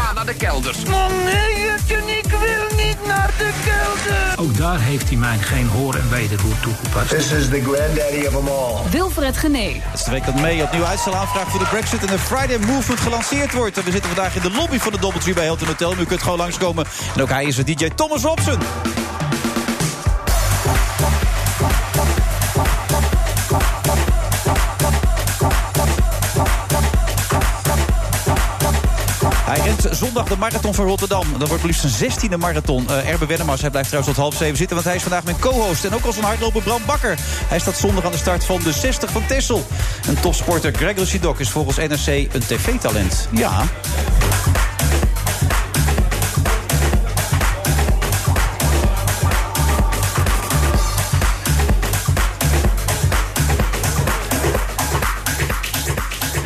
Ga naar de kelders. Ook daar heeft hij mij geen hoor en wederhoor toegepast. This is the granddaddy of them all. Wilfred Genee. Het is de week dat mee opnieuw aanvraag voor de Brexit en de Friday Movement gelanceerd wordt. En we zitten vandaag in de lobby van de Doubletree bij Hilton Hotel. Nu kunt gewoon langskomen. En ook hij is er, DJ Thomas Robson. Hij rent zondag de marathon van Rotterdam. Dat wordt liefst zijn 16e marathon. Eh Erbe Wennemars, hij blijft trouwens tot half zeven zitten... want hij is vandaag mijn co-host en ook als een hardloper Bram Bakker. Hij staat zondag aan de start van de 60 van Tessel. En topsporter Gregor Sidok is volgens NRC een tv-talent. Ja,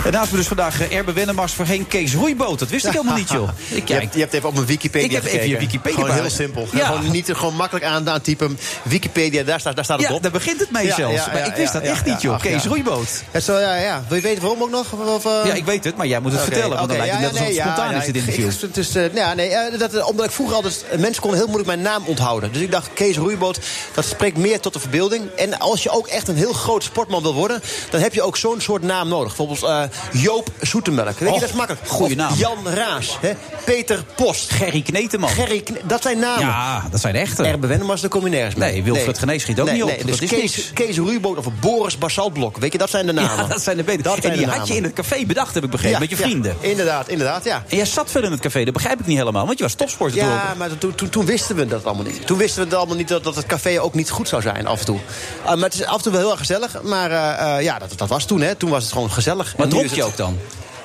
En naast me dus vandaag eh, Erbe Wennemars voorheen Kees Roeiboot. Dat wist ik helemaal niet, joh. Ik, Je hebt, je hebt even op mijn Wikipedia Ik heb even gekeken. je Wikipedia Gewoon heel bij- simpel. Ja. Gewoon, niet, gewoon makkelijk aan, aan typen. Wikipedia, daar staat, daar staat het ja, op. daar begint het mee Ja, zelfs. ja, ja, maar ik wist ja, dat echt ja, niet, joh. ach, Kees ja. Roeiboot. Ja, zo, ja, ja. Wil je weten waarom ook nog? Of, eh, Ja, ik weet het, maar jij moet het Oké, vertellen. Want dan oké, lijkt het net ja, alsof het ja, nee, spontaan ja, is, dit ik- interview. ik- dus, eh, ja, nee, eh, dat, eh, omdat ik vroeger altijd... Mensen konden heel moeilijk mijn naam onthouden. Dus ik dacht, Kees Roeiboot, dat spreekt meer tot de verbeelding. En als je ook echt een heel groot sportman wil worden... dan heb je ook zo'n soort naam nodig. Bijvoorbeeld eh, Joop Zoetemelk. Weet Och, je, dat is makkelijk. goeie Of naam. Jan Raas. Hè? Peter Post. Gerry Kneteman. Gerry, Kne- dat zijn namen. Ja, dat zijn de echte. Erbe Wennemars, daar kom je nergens mee. Nee, Wilfred Gené schiet ook niet op, dus dat is Kees, niks. Kees Ruiboot of Boris Basaltblok, weet je, dat zijn de namen. Ja, dat zijn de betere. Dat En zijn die de had je namen. in het café bedacht, heb ik begrepen, Ja, met je ja, vrienden. inderdaad, inderdaad, ja. En jij zat veel in het café, dat begrijp ik niet helemaal. Want je was topsporter toen Ja, ook. maar toen, toen, toen wisten we dat allemaal niet. Toen wisten we dat allemaal niet dat, dat het café ook niet goed zou zijn af en toe. Eh, maar het is af en toe wel heel erg gezellig. Maar eh, eh, ja, dat, dat was toen, hè. Toen was het gewoon gezellig. En Maar nu dronk is je het- ook dan?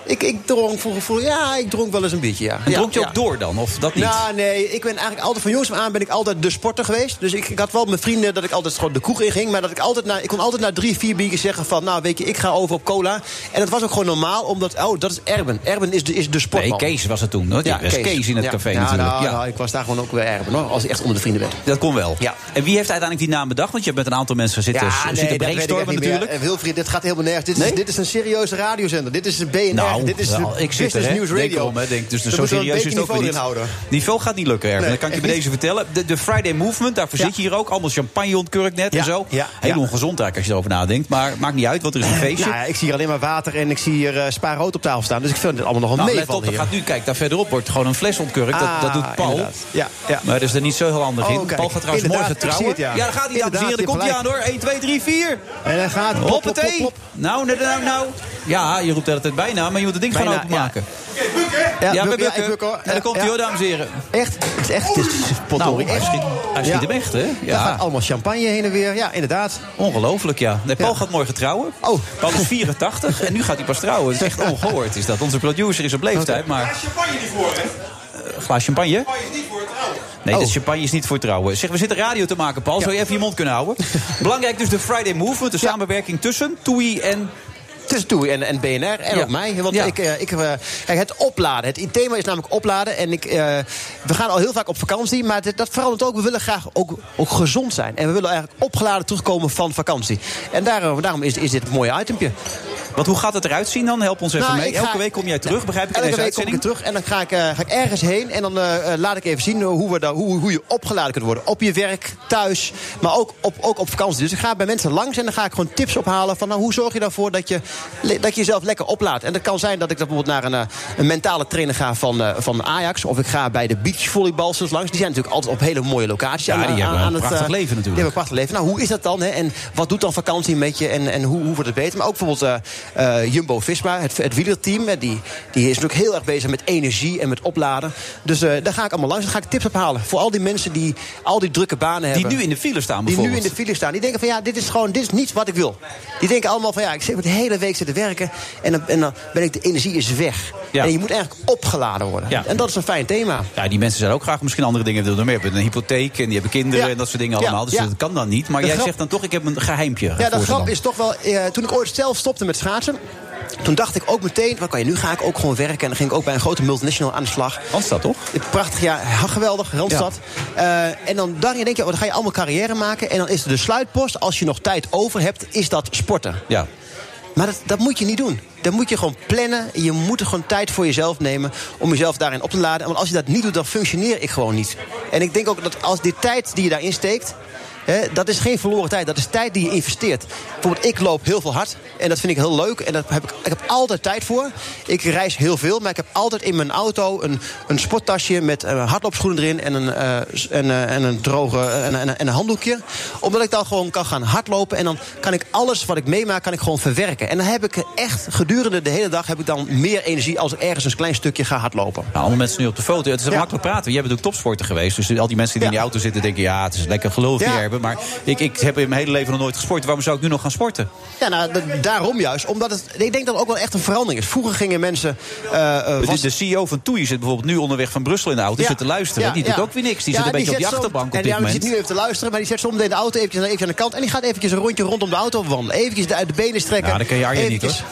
Ik, ik dronk voor gevoel, ja, ik dronk wel eens een biertje, ja. En Ja, dronk je ja. ook door dan, of dat niet? Nou, nee, ik ben eigenlijk altijd van jongs af aan ben ik altijd de sporter geweest. Dus ik, ik had wel mijn vrienden dat ik altijd gewoon de kroeg in ging. Maar dat ik altijd na, ik kon altijd na drie, vier biertjes zeggen van, nou weet je, ik ga over op cola. En dat was ook gewoon normaal, omdat, oh, dat is Erben. Erben is de, is de sportman. nee, Kees was het toen. hoor. Ja, Kees. Kees in het Ja. café Ja, natuurlijk. nou, ja. nou, ik was daar gewoon ook weer Erben, hoor, als ik echt onder de vrienden werd. Dat kon wel. Ja. En wie heeft uiteindelijk die naam bedacht? Want je hebt met een aantal mensen zitten, zitten brainstormen natuurlijk. En Eh, Wilfried, dit gaat helemaal nergens. Dit, Nee? is, dit is een serieuze radiozender. Dit is een BNR. Nou, Eh, dit is wel, een ik zit er, Business hè. News Denk Radio. erom, hè, denk. Dus Daar zo moeten we een serieus is beetje het ook weer niveau niet. in houden. Niveau gaat niet lukken, Erwin. Nee, dat kan ik je echt bij niet. deze vertellen. De, de Friday Movement, daarvoor Ja. zit je hier ook. Allemaal champagne ontkurkt net Ja, en zo. ja, Heel ja. ongezond eigenlijk als je erover nadenkt. Maar maakt niet uit, want er is een feestje. Nou ja, ik zie hier alleen maar water en ik zie hier eh spa rood op tafel staan. Dus ik vind het allemaal nog een nou, let meeval op, er hier. gaat nu, kijk, daar verderop wordt gewoon een fles ontkurkt. dat, dat doet Ah, Paul. inderdaad. Ja, ja. Maar dat is er niet zo heel handig in. Oh, kijk. Paul gaat trouwens Inderdaad, morgen ik trouwen. zie het, ja. daar gaat hij, dames en heren. Daar komt Inderdaad, hij je aan hebt hoor. 1, 2, 3, 4. En dan gaat plop, plop, plop, Hoppatee. plop. Nou, nou, nou, nou. Ja, je roept de hele tijd bijna, maar je moet het ding gewoon Bijna, ja. openmaken. Ja, Ja, bij Bukke, Bukken. ik Bukke, hoor. En dan komt hij Ja. hoor, dames en heren. Echt, het is echt, dit is Nou, potdorie. hij Echt. schiet, hij schiet Ja. hem echt, hè? Daar Ja. gaat allemaal champagne heen en weer. Ja, inderdaad. Ongelooflijk, ja. Nee, Paul Ja. gaat morgen trouwen. Oh. Paul is 84 en nu gaat hij pas trouwen. Het is echt ongehoord, is dat. Onze producer is op leeftijd, maar... champagne niet voor, hè? Een glaas champagne? Champagne is niet voor het oude. Nee, Oh. dat champagne is niet voor trouwen. Zeg, we zitten radio te maken, Paul. Zou je even je mond kunnen houden? Belangrijk dus de Friday Movement, de samenwerking tussen TUI en... Tussen toe en, en BNR en Ja. ook mij. Want Ja. ik, eh, ik, eh, kijk, het opladen. Het thema is namelijk opladen. En ik, eh, we gaan al heel vaak op vakantie. Maar dit- dat verandert ook. We willen graag ook, ook gezond zijn. En we willen eigenlijk opgeladen terugkomen van vakantie. En daarom, daarom is, is dit een mooi itempje. Want hoe gaat het eruit zien dan? Help ons even Nou, mee. ik ga- Elke week kom jij terug, begrijp ik, in Elke deze week kom ik uitzending? er terug en dan ga ik, eh, ga ik ergens heen. En dan eh, eh, laat ik even zien hoe, we daar, hoe, hoe je opgeladen kunt worden. Op je werk, thuis, maar ook op, ook op vakantie. Dus ik ga bij mensen langs en dan ga ik gewoon tips ophalen. Van nou, hoe zorg je ervoor dat je, le- dat je jezelf lekker oplaadt. En dat kan zijn dat ik dat bijvoorbeeld naar een, eh, een mentale trainer ga van, eh, van Ajax. Of ik ga bij de beachvolleybalsters langs. Die zijn natuurlijk altijd op hele mooie locaties. Ja, Aan- die hebben aan- een aan het, prachtig eh, leven natuurlijk. die hebben een prachtig leven. Nou, hoe is dat dan? Hè? En wat doet dan vakantie met je? En, en hoe, hoe wordt het beter? Maar ook bijvoorbeeld eh, eh, Jumbo Visma, het, het wielerteam. hè, Die, die is natuurlijk heel erg bezig met energie en met opladen. Dus eh, daar ga ik allemaal langs. Daar ga ik tips ophalen. Voor al die mensen die al die drukke banen Die hebben. nu in de file staan Die nu bijvoorbeeld. in de file staan. Die denken van ja, dit is gewoon dit is niet wat ik wil. Die denken allemaal van ja, ik zit de hele week week zitten werken. En dan, en dan ben ik, de energie is weg. Ja. En je moet eigenlijk opgeladen worden. Ja. En dat is een fijn thema. Ja, die mensen zijn ook graag misschien andere dingen te doen. Die hebben een hypotheek en die hebben kinderen Ja. en dat soort dingen Ja, allemaal. Dus ja. dat kan dan niet. Maar De jij grap- zegt dan toch, ik heb een geheimpje. voor Ja, de ze grap dan. is toch wel. eh, toen ik ooit zelf stopte met schaatsen. Toen dacht ik ook meteen, wat kan je nu ga ik ook gewoon werken. En dan ging ik ook bij een grote multinational aan de slag. Randstad, toch? Prachtig, ja, ha- geweldig, Randstad. Eh, en dan daarin denk je, oh, dan ga je allemaal carrière maken. En dan is er de sluitpost, als je nog tijd over hebt, is dat sporten. Ja. Maar dat, dat moet je niet doen. Dan moet je gewoon plannen. Je moet er gewoon tijd voor jezelf nemen om jezelf daarin op te laden. Want als je dat niet doet, dan functioneer ik gewoon niet. En ik denk ook dat als die tijd die je daarin steekt. Hè, dat is geen verloren tijd. Dat is tijd die je investeert. Bijvoorbeeld, ik loop heel veel hard. En dat vind ik heel leuk. En daar heb ik, ik heb altijd tijd voor. Ik reis heel veel. Maar ik heb altijd in mijn auto een, een sporttasje met eh, hardloopschoenen erin. En een, eh, s- en, eh, en een droge eh, en, en, en een handdoekje. Omdat ik dan gewoon kan gaan hardlopen. En dan kan ik alles wat ik meemaak, kan ik gewoon verwerken. En dan heb ik echt gedurende de hele dag heb ik dan meer energie als ik ergens een klein stukje ga hardlopen. Nou, allemaal mensen nu op de foto. Het is Ja. makkelijk praten. Jij bent ook topsporter geweest. Dus al die mensen die in Ja. die auto zitten denken... ja, het is lekker geloof Ja. niet hebben. Maar ik, ik heb in mijn hele leven nog nooit gesport. Waarom zou ik nu nog gaan sporten? Ja, nou, d- daarom juist. Omdat het, ik denk dat het ook wel echt een verandering is. Vroeger gingen mensen. eh, eh, De- was- De CEO van Toei zit bijvoorbeeld nu onderweg van Brussel in de auto. Ja, Zit te luisteren. ja, die doet ja. ook weer niks. Die Ja, zit een beetje op die zo- achterbank en op dit ja, die moment. zit nu even te luisteren, maar die zet zometeen de auto eventjes, eventjes aan de kant. En die gaat eventjes een rondje rondom de auto wandelen. Eventjes de, uit de benen strekken. Ja, dat Nou, kan je Arjen niet, Eventjes-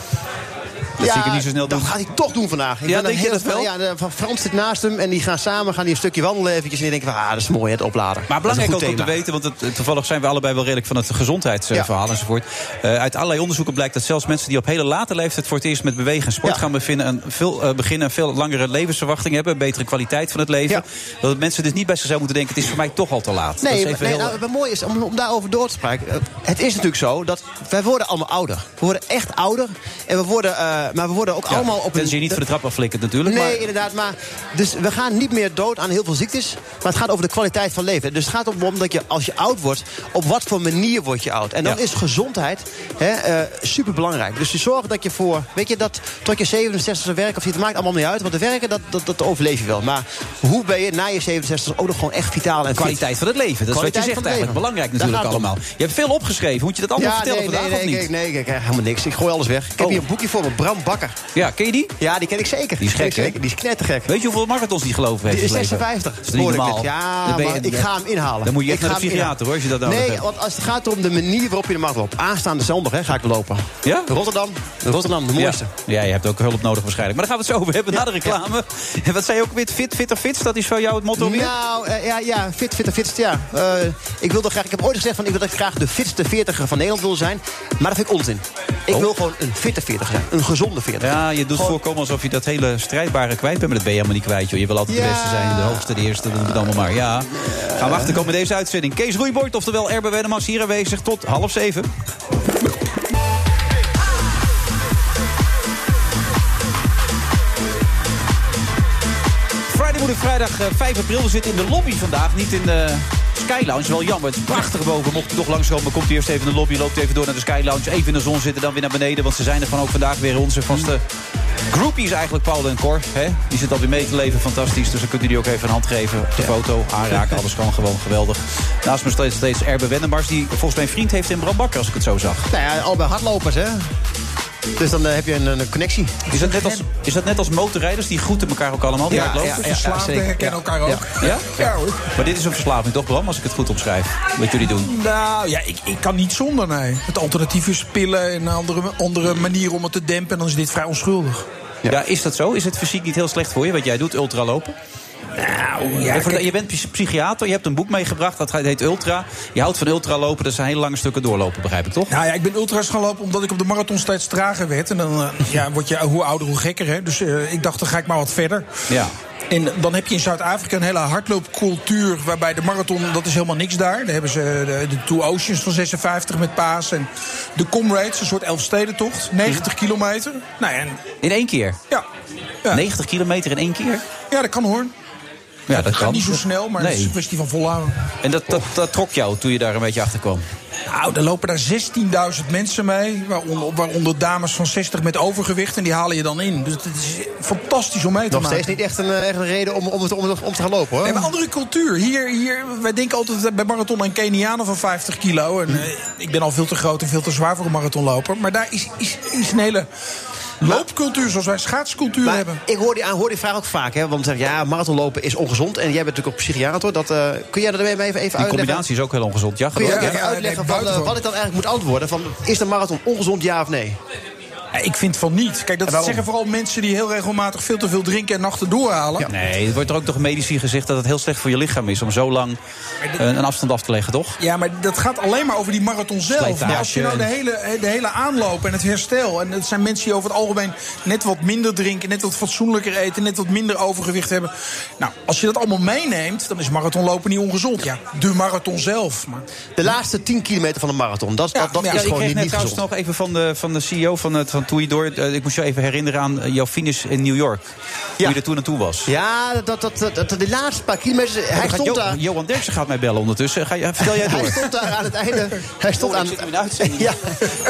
Dat zie ik hem niet zo snel dat doen. gaat hij toch doen vandaag. Ik Ja, ben denk je heel dat wel? fan- Ja, de- van Frans zit naast hem en die gaan samen gaan die een stukje wandelen eventjes. En die denken van, ah, dat is mooi, het opladen. Maar belangrijk ook Dat is om een te goed weten, want het, toevallig zijn we allebei wel redelijk van het gezondheidsverhaal enzovoort. Eh, uit allerlei onderzoeken blijkt dat zelfs mensen die op hele late leeftijd voor het eerst met bewegen en sport Ja. gaan bevinden, een veel, eh, beginnen, een veel langere levensverwachting hebben, een betere kwaliteit van het leven. Dat mensen dus niet bij zichzelf moeten denken: het is voor mij toch al te laat. Nee, dat maar- is nee, heel- nou, wat mooi is om, om daarover door te spreken. eh, Het is natuurlijk zo dat wij worden allemaal ouder. We worden echt ouder. En we worden, eh, maar we worden ook Ja, allemaal op een... tenzij je niet van de trap afflikkert natuurlijk. Nee, maar- inderdaad. Maar, dus we gaan niet meer dood aan heel veel ziektes. Maar het gaat over de kwaliteit van leven. Dus het gaat om dat je als je oud wordt, op wat voor manier word je oud. En dan Ja. is gezondheid hè, eh superbelangrijk. Dus je zorgt dat je voor, weet je, dat tot je 67 e werkt of niet, het maakt allemaal niet uit. Want de werken, dat, dat, dat overleef je wel. Maar hoe ben je na je 67 ook nog gewoon echt vitaal en fit? Kwaliteit van het leven. Dat is wat je Kwaliteit zegt van het eigenlijk. leven. Belangrijk Daar natuurlijk gaat het om. allemaal. Je hebt veel opgeschreven. Moet je dat allemaal vertellen nee, vandaag nee, of nee, niet? ik- nee, eh, ik krijg helemaal niks. Ik gooi alles weg. Ik heb Oh. hier een boekje voor me, Bram Bakker. Ja, ken je die? Ja, die ken ik zeker. Die is ken gek, ik hè? zeker. Die is knettergek. Weet je hoeveel marathons die gelopen heeft? Die is in zijn leven? 56. Dat is niet hoor ik normaal. net. Ja, Dan ben je- maar ik ga hem inhalen. Dan moet je echt Ik naar ga de hem psychiater, hoor, als je dat nou nodig inhalen. Nee, hebt. want als het gaat om de manier waarop je hem mag lopen. Aanstaande zondag hè, ga ik lopen. Ja? Rotterdam. Rotterdam, de mooiste. Ja. ja, je hebt ook hulp nodig waarschijnlijk. Maar daar gaan we het zo over hebben na de reclame. En wat zei je ook weer? Fit, fitter, fits? Dat is voor jou het motto meer? Nou, eh, ja, ja, fit, fit, fit, ja. Eh, ik, wilde graag, ik heb ooit gezegd van, ik wil dat ik graag de fitste 40er van Nederland wil zijn. Maar dat vind ik onzin. Ik Oh. wil gewoon een fitte 40 zijn. Een gezonde 40. Ja, je doet Gewoon- voorkomen alsof je dat hele strijdbare kwijt bent. Maar dat ben je helemaal niet kwijt, joh. Je wil altijd de Ja. beste zijn, de hoogste, de eerste. Dat doet het allemaal maar. Ja. Gaan we achterkomen met deze uitzending. Kees Roeiboord, oftewel Erbe Wennemars, hier aanwezig tot half zeven. Friday Moeder Vrijdag eh, 5 april. We zitten in de lobby vandaag, niet in de Sky Lounge. Wel jammer, het is prachtig boven. Mocht u toch langskomen, komt u eerst even in de lobby. Loopt even door naar de Sky Lounge. Even in de zon zitten, dan weer naar beneden. Want ze zijn er van ook vandaag weer onze vaste groupies eigenlijk. Paul en Cor, hè? die zitten alweer mee te leven. Fantastisch, dus dan kunt u die ook even een hand geven. Op de foto, aanraken, alles kan gewoon geweldig. Naast me steeds, steeds Erbe Wennemars, die volgens mijn vriend heeft in Bram Bakker, als ik het zo zag. Nou ja, al bij hardlopers, hè. Dus dan eh, heb je een, een connectie. Is dat net als, is dat net als motorrijders? Die groeten elkaar ook allemaal. die uitlopen? Verslaafden herkennen elkaar ook. Ja? Ja, hoor. Maar dit is een verslaving toch, Bram, als ik het goed opschrijf? Wat jullie doen. Nou ja, ik, ik kan niet zonder, nee. Het alternatief is pillen en een andere, andere manier om het te dempen. En dan is dit vrij onschuldig. Ja. is dat zo? Is het fysiek niet heel slecht voor je, wat jij doet, ultralopen? Nou, ja, je bent psy- psychiater, je hebt een boek meegebracht, dat heet Ultra. Je houdt van ultralopen, dat zijn hele lange stukken doorlopen, begrijp ik toch? Nou ja, ik ben ultras gaan lopen omdat ik op de marathon steeds trager werd. En dan eh, ja, word je hoe ouder, hoe gekker. Hè? Dus eh, ik dacht, dan ga ik maar wat verder. Ja. En dan heb je in Zuid-Afrika een hele hardloopcultuur... waarbij de marathon, dat is helemaal niks daar. Daar hebben ze eh, de, de Two Oceans van 56 met paas... en de Comrades, een soort Mhm. elfstedentocht, 90 kilometer. Nou ja, en, In één keer? ja. Ja. 90 kilometer in één keer? ja, dat kan hoor. Ja, dat Gaat niet zo snel, maar het is Nee. een kwestie van volhouden. En dat, dat, dat trok jou toen je daar een beetje achter kwam? Nou, er lopen daar 16.000 mensen mee. Waaronder, waaronder dames van 60 met overgewicht. En die halen je dan in. Dus het is fantastisch om mee te Nog maken. steeds niet echt een, eh, echt een reden om, om, het, om, het- om te gaan lopen hoor. We hebben een andere cultuur. Hier, hier, wij denken altijd bij marathon aan Kenianen van 50 kilo. En, eh, ik ben al veel te groot en veel te zwaar voor een marathonloper. Maar daar is, is, is een hele loopcultuur zoals wij schaatscultuur Maar hebben. ik hoor die, aan- hoor die vraag ook vaak, hè? Want ze zeggen, ja, marathonlopen is ongezond. En jij bent natuurlijk ook psychiater. Dat, eh, kun jij dat even, even Die uitleggen? combinatie is ook heel ongezond. Ja, Kun je geloof ik. ook Ja, even ja, uitleggen nee, van, eh, buitengewoon. wat ik dan eigenlijk moet antwoorden? Van, is de marathon ongezond, ja of nee? Ik vind van niet. Kijk, dat Waarom? zeggen vooral mensen die heel regelmatig veel te veel drinken en nachten doorhalen. Nee, er wordt er ook toch medisch hier gezegd dat het heel slecht voor je lichaam is... om zo lang eh, een afstand af te leggen, toch? Ja, maar dat gaat alleen maar over die marathon zelf. Slijtage Maar als je nou de en- hele, de hele aanloop en het herstel. En het zijn mensen die over het algemeen net wat minder drinken, net wat fatsoenlijker eten, net wat minder overgewicht hebben. Nou, als je dat allemaal meeneemt, dan is marathonlopen niet ongezond. Ja, de marathon zelf. Maar De laatste 10 kilometer van de marathon, dat, is- Ja, dat, dat ja. is Ja, ik gewoon kreeg niet, net niet trouwens gezond. nog even van de, van de CEO van, het, van Toei door. eh, ik moest je even herinneren aan eh, jouw finish in New York. Hoe Ja. je er toen naartoe was. Ja, Ah, dat, dat, dat, dat, de laatste paar kilometers, hij Gaat stond Jo- daar... Johan Derksen gaat mij bellen ondertussen. Ga, je- vertel jij Hij door. stond daar aan het einde. Hij stond Oh, ik aan, zit nu in de uitzending. ja,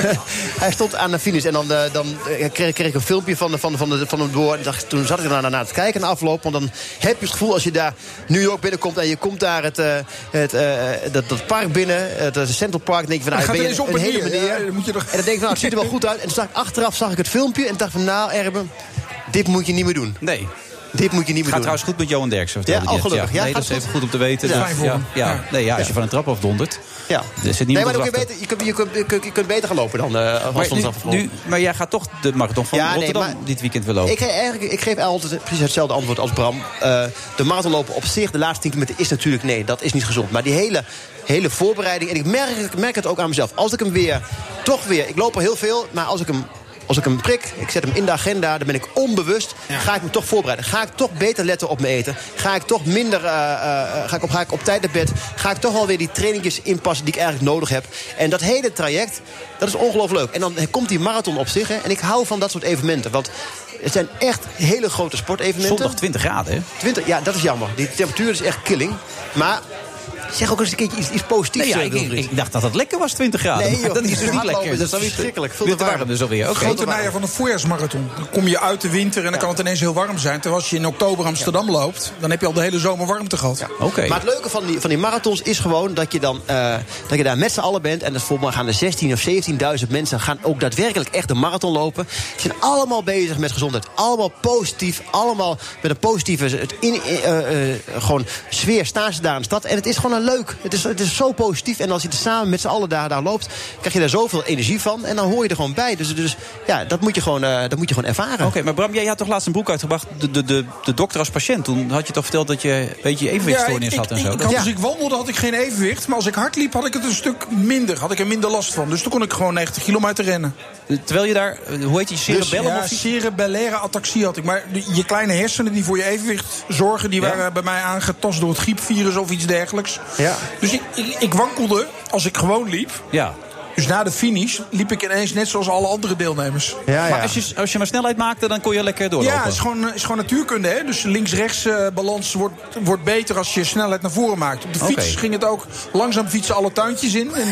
hij stond aan de finish. En dan, eh, dan eh, kreeg, kreeg ik een filmpje van, de- van, de- van, de- van hem door. En dacht, toen zat ik daarna naar te kijken en afloop. Want dan heb je het gevoel als je daar New York binnenkomt. en je komt daar het, eh, het, eh, dat, dat park binnen. Het, eh, Central Park. Dan denk je van nou, Gaat ben je ineens op een en hele neer, meneer. ja, dan moet je nog- En dan denk ik, nou, het ziet er wel goed uit. En toen zag ik, achteraf zag ik het filmpje. En dacht van nou, Erben, dit moet je niet meer doen. Nee. Dit moet je niet meer Gaat doen. trouwens goed met Johan Derksen. vertelde Ja, hij oh, net. gelukkig. Ja, nee, gaat dat is even goed. goed om te weten. Ja, Dat- fijn voor ja, hem. ja. Ja. Nee, ja, als je van een trap afdondert. Ja. Er zit nee, niemand maar dan op kun je, te wachten. beter, je, kunt, je, kunt, je, kunt, je kunt beter gaan lopen dan eh als we ons Maar, nu, afgelopen. nu- maar jij gaat toch de marathon van Ja, nee, Rotterdam maar- dit weekend willen lopen. Ik, geef eigenlijk, ik geef altijd precies hetzelfde antwoord als Bram. Eh, de marathonlopen op zich, de laatste 10 kilometer, is natuurlijk nee, dat is niet gezond. Maar die hele, hele voorbereiding, en ik merk, ik merk het ook aan mezelf. Als ik hem weer, toch weer, ik loop er heel veel, maar als ik hem. Als ik hem prik, ik zet hem in de agenda, dan ben ik onbewust. Ga ik me toch voorbereiden? Ga ik toch beter letten op mijn eten? Ga ik toch minder. eh, eh, ga, ik op, ga ik op tijd naar bed? Ga ik toch alweer die trainingjes inpassen die ik eigenlijk nodig heb? En dat hele traject, dat is ongelooflijk leuk. En dan komt die marathon op zich. Hè, en ik hou van dat soort evenementen. Want het zijn echt hele grote sportevenementen. Zondag 20 graden, hè? 20, ja, dat is jammer. Die temperatuur is echt killing. Maar zeg ook eens een keertje iets, iets positiefs. Nee, ja, eh, ik, Wilfried. ik dacht dat het lekker was, 20 Nee, graden. maar joh. dat is dus niet Hardlopen lekker. is Dat is alweer te- verschrikkelijk. Veel weer te te warm warm. dus alweer. Oké. grote najaar van een voorjaarsmarathon. Dan kom je uit de winter en dan kan het ineens heel warm zijn. Terwijl als je in oktober Amsterdam loopt, dan heb je al de hele zomer warmte gehad. Oké. Maar het leuke van die, van die marathons is gewoon dat je, dan, eh, dat je daar met z'n allen bent. En dat volgens mij gaan er 16 of 17.000 mensen gaan ook daadwerkelijk echt de marathon lopen. Ze zijn allemaal bezig met gezondheid. Allemaal positief. Allemaal met een positieve het in, eh, eh, gewoon sfeer staan ze daar in de stad. En het is gewoon een leuk. Het is, het is zo positief. En als je er samen met z'n allen daar, daar loopt, krijg je daar zoveel energie van. En dan hoor je er gewoon bij. Dus, dus ja, dat moet je gewoon, eh, dat moet je gewoon ervaren. Oké, maar Bram, jij had toch laatst een boek uitgebracht, de, de, de, de dokter als patiënt. Toen had je toch verteld dat je een beetje evenwichtstoornis ik, had en ik- zo. ik had- Ja. Als ik wandelde had ik geen evenwicht. Maar als ik hard liep had ik het een stuk minder. Had ik er minder last van. Dus toen kon ik gewoon 90 kilometer rennen. Dus Terwijl je daar, eh, hoe heet die, cerebellum ja, of iets? cerebellaire ataxie had ik. Maar de- je kleine hersenen die voor je evenwicht zorgen... die Ja. waren bij mij aangetast door het griepvirus of iets dergelijks. Ja. Dus ik, ik, ik wankelde als ik gewoon liep. Ja. Dus na de finish liep ik ineens net zoals alle andere deelnemers. Ja, Maar als je, als je maar snelheid maakte, dan kon je lekker doorlopen. Ja, het is gewoon, eh, is gewoon natuurkunde. Hè? Dus links-rechts eh, balans wordt, wordt beter als je snelheid naar voren maakt. Op de fiets Oké. ging het ook langzaam fietsen alle tuintjes in. En,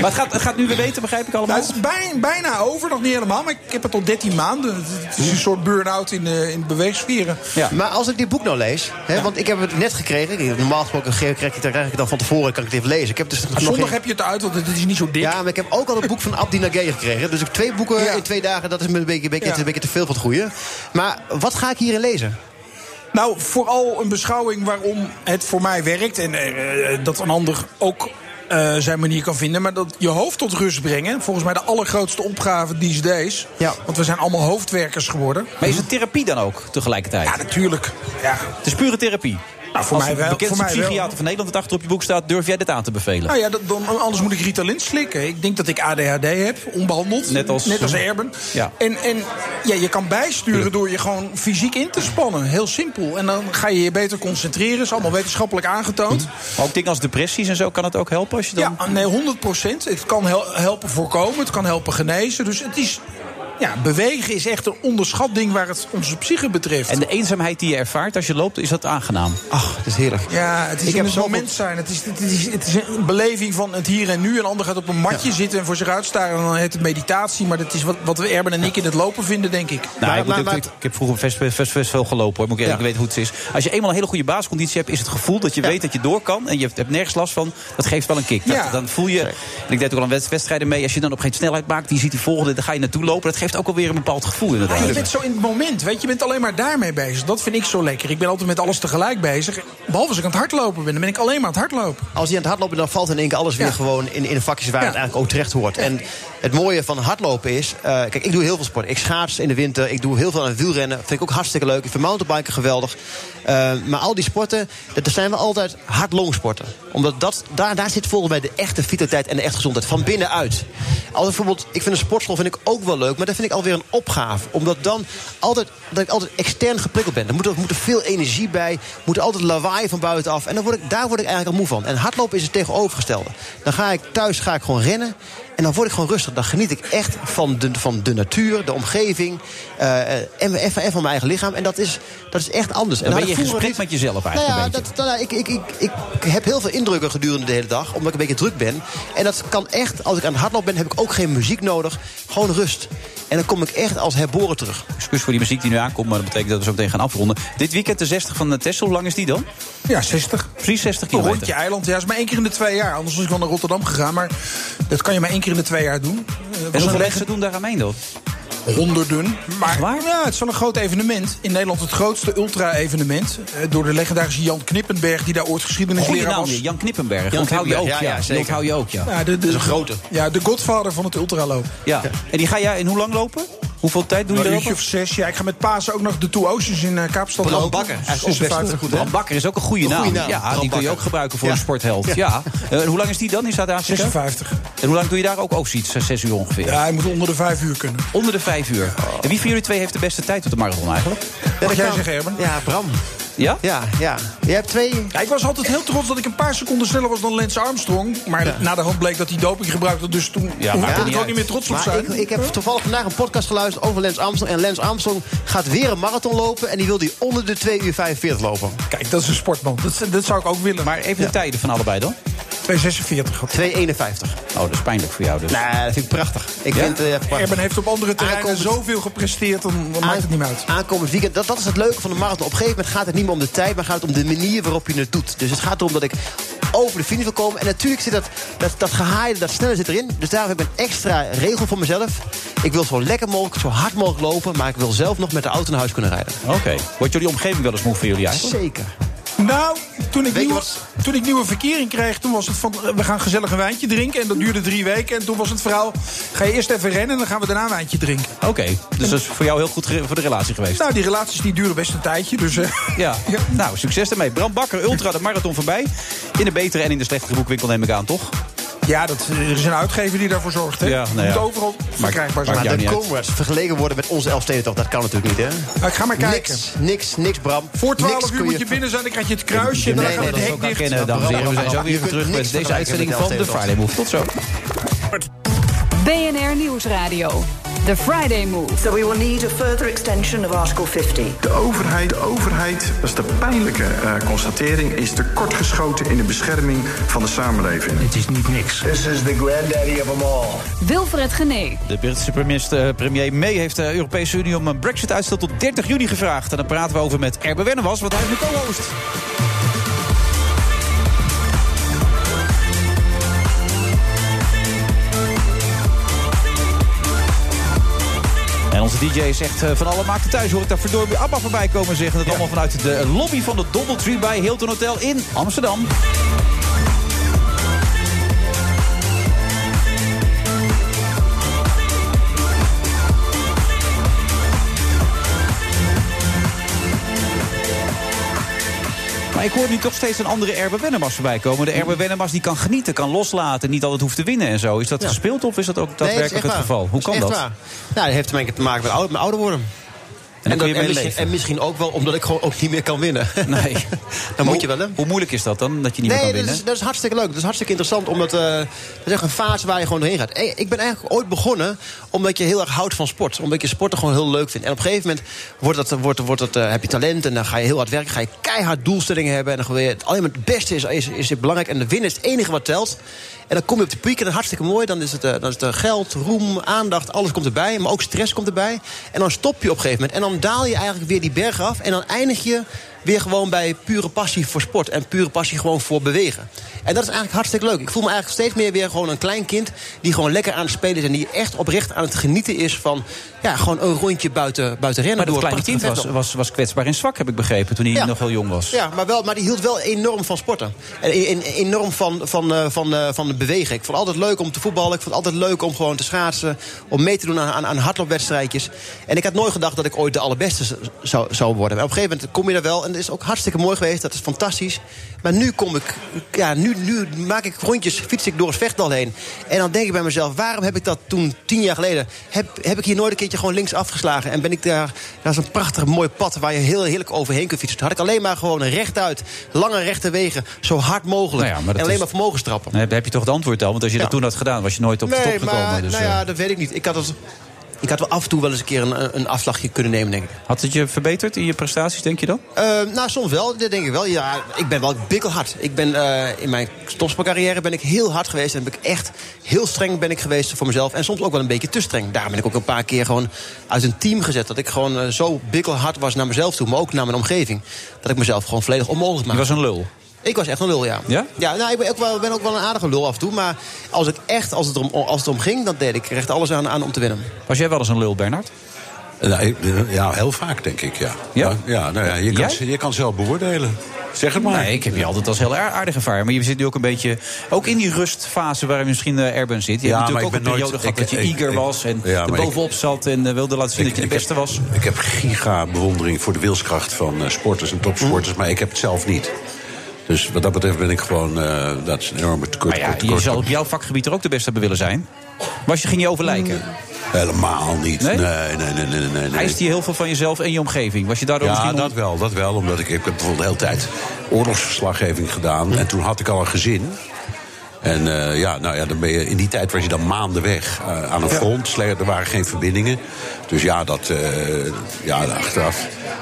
Maar het gaat, het gaat nu weer beter, begrijp ik allemaal. Nou, het is bij- bijna over, nog niet helemaal. Maar ik heb het al 13 maanden. Het- Het is een soort burn-out in, eh, in beweegsferen. Ja. Maar als ik dit boek nou lees, hè, want ik heb het net gekregen. ik- Normaal gesproken ge- krijg ik, dan krijg ik het dan van tevoren, kan ik het even lezen. Ik heb dus nog Ah, Zondag geen- heb je het uit, want het is niet zo dik. Ja, maar ik heb ook al het boek van Abdi Nagee gekregen. Dus ik heb twee boeken Ja. in twee dagen, dat is me een beetje, een, beetje, Ja. een beetje te veel van het goede. Maar wat ga ik hierin lezen? Nou, vooral een beschouwing waarom het voor mij werkt. En eh, eh, dat een ander ook eh, zijn manier kan vinden. Maar dat je hoofd tot rust brengen. Volgens mij de allergrootste opgave these days. Ja. Want we zijn allemaal hoofdwerkers geworden. Maar is het therapie dan ook tegelijkertijd? Ja, natuurlijk. Ja. het is pure therapie. Nou, voor Als mij de wel, bekendste voor mij wel. psychiater van Nederland het achter op je boek staat, durf jij dit aan te bevelen? Nou ja, dat, dan, anders moet ik Ritalin slikken. Ik denk dat ik ADHD heb, onbehandeld. Net als- Net als Erben. Ja. En, en ja, je kan bijsturen door je gewoon fysiek in te spannen. Heel simpel. En dan ga je je beter concentreren. is allemaal wetenschappelijk aangetoond. Maar ook dingen als depressies en zo, kan het ook helpen als je dan... Ja, nee, 100 Het kan hel- helpen voorkomen, het kan helpen genezen. Dus het is Ja, bewegen is echt een onderschat ding waar het onze psyche betreft. En de eenzaamheid die je ervaart als je loopt, is dat aangenaam? Ach, dat is heerlijk. Ja, het is Ik in heb het zoveel- moment zijn. Het is, het, is, het is een beleving van het hier en nu. Een ander gaat op een matje zitten en voor zich uitstaren. En dan heet het meditatie. Maar dat is wat, wat we Erben en ik in het lopen vinden, denk ik. Nou, Maar- ik, moet maar- ook- maar- ik, ik heb vroeger best, best, best, best veel gelopen hoor. Moet ik, eerlijk- Ja. ik weet hoe het is. Als je eenmaal een hele goede basisconditie hebt, is het gevoel dat je weet dat je door kan. En je hebt, hebt nergens last van. Dat geeft wel een kick. Dat- Ja. Dan voel je. En ik deed ook al aan wedst- wedstrijden mee. Als je dan op geen snelheid maakt, die ziet die volgende, dan ga je naartoe lopen. Dat geeft ook alweer een bepaald gevoel inderdaad. Ja, je bent zo in het moment, weet je. Je bent alleen maar daarmee bezig. Dat vind ik zo lekker. Ik ben altijd met alles tegelijk bezig. Behalve als ik aan het hardlopen ben. Dan ben ik alleen maar aan het hardlopen. Als die aan het hardlopen, dan valt in één keer alles weer Ja. gewoon in, in de vakjes waar Ja. het eigenlijk ook terecht hoort. En het mooie van hardlopen is, eh, kijk, ik doe heel veel sport. Ik schaats in de winter, ik doe heel veel aan wielrennen. Vind ik ook hartstikke leuk. Ik vind mountainbiken geweldig. Eh, maar al die sporten, dat dat zijn wel altijd hard-long-sporten. Omdat dat, daar, daar zit volgens mij de echte vitaliteit en de echte gezondheid. Van binnenuit. Als bijvoorbeeld, ik vind een sportschool vind ik ook wel leuk, maar dat vind ik alweer een opgave. Omdat dan altijd, dat ik altijd extern geprikkeld ben. Er moet, er moet er veel energie bij, moet er altijd lawaai van buitenaf. En dan word ik, daar word ik eigenlijk al moe van. En hardlopen is het tegenovergestelde. Dan ga ik thuis ga ik gewoon rennen. En dan word ik gewoon rustig. Dan geniet ik echt van de, van de natuur, de omgeving. eh, en, en, van, en van mijn eigen lichaam. En dat is, dat is echt anders. En nou, had Dan ben je ik in vroeger gesprek met jezelf nou eigenlijk ja, een beetje. dat, nou ja, ik, ik, ik, ik heb heel veel indrukken gedurende de hele dag, omdat ik een beetje druk ben. En dat kan echt, als ik aan het hardlopen ben, heb ik ook geen muziek nodig. Gewoon rust. En dan kom ik echt als herboren terug. Excuus voor die muziek die nu aankomt, maar dat betekent dat we zo meteen gaan afronden. Dit weekend de 60 van de Tessel, hoe lang is die dan? Ja, 60. Precies 60 Een kilometer. rondje eiland. Ja, is maar één keer in de twee jaar. Anders was ik wel naar Rotterdam gegaan. Maar dat kan je maar één keer in de twee jaar doen. Eh, was En een hoeveel leg- mensen doen daar aan mee dan? Hm, honderden. Maar waar? Ja, het is wel een groot evenement. In Nederland het grootste ultra-evenement. Eh, Door de legendarische Jan Knippenberg, die daar ooit Goeie geschiedenisleraar naam, was. weer, Jan Knippenberg. onthoud je ook, ja. Knippenberg, ja, ja, Die zeker. onthoud je ook, ja. Ja, de, de, is een grote. Ja, de godvader van het ultralopen. ja. En die ga jij in hoe lang lopen? Hoeveel tijd doe je Een erop? uurtje of zes. Ja, ik ga met Pasen ook nog de Two Oceans in eh, Kaapstad Bram lopen. Bakker, eigenlijk ook best 56. goed, hè? Bram Bakker is ook een goede Een naam. goede naam, Ja, Bram die kun je Bakker. ook gebruiken voor Ja. een sportheld. Ja. Eh, en hoe lang is die dan in Zuid-Afrika? 56. En hoe lang doe je daar ook ook zoiets? Zes zes uur ongeveer. Ja, hij moet onder de vijf uur kunnen. Onder de vijf uur. En wie van jullie twee heeft de beste tijd op de marathon eigenlijk? Wat dat jij kan. zegt, Herman? Ja, Bram. Ja? Ja, ja. Jij hebt twee. Ja, ik was altijd heel trots dat ik een paar seconden sneller was dan Lance Armstrong. Maar na de hand bleek dat hij doping gebruikte. Dus toen Ja, toen maakt kon niet ik ook uit. niet meer trots op Maar ik, zijn. ik heb toevallig vandaag een podcast geluisterd over Lens Armstrong. En Lens Armstrong gaat weer een marathon lopen. En die wil die onder de 2 uur 45 lopen. Kijk, dat is een sportman. Dat, dat zou ik ook willen. Maar even de tijden van allebei dan. 246 had. 251. Oh, dat is pijnlijk voor jou dus. Nou, dat vind ik prachtig. Ik Ja? vind het eh, prachtig. Erben heeft op andere terreinen Aankomend- zoveel gepresteerd, dan, dan maakt het niet meer uit. Aankomend weekend, dat, dat is het leuke van de marathon. Op een gegeven moment gaat het niet meer om de tijd, maar gaat het om de manier waarop je het doet. Dus het gaat erom dat ik over de finish wil komen. En natuurlijk zit dat, dat, dat gehaaide, dat snelle zit erin. Dus daar heb ik een extra regel voor mezelf. Ik wil zo lekker mogelijk, zo hard mogelijk lopen, maar ik wil zelf nog met de auto naar huis kunnen rijden. Oké. Wordt jullie omgeving wel eens moe voor jullie eigenlijk? Zeker. Nou, toen ik, Weet je nieuwe, wat? toen ik nieuwe verkering kreeg, toen was het van eh, we gaan gezellig een wijntje drinken. En dat duurde drie weken. En toen was het verhaal: ga je eerst even rennen en dan gaan we daarna een wijntje drinken. Oké. Dus dat is voor jou heel goed ge- voor de relatie geweest. Nou, die relaties die duren best een tijdje. Dus, eh, Ja. nou, succes daarmee. Bram Bakker, Ultra, de marathon voorbij. In de betere en in de slechtere boekwinkel neem ik aan, toch? ja, dat, eh, er is een uitgever die daarvoor zorgt. Hè? Ja, nou ja. Moet overal verkrijgbaar zijn. maakt Maar jou de niet uit. Congress vergeleken worden met onze Elfstedentocht, dat kan natuurlijk niet, hè? Nou, ik ga maar kijken. Niks, niks, niks, Bram. Voor 12 Niks uur kun moet je binnen zijn, dan krijg je het kruisje. En Nee, dan nee, gaan we dat het is hek ook dicht. Kennen, dames en heren. We zijn zo weer even terug met deze uitzending van de Friday Move. Tot zo. BNR Nieuwsradio. The Friday Move. So we will need a further extension of Article 50. De overheid, de overheid, dat is de pijnlijke eh, constatering, is tekortgeschoten in de bescherming van de samenleving. Het is niet niks. This is the granddaddy of them all. Wilfred Genee. De Britse premierster- eh, premier May heeft de Europese Unie om een brexit-uitstel tot 30 juni gevraagd. En daar praten we over met Erbe Wennemars, want hij is nu co-host. En onze DJ zegt eh, van alle maakte thuis, hoor ik daar verdorie Abba voorbij komen zeggen. Dat allemaal vanuit de lobby van het Doubletree bij Hilton Hotel in Amsterdam. Maar ik hoor nu toch steeds een andere Erbe Wennemars voorbij komen. De Erbe Wennemars die kan genieten, kan loslaten, niet altijd hoeft te winnen en zo. Is dat gespeeld of is dat ook Nee, dat is daadwerkelijk echt het waar. geval? Hoe is kan echt dat? waar. Nou, dat heeft te maken met ouder, met ouder worden. En, En, dan kun dat, je en, mee misschien, leven. en misschien ook wel omdat ik gewoon ook niet meer kan winnen. Nee. Dan moet je wel, hè? Hoe moeilijk is dat dan, dat je niet Nee, meer kan dat winnen? is, dat is hartstikke leuk. Dat is hartstikke interessant. Omdat eh, dat is echt een fase waar je gewoon doorheen gaat. Eh, Ik ben eigenlijk ooit begonnen omdat je heel erg houdt van sport. Omdat je sporten gewoon heel leuk vindt. En op een gegeven moment wordt dat, wordt, wordt dat, eh, heb je talent. En dan ga je heel hard werken. Ga je keihard doelstellingen hebben. En dan wil je het alleen maar het beste is, is, is het belangrijk. En de winnen is het enige wat telt. En dan kom je op de piek en dat is hartstikke mooi. Dan is het, eh, dan is het eh, geld, roem, aandacht, alles komt erbij. Maar ook stress komt erbij. En dan stop je op een gegeven moment. En dan daal je eigenlijk weer die berg af. En dan eindig je weer gewoon bij pure passie voor sport. En pure passie gewoon voor bewegen. En dat is eigenlijk hartstikke leuk. Ik voel me eigenlijk steeds meer weer gewoon een klein kind... die gewoon lekker aan het spelen is en die echt oprecht aan het genieten is... van ja, gewoon een rondje buiten, buiten rennen. Maar dat door kleine kind prachtige was, veldlopen. was, was kwetsbaar en zwak, heb ik begrepen, toen hij Ja. nog heel jong was. Ja, maar, wel, maar die hield wel enorm van sporten. En e- en enorm van, van, eh, van, eh, van de bewegen. Ik vond het altijd leuk om te voetballen. Ik vond het altijd leuk om gewoon te schaatsen. Om mee te doen aan, aan, aan hardloopwedstrijdjes. En ik had nooit gedacht dat ik ooit de allerbeste z- zou, zou worden. Maar op een gegeven moment kom je daar wel. En dat is ook hartstikke mooi geweest. Dat is fantastisch. Maar nu kom ik... Ja, nu, nu maak ik rondjes, fiets ik door het vechtdal heen. En dan denk ik bij mezelf, waarom heb ik dat toen tien jaar geleden... heb, heb ik hier nooit een keertje gewoon links afgeslagen? En ben ik daar... Dat is een prachtig mooi pad waar je heel heerlijk overheen kunt fietsen. Toen had ik alleen maar gewoon rechtuit, lange rechte wegen... zo hard mogelijk. Nou ja, maar dat en alleen is- maar vermogens trappen. Dan heb- heb je toch het antwoord al, want als je dat toen had gedaan, was je nooit op de top gekomen. maar dus, nou eh, ja, dat weet ik niet. Ik had, het, ik had wel af en toe wel eens een keer een, een afslagje kunnen nemen, denk ik. Had het je verbeterd in je prestaties, denk je dan? Eh, nou, soms wel. Dat denk ik wel. Ja, ik ben wel bikkelhard. Ik ben, eh, in mijn topsportcarrière ben ik heel hard geweest. En ben ik echt heel streng ben ik geweest voor mezelf. En soms ook wel een beetje te streng. Daarom ben ik ook een paar keer gewoon uit een team gezet. Dat ik gewoon eh, zo bikkelhard was naar mezelf toe. Maar ook naar mijn omgeving. Dat ik mezelf gewoon volledig onmogelijk Je maakte. was een lul. Ik was echt een lul, ja. Ja? Ja, nou, ik ben ook, wel, ben ook wel een aardige lul af en toe. Maar als, ik echt, als, het erom, als het om ging, dan deed ik er echt alles aan, aan om te winnen. Was jij wel eens een lul, Bernard? Nou, ik- ja, heel vaak denk ik, ja. Ja? ja nou ja, je, kan, Jij? je kan zelf beoordelen. Zeg het maar. Nee, ik heb je altijd als heel aar- aardig ervaren. Maar je zit nu ook een beetje... Ook in die rustfase waar je misschien eh Erben zit. Je Ja, hebt maar natuurlijk ik ook ben een periode nooit- gehad ik- dat je ik- eager ik- was... en Ja, er maar ik- bovenop zat en eh, wilde laten zien dat je de beste was. Ik heb giga bewondering voor de wilskracht van eh, sporters en topsporters, maar ik heb het zelf niet. Dus wat dat betreft ben ik gewoon, eh, dat is een enorme tekort. Maar ja, tekort- je tekort- zou op jouw vakgebied er ook de beste hebben willen zijn. Was je, ging je over lijken? Helemaal niet. Nee? Nee, nee, nee, nee. nee, Mm. nee. Eiste je heel veel van jezelf en je omgeving? Was je daardoor Ja, misschien... dat wel, dat wel. Omdat ik, ik heb bijvoorbeeld de hele tijd oorlogsverslaggeving gedaan. En toen had ik al een gezin. En eh, ja, nou ja, dan ben je, in die tijd was je dan maanden weg eh, aan een front. Sle- Er waren geen verbindingen. Dus ja, dat, eh, ja, achteraf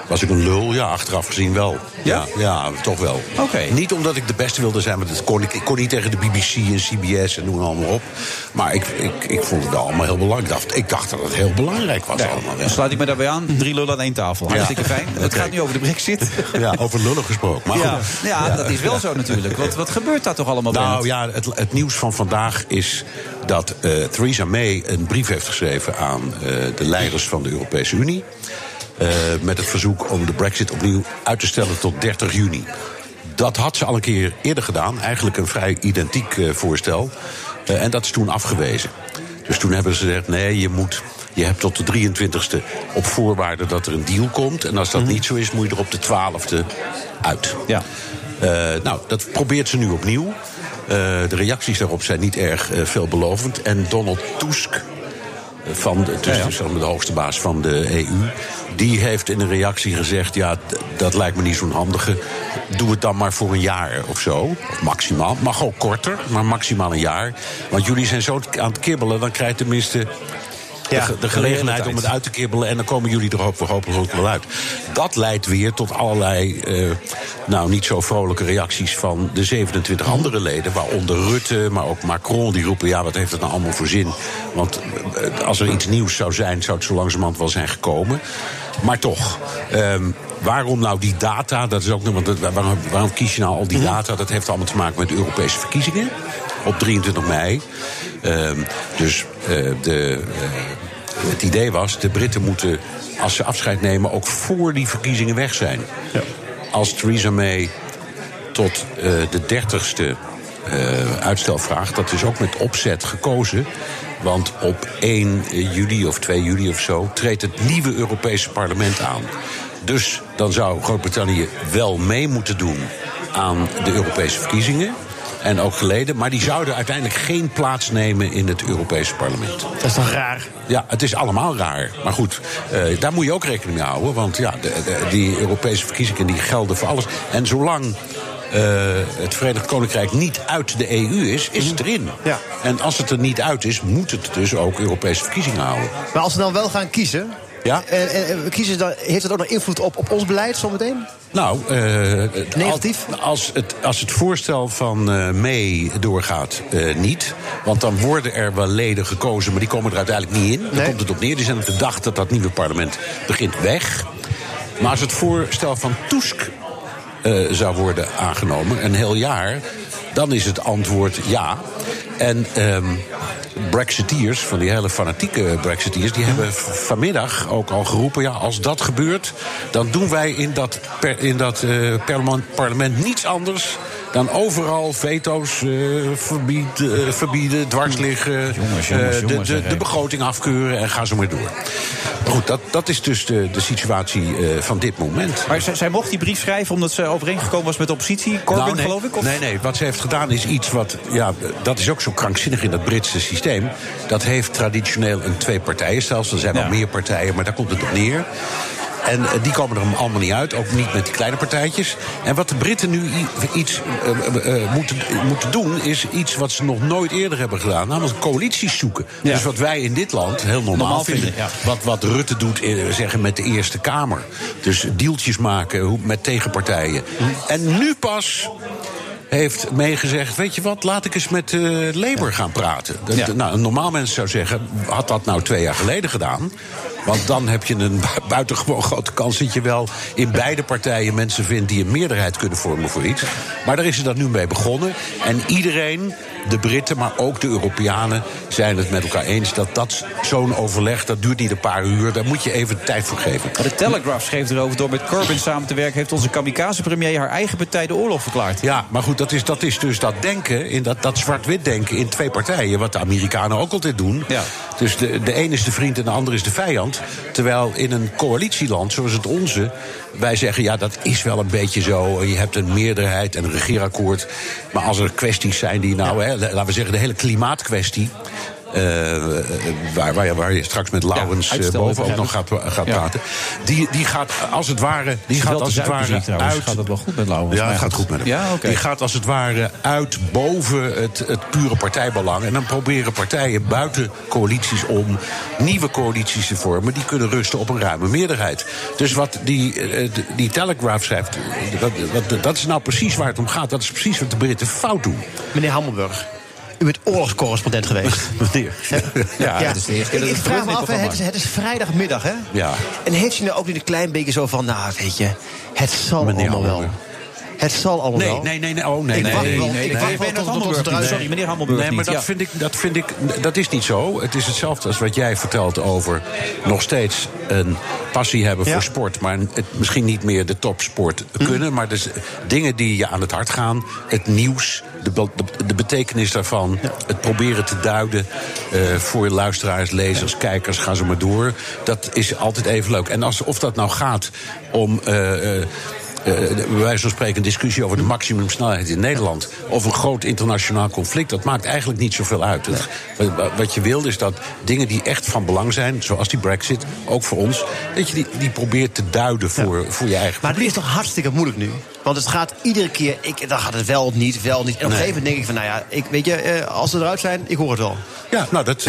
was ik een lul. Ja, achteraf gezien wel. Ja? Ja, toch wel. Niet omdat ik de beste wilde zijn, want dat kon ik, ik kon niet tegen de BBC en CBS en noem allemaal op. Maar ik, ik, ik vond het wel allemaal heel belangrijk. Ik dacht, ik dacht dat het heel belangrijk was allemaal. Dan sluit ik me daarbij aan. Drie lullen aan één tafel. Ja. Hartstikke fijn. Het Oké. gaat nu over de brexit. Ja, over lullen gesproken. Maar ja. goed. ja, Ja. dat is wel zo natuurlijk. Wat, wat gebeurt daar toch allemaal Nou Bernard? ja, het, het nieuws van vandaag is dat eh, Theresa May een brief heeft geschreven aan eh, de leiders van de Europese Unie. eh, met het verzoek om de brexit opnieuw uit te stellen tot 30 juni. Dat had ze al een keer eerder gedaan, eigenlijk een vrij identiek eh, voorstel. Eh, en dat is toen afgewezen. Dus toen hebben ze gezegd: nee, je moet. Je hebt tot de 23e op voorwaarde dat er een deal komt. En als dat niet zo is, moet je er op de 12e uit. Ja. nou, dat probeert ze nu opnieuw. Eh, de reacties daarop zijn niet erg eh, veelbelovend. En Donald Tusk, van de, dus zeg maar de hoogste baas van de EU. Die heeft in een reactie gezegd: Ja, d- dat lijkt me niet zo'n handige. Doe het dan maar voor een jaar of zo. Of maximaal. Mag ook korter, maar maximaal een jaar. Want jullie zijn zo t- aan het kibbelen, dan krijg je tenminste. De, Ja, ge- de de gelegenheid realiteit. om het uit te kibbelen. En dan komen jullie er hoop- hopelijk ook wel uit. Dat leidt weer tot allerlei. eh, nou, niet zo vrolijke reacties van de 27 andere leden. Waaronder Rutte, maar ook Macron. Die roepen: ja, wat heeft het nou allemaal voor zin? Want eh, als er iets nieuws zou zijn, zou het zo langzamerhand wel zijn gekomen. Maar toch. ehm, Waarom nou die data? Dat is ook, nog- want dat- waarom, waarom kies je nou al die data? Dat heeft allemaal te maken met de Europese verkiezingen op 23 mei. Ehm, dus eh, de, eh, het idee was, de Britten moeten, als ze afscheid nemen, ook voor die verkiezingen weg zijn. Als Theresa May tot eh, de dertigste eh uitstel vraagt, dat is ook met opzet gekozen. Want op 1 juli of 2 juli of zo treedt het nieuwe Europese parlement aan. Dus dan zou Groot-Brittannië wel mee moeten doen aan de Europese verkiezingen. en ook geleden. Maar die zouden uiteindelijk geen plaats nemen in het Europese parlement. Dat is toch raar? Ja, het is allemaal raar. Maar goed, eh, daar moet je ook rekening mee houden. Want ja, de- de- die Europese verkiezingen die gelden voor alles. En zolang eh, het Verenigd Koninkrijk niet uit de EU is, is het erin. En als het er niet uit is, moet het dus ook Europese verkiezingen houden. Maar als we dan wel gaan kiezen. Ja? En, en- en we kiezen dan, heeft dat ook nog invloed op, op ons beleid zometeen? Nou, negatief? Als het, als het voorstel van eh May doorgaat, eh, niet. Want dan worden er wel leden gekozen, maar die komen er uiteindelijk niet in. Daar komt het op neer. Die zijn op de dag dat dat nieuwe parlement begint weg. Maar als het voorstel van Tusk eh, zou worden aangenomen, een heel jaar, dan is het antwoord ja. En ehm Brexiteers, van die hele fanatieke Brexiteers, Mhm. die hebben v- vanmiddag ook al geroepen: ja, als dat gebeurt, dan doen wij in dat, per- in dat eh, parlement, parlement niets anders dan overal veto's eh, verbied, eh, verbieden, dwarsliggen, jongens, eh, de- jongens, de, zeg, de hè. begroting afkeuren en ga zo maar door. Maar goed, dat, dat is dus de, de situatie eh, van dit moment. Maar zij, zij mocht die brief schrijven omdat ze overeengekomen was met de oppositie. Corbyn, Nou, nee, geloof ik? Of? Nee, nee. Wat ze heeft gedaan is iets wat. Ja, dat is ook zo krankzinnig in dat Britse systeem. Dat heeft traditioneel een twee-partijen-stelsel. Er zijn wel meer partijen, maar daar komt het op neer. En eh, die komen er allemaal niet uit, ook niet met die kleine partijtjes. En wat de Britten nu i- iets eh, eh, eh, moeten, moeten doen, is iets wat ze nog nooit eerder hebben gedaan, namelijk coalities zoeken. Ja. Dus wat wij in dit land heel normaal, Normaal vinden. vinden, ja. Wat, wat Rutte doet eh, zeggen met de Eerste Kamer. Dus deeltjes maken hoe- met tegenpartijen. En nu pas heeft meegezegd, weet je wat, laat ik eens met eh Labour gaan praten. Dat- Ja. nou, een normaal mens zou zeggen, had dat nou twee jaar geleden gedaan... want dan heb je een bu- buitengewoon grote kans... dat je wel in beide partijen mensen vindt die een meerderheid kunnen vormen voor iets. Maar daar is ze dat nu mee begonnen. En iedereen, de Britten, maar ook de Europeanen... zijn het met elkaar eens dat, dat zo'n overleg, dat duurt niet een paar uur... daar moet je even tijd voor geven. Maar de Telegraph schreef erover door met Corbyn samen te werken... heeft onze kamikaze-premier haar eigen partij de oorlog verklaard. Ja, maar goed, dat is, dat is dus dat denken, in dat, dat zwart-wit denken in twee partijen, wat de Amerikanen ook altijd doen. Dus de, de een is de vriend en de ander is de vijand. Terwijl in een coalitieland zoals het onze, wij zeggen ja, dat is wel een beetje zo. Je hebt een meerderheid en een regeerakkoord. Maar als er kwesties zijn die nou, hè, laten we zeggen, de hele klimaatkwestie. eh, eh, waar, waar, je- waar je straks met Laurens eh, uitstel, boven ook nog gaat, begrijp ik. gaat Ja. praten. Die, die gaat als het ware, die Is wel gaat te als het zuipen, zie ware ik trouwens. uit Gaat het wel goed met Lauwers? ja, Maar het gaat goed met hem. Ja, oké. Die gaat als het ware uit boven het, het pure partijbelang. En dan proberen partijen buiten coalities om nieuwe coalities te vormen. Die kunnen rusten op een ruime meerderheid. Dus wat die, eh, d- die Telegraph schrijft, eh, dat, dat, dat is nou precies waar het om gaat. Dat is precies wat de Britten fout doen. Meneer Hammelburg, u bent oorlogscorrespondent geweest. Meneer. Ja, dat is de eerste keer Ik, dat ik het vraag gebeurt me in af, dit hè, het programma. is, het is vrijdagmiddag, hè? Ja. En heeft u nou ook niet een klein beetje zo van, nou, weet je, het zal Meneer allemaal wel. Hammelburg. Het zal allemaal Nee, wel. nee, nee, nee, oh nee, Ik nee, wacht nee, wel, nee, ik nee, wacht nee, wel nee, tot- nee, tot onze nee. druis- Sorry, meneer Hammelburg Nee, maar niet, dat, ja. vind ik, dat vind ik, dat is niet zo. Het is hetzelfde als wat jij vertelt over nog steeds een passie hebben voor sport, maar het misschien niet meer de topsport Hm. kunnen. Maar dus dingen die je aan het hart gaan, het nieuws, de, be- de, de betekenis daarvan, het proberen te duiden eh, voor luisteraars, lezers, kijkers, ga zo maar door. Dat is altijd even leuk. En als, of dat nou gaat om eh, eh, eh, bij wijze van spreken een discussie over de maximumsnelheid in Nederland. Of een groot internationaal conflict. Dat maakt eigenlijk niet zoveel uit. Het- wat- wat je wil is dat dingen die echt van belang zijn, zoals die brexit, ook voor ons, dat je die, die probeert te duiden voor, voor je eigen. Maar het is toch hartstikke moeilijk nu? Want het gaat iedere keer, ik, dan gaat het wel niet, wel niet. En op een Nee. gegeven moment denk ik van, nou ja, ik, weet je, eh, als ze eruit zijn, ik hoor het wel. Ja, nou dat...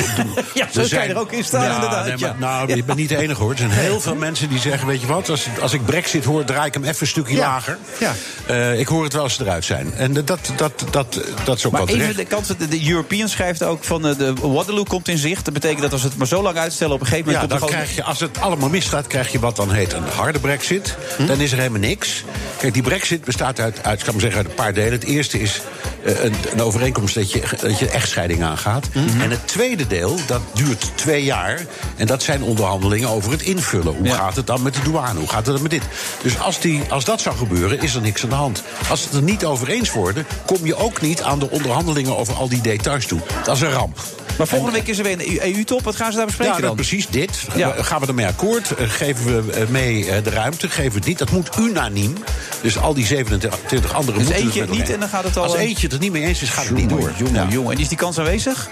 Ja, zo kan je er ook in staan, inderdaad, nee, maar- ja. nou, je bent niet de enige hoor. Er zijn heel veel mensen die zeggen, weet je wat, als, als ik brexit hoor, draai ik hem even een stukje lager. Ja. Eh, ik hoor het wel als ze eruit zijn. En dat, dat, dat, dat, dat is ook Maar wat even de kans, de, de European schrijft ook van eh, de Waterloo komt in zicht. Dat betekent dat als we het maar zo lang uitstellen, op een gegeven Ja, moment dan komt er gewoon... krijg je, als het allemaal misgaat, krijg je wat dan heet een harde brexit. Hm? Dan is er helemaal niks. Kijk, die brexit bestaat uit, uit, kan ik zeggen, uit een paar delen. Het eerste is eh, een, een overeenkomst dat je, dat je echtscheiding aangaat. Hm? En het tweede deel, dat duurt twee jaar. En dat zijn onderhandelingen over het invullen. Hoe gaat het dan met de douane? Hoe gaat het dan met dit? Dus als, die, als dat zou gebeuren, is er niks aan de hand. Als het er niet over eens worden, kom je ook niet aan de onderhandelingen over al die details toe. Dat is een ramp. Maar volgende week is er weer een EU-top. Wat gaan ze daar bespreken ja, dan? dat precies dit. Ja. Eh, Gaan we ermee akkoord? Eh, Geven we eh, mee eh, de ruimte? Geven we het niet? Dat moet unaniem. Dus al die 27 anderen Dus moeten eentje het het met niet elkaar. en dan gaat het al... eh, Als eentje het er niet mee eens is, gaat het niet door. Jongen, jongen. En is die kans aanwezig?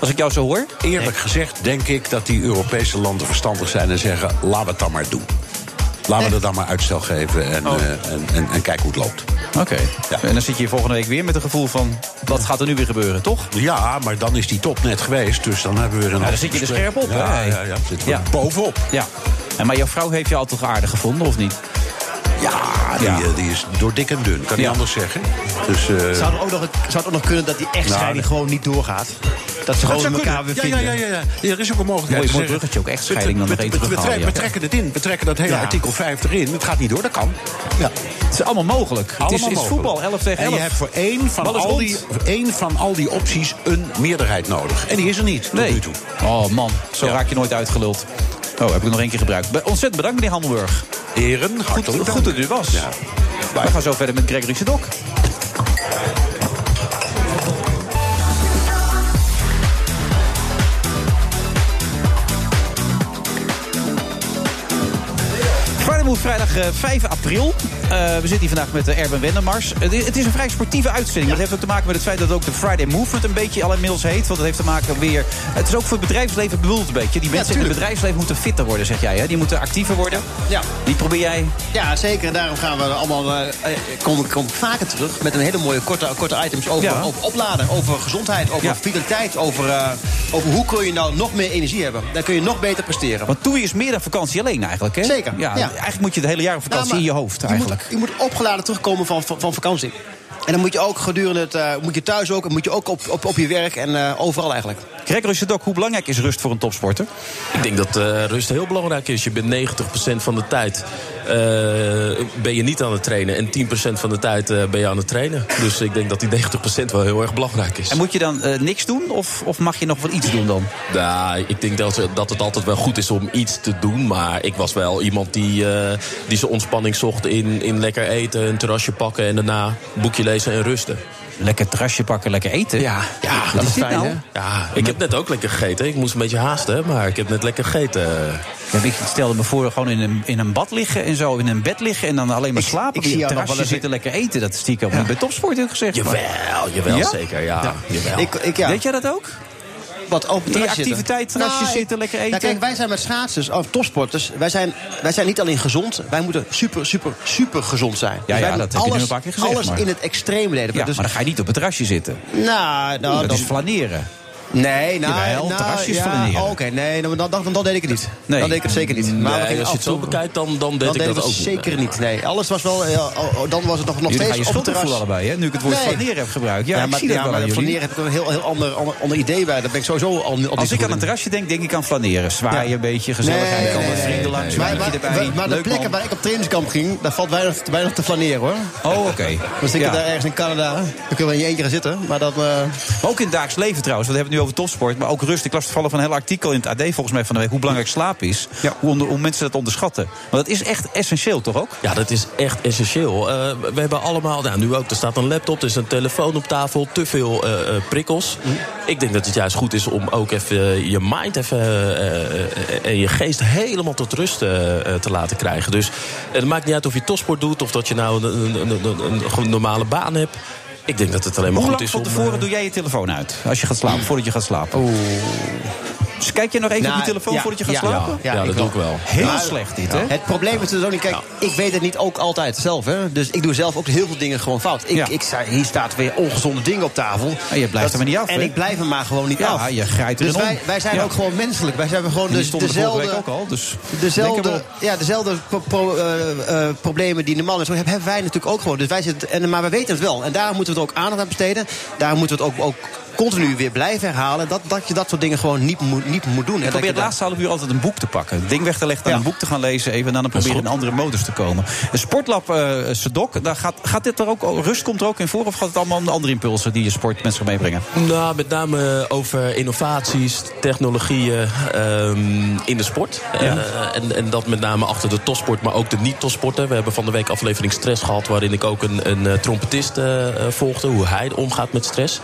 Als ik jou zo hoor? Eerlijk gezegd denk ik dat die Europese landen verstandig zijn en zeggen: laten we het dan maar doen. Laten we er dan maar uitstel geven en, Oh. eh, en, en, en kijken hoe het loopt. Oké. En dan zit je hier volgende week weer met een gevoel van... wat gaat er nu weer gebeuren, toch? Ja, maar dan is die top net geweest, dus dan hebben we weer een. Nou, dan zit half je er gesprek. scherp op, Ja, hè? ja, ja, zitten we bovenop. Ja. En maar jouw vrouw heeft je al toch aardig gevonden, of niet? Ja, die, eh, die is door dik en dun, kan niet anders zeggen. Dus, eh, Zou het, ook nog, zou het ook nog kunnen dat die echtscheiding nee. gewoon niet doorgaat? Dat ze gewoon zou elkaar kunnen. weer ja, vinden? ja, ja, ja, ja. Er is ook een mogelijkheid. Mooi- te mooi zeggen, bruggetje ook, echtscheiding dan we- nog we- even we- we- terughalen, ja. We trekken het in, we trekken dat hele Ja. artikel 50 in. Het gaat niet door, dat kan. Ja. Het is allemaal mogelijk. Allemaal het is, is mogelijk. voetbal, 11 tegen 11. En je hebt voor één van, Bal is al rond. die, één van al die opties een meerderheid nodig. En die is er niet tot Nee. nu toe. Oh man, zo raak je nooit uitgeluld. Oh, heb ik nog één keer gebruikt. Be- Ontzettend bedankt, meneer Handelburg. Heren, Goed, hartelijk dank. goed dat u er was. Ja. We gaan zo verder met Gregory Sedok. Friday Move, vrijdag eh, 5 april. Eh, we zitten hier vandaag met eh, Erben Wennemars. Het is, het is een vrij sportieve uitzending. Dat heeft ook te maken met het feit dat ook de Friday Movement een beetje al inmiddels heet. Want dat heeft te maken weer... Het is ook voor het bedrijfsleven bedoeld een beetje. Die mensen in het bedrijfsleven moeten fitter worden, zeg jij. Hè? Die moeten actiever worden. Ja. Die probeer jij Ja, zeker. En daarom gaan we allemaal, eh, eh, kom, kom ik vaker terug met een hele mooie korte, korte items over, Ja. over opladen, over gezondheid, over vitaliteit, over, eh, over hoe kun je nou nog meer energie hebben. Dan kun je nog beter presteren. Want Toei is meer dan vakantie alleen eigenlijk, hè? Zeker, Ja, ja. Eigenlijk moet je het hele jaar op vakantie Nou, in maar je hoofd, je eigenlijk. Moet, je moet opgeladen terugkomen van, van, van vakantie. En dan moet je ook gedurende het, eh, moet je thuis ook, en moet je ook op, op, op je werk en eh, overal eigenlijk. Gregory Sedok, hoe belangrijk is rust voor een topsporter? Ik denk dat eh, rust heel belangrijk is. Je bent 90% van de tijd eh, ben je niet aan het trainen. En 10% van de tijd eh, ben je aan het trainen. Dus ik denk dat die 90% wel heel erg belangrijk is. En moet je dan eh, niks doen of, of mag je nog wel iets doen dan? Nou, ik denk dat, dat het altijd wel goed is om iets te doen. Maar ik was wel iemand die, eh, die zijn ontspanning zocht in, in lekker eten, een terrasje pakken en daarna een boekje lezen en rusten. Lekker terrasje pakken, lekker eten? Ja, ja Wat is dit nou? Ja, ik heb net ook lekker gegeten. Ik moest een beetje haasten, maar ik heb net lekker gegeten. Ja, ik stelde me voor gewoon in een, in een bad liggen en zo, in een bed liggen en dan alleen maar slapen. ik Op je zie jou nog terrasje wel eens- zitten, lekker eten. Dat is stiekem bij topsport heel gezegd. Jawel, jawel, zeker, ja. Jawel. Ik, ik, ja. Weet jij dat ook? Wat op het Die terrasje zitten. activiteit, terrasje Nou, ik- zitten, lekker eten. Nou, kijk, wij zijn met schaatsers, of topsporters, wij zijn, wij zijn niet alleen gezond, wij moeten super, super, super gezond zijn. Dus Ja, wij ja, moeten dat heb je nu een paar keer gezegd, Alles maar- in het extreem leden. Ja, dus, maar dan ga je niet op het terrasje zitten. nou, nou, dat dan- is flaneren. Nee, nou, Jawel, nou, terrasjes ja, flaneren. Oké, nee, nou, dan, dan, dan, dan deed ik het niet. Nee. Dan deed ik het zeker niet. Maar Nee, we gingen als je af het zo en toe- bekijkt, dan, dan deed dan ik dat deed ik ook het niet. zeker niet. Nee, alles was wel. ja, oh, oh, dan was het nog, nog Jullie steeds gaan je op het schuldig terras. voelen allebei, hè? Nu ik het woord Nee. flaneren heb gebruikt. Ja, Ja, ik maar, zie dat ja, wel maar aan jullie. flaneren heb ik een heel, heel ander, ander, ander idee bij. Daar ben ik sowieso al, al niet Als goed ik aan in. een terrasje denk, denk ik aan flaneren. Zwaaien een beetje, gezelligheid, Nee, allemaal nee, vrienden langs, een Maar, maar, biertje erbij. maar- maar de Leuk, plekken man. waar ik op trainingskamp ging, daar valt weinig, weinig te flaneren hoor. Oh, oké. Dan zit ik Ja. daar ergens in Canada. Dan kun je wel in je eentje gaan zitten. Maar dat, eh, Maar ook in het dagelijks leven trouwens, want we hebben het nu over topsport. Maar ook rust. Ik las toevallig van een heel artikel in het AD volgens mij van de week... hoe belangrijk slaap is, hoe, onder- hoe mensen dat onderschatten. Want dat is echt essentieel, toch ook? Ja, dat is echt essentieel. Eh, we hebben allemaal, nou, nu ook, er staat een laptop, er is een telefoon op tafel, te veel eh, eh, prikkels. Mm. Ik denk dat het juist goed is om ook even je mind even, eh, eh, en je geest helemaal tot rust eh, eh, te laten krijgen. Dus het maakt niet uit of je topsport doet of dat je nou een, een, een, een- een gewoon normale baan hebt. Ik denk dat het alleen maar Hoe goed is lang van om... eh, tevoren doe jij je telefoon uit? Als je gaat slapen, voordat je gaat slapen. Dus kijk je nog even op nou, je telefoon ja, voordat je gaat ja, slapen? Ja, dat doe ik wel. Nou, Heel Maar- slecht dit, Ja. hè? Het probleem is dus ook niet, kijk, ik weet het niet ook altijd zelf. Hè? Dus ik doe zelf ook heel veel dingen gewoon fout. Ik, Ja. ik sta, hier staat weer ongezonde dingen op tafel. En je blijft er maar niet af, En hè? ik blijf er maar gewoon niet Ja, af. je grijpt erin Dus wij, om. wij zijn Ja. ook gewoon menselijk. Wij hebben gewoon Die dus stonden vorige dezelfde... week ook al, dus denk dezelfde, erop. ja, dezelfde pro- pro- eh, eh, problemen die de man is, hebben wij natuurlijk ook gewoon. Dus wij zitten, en, maar we weten het wel. En daar moeten we het ook aandacht aan besteden. Daar moeten we het ook, ook continu weer blijven herhalen. Dat, dat je dat soort dingen gewoon niet moet, niet moet doen. En Ik dat probeer je het daar- laatste half uur altijd een boek te pakken. Het ding weg te leggen, dan een boek te gaan lezen. Even en dan proberen in andere modus te komen. Een sportlab eh Sedok, daar gaat, gaat dit er ook, rust komt er ook in voor? Of gaat het allemaal om andere impulsen die je sport met zich meebrengen? Nou, met name over innovaties, technologieën ehm, in de sport. Eh, en, en dat met name achter de topsport, maar ook de niet-topsporten. We hebben van de week aflevering Stress gehad... waarin ik ook een, een eh, trompetist eh, eh, volgde, hoe hij omgaat met stress.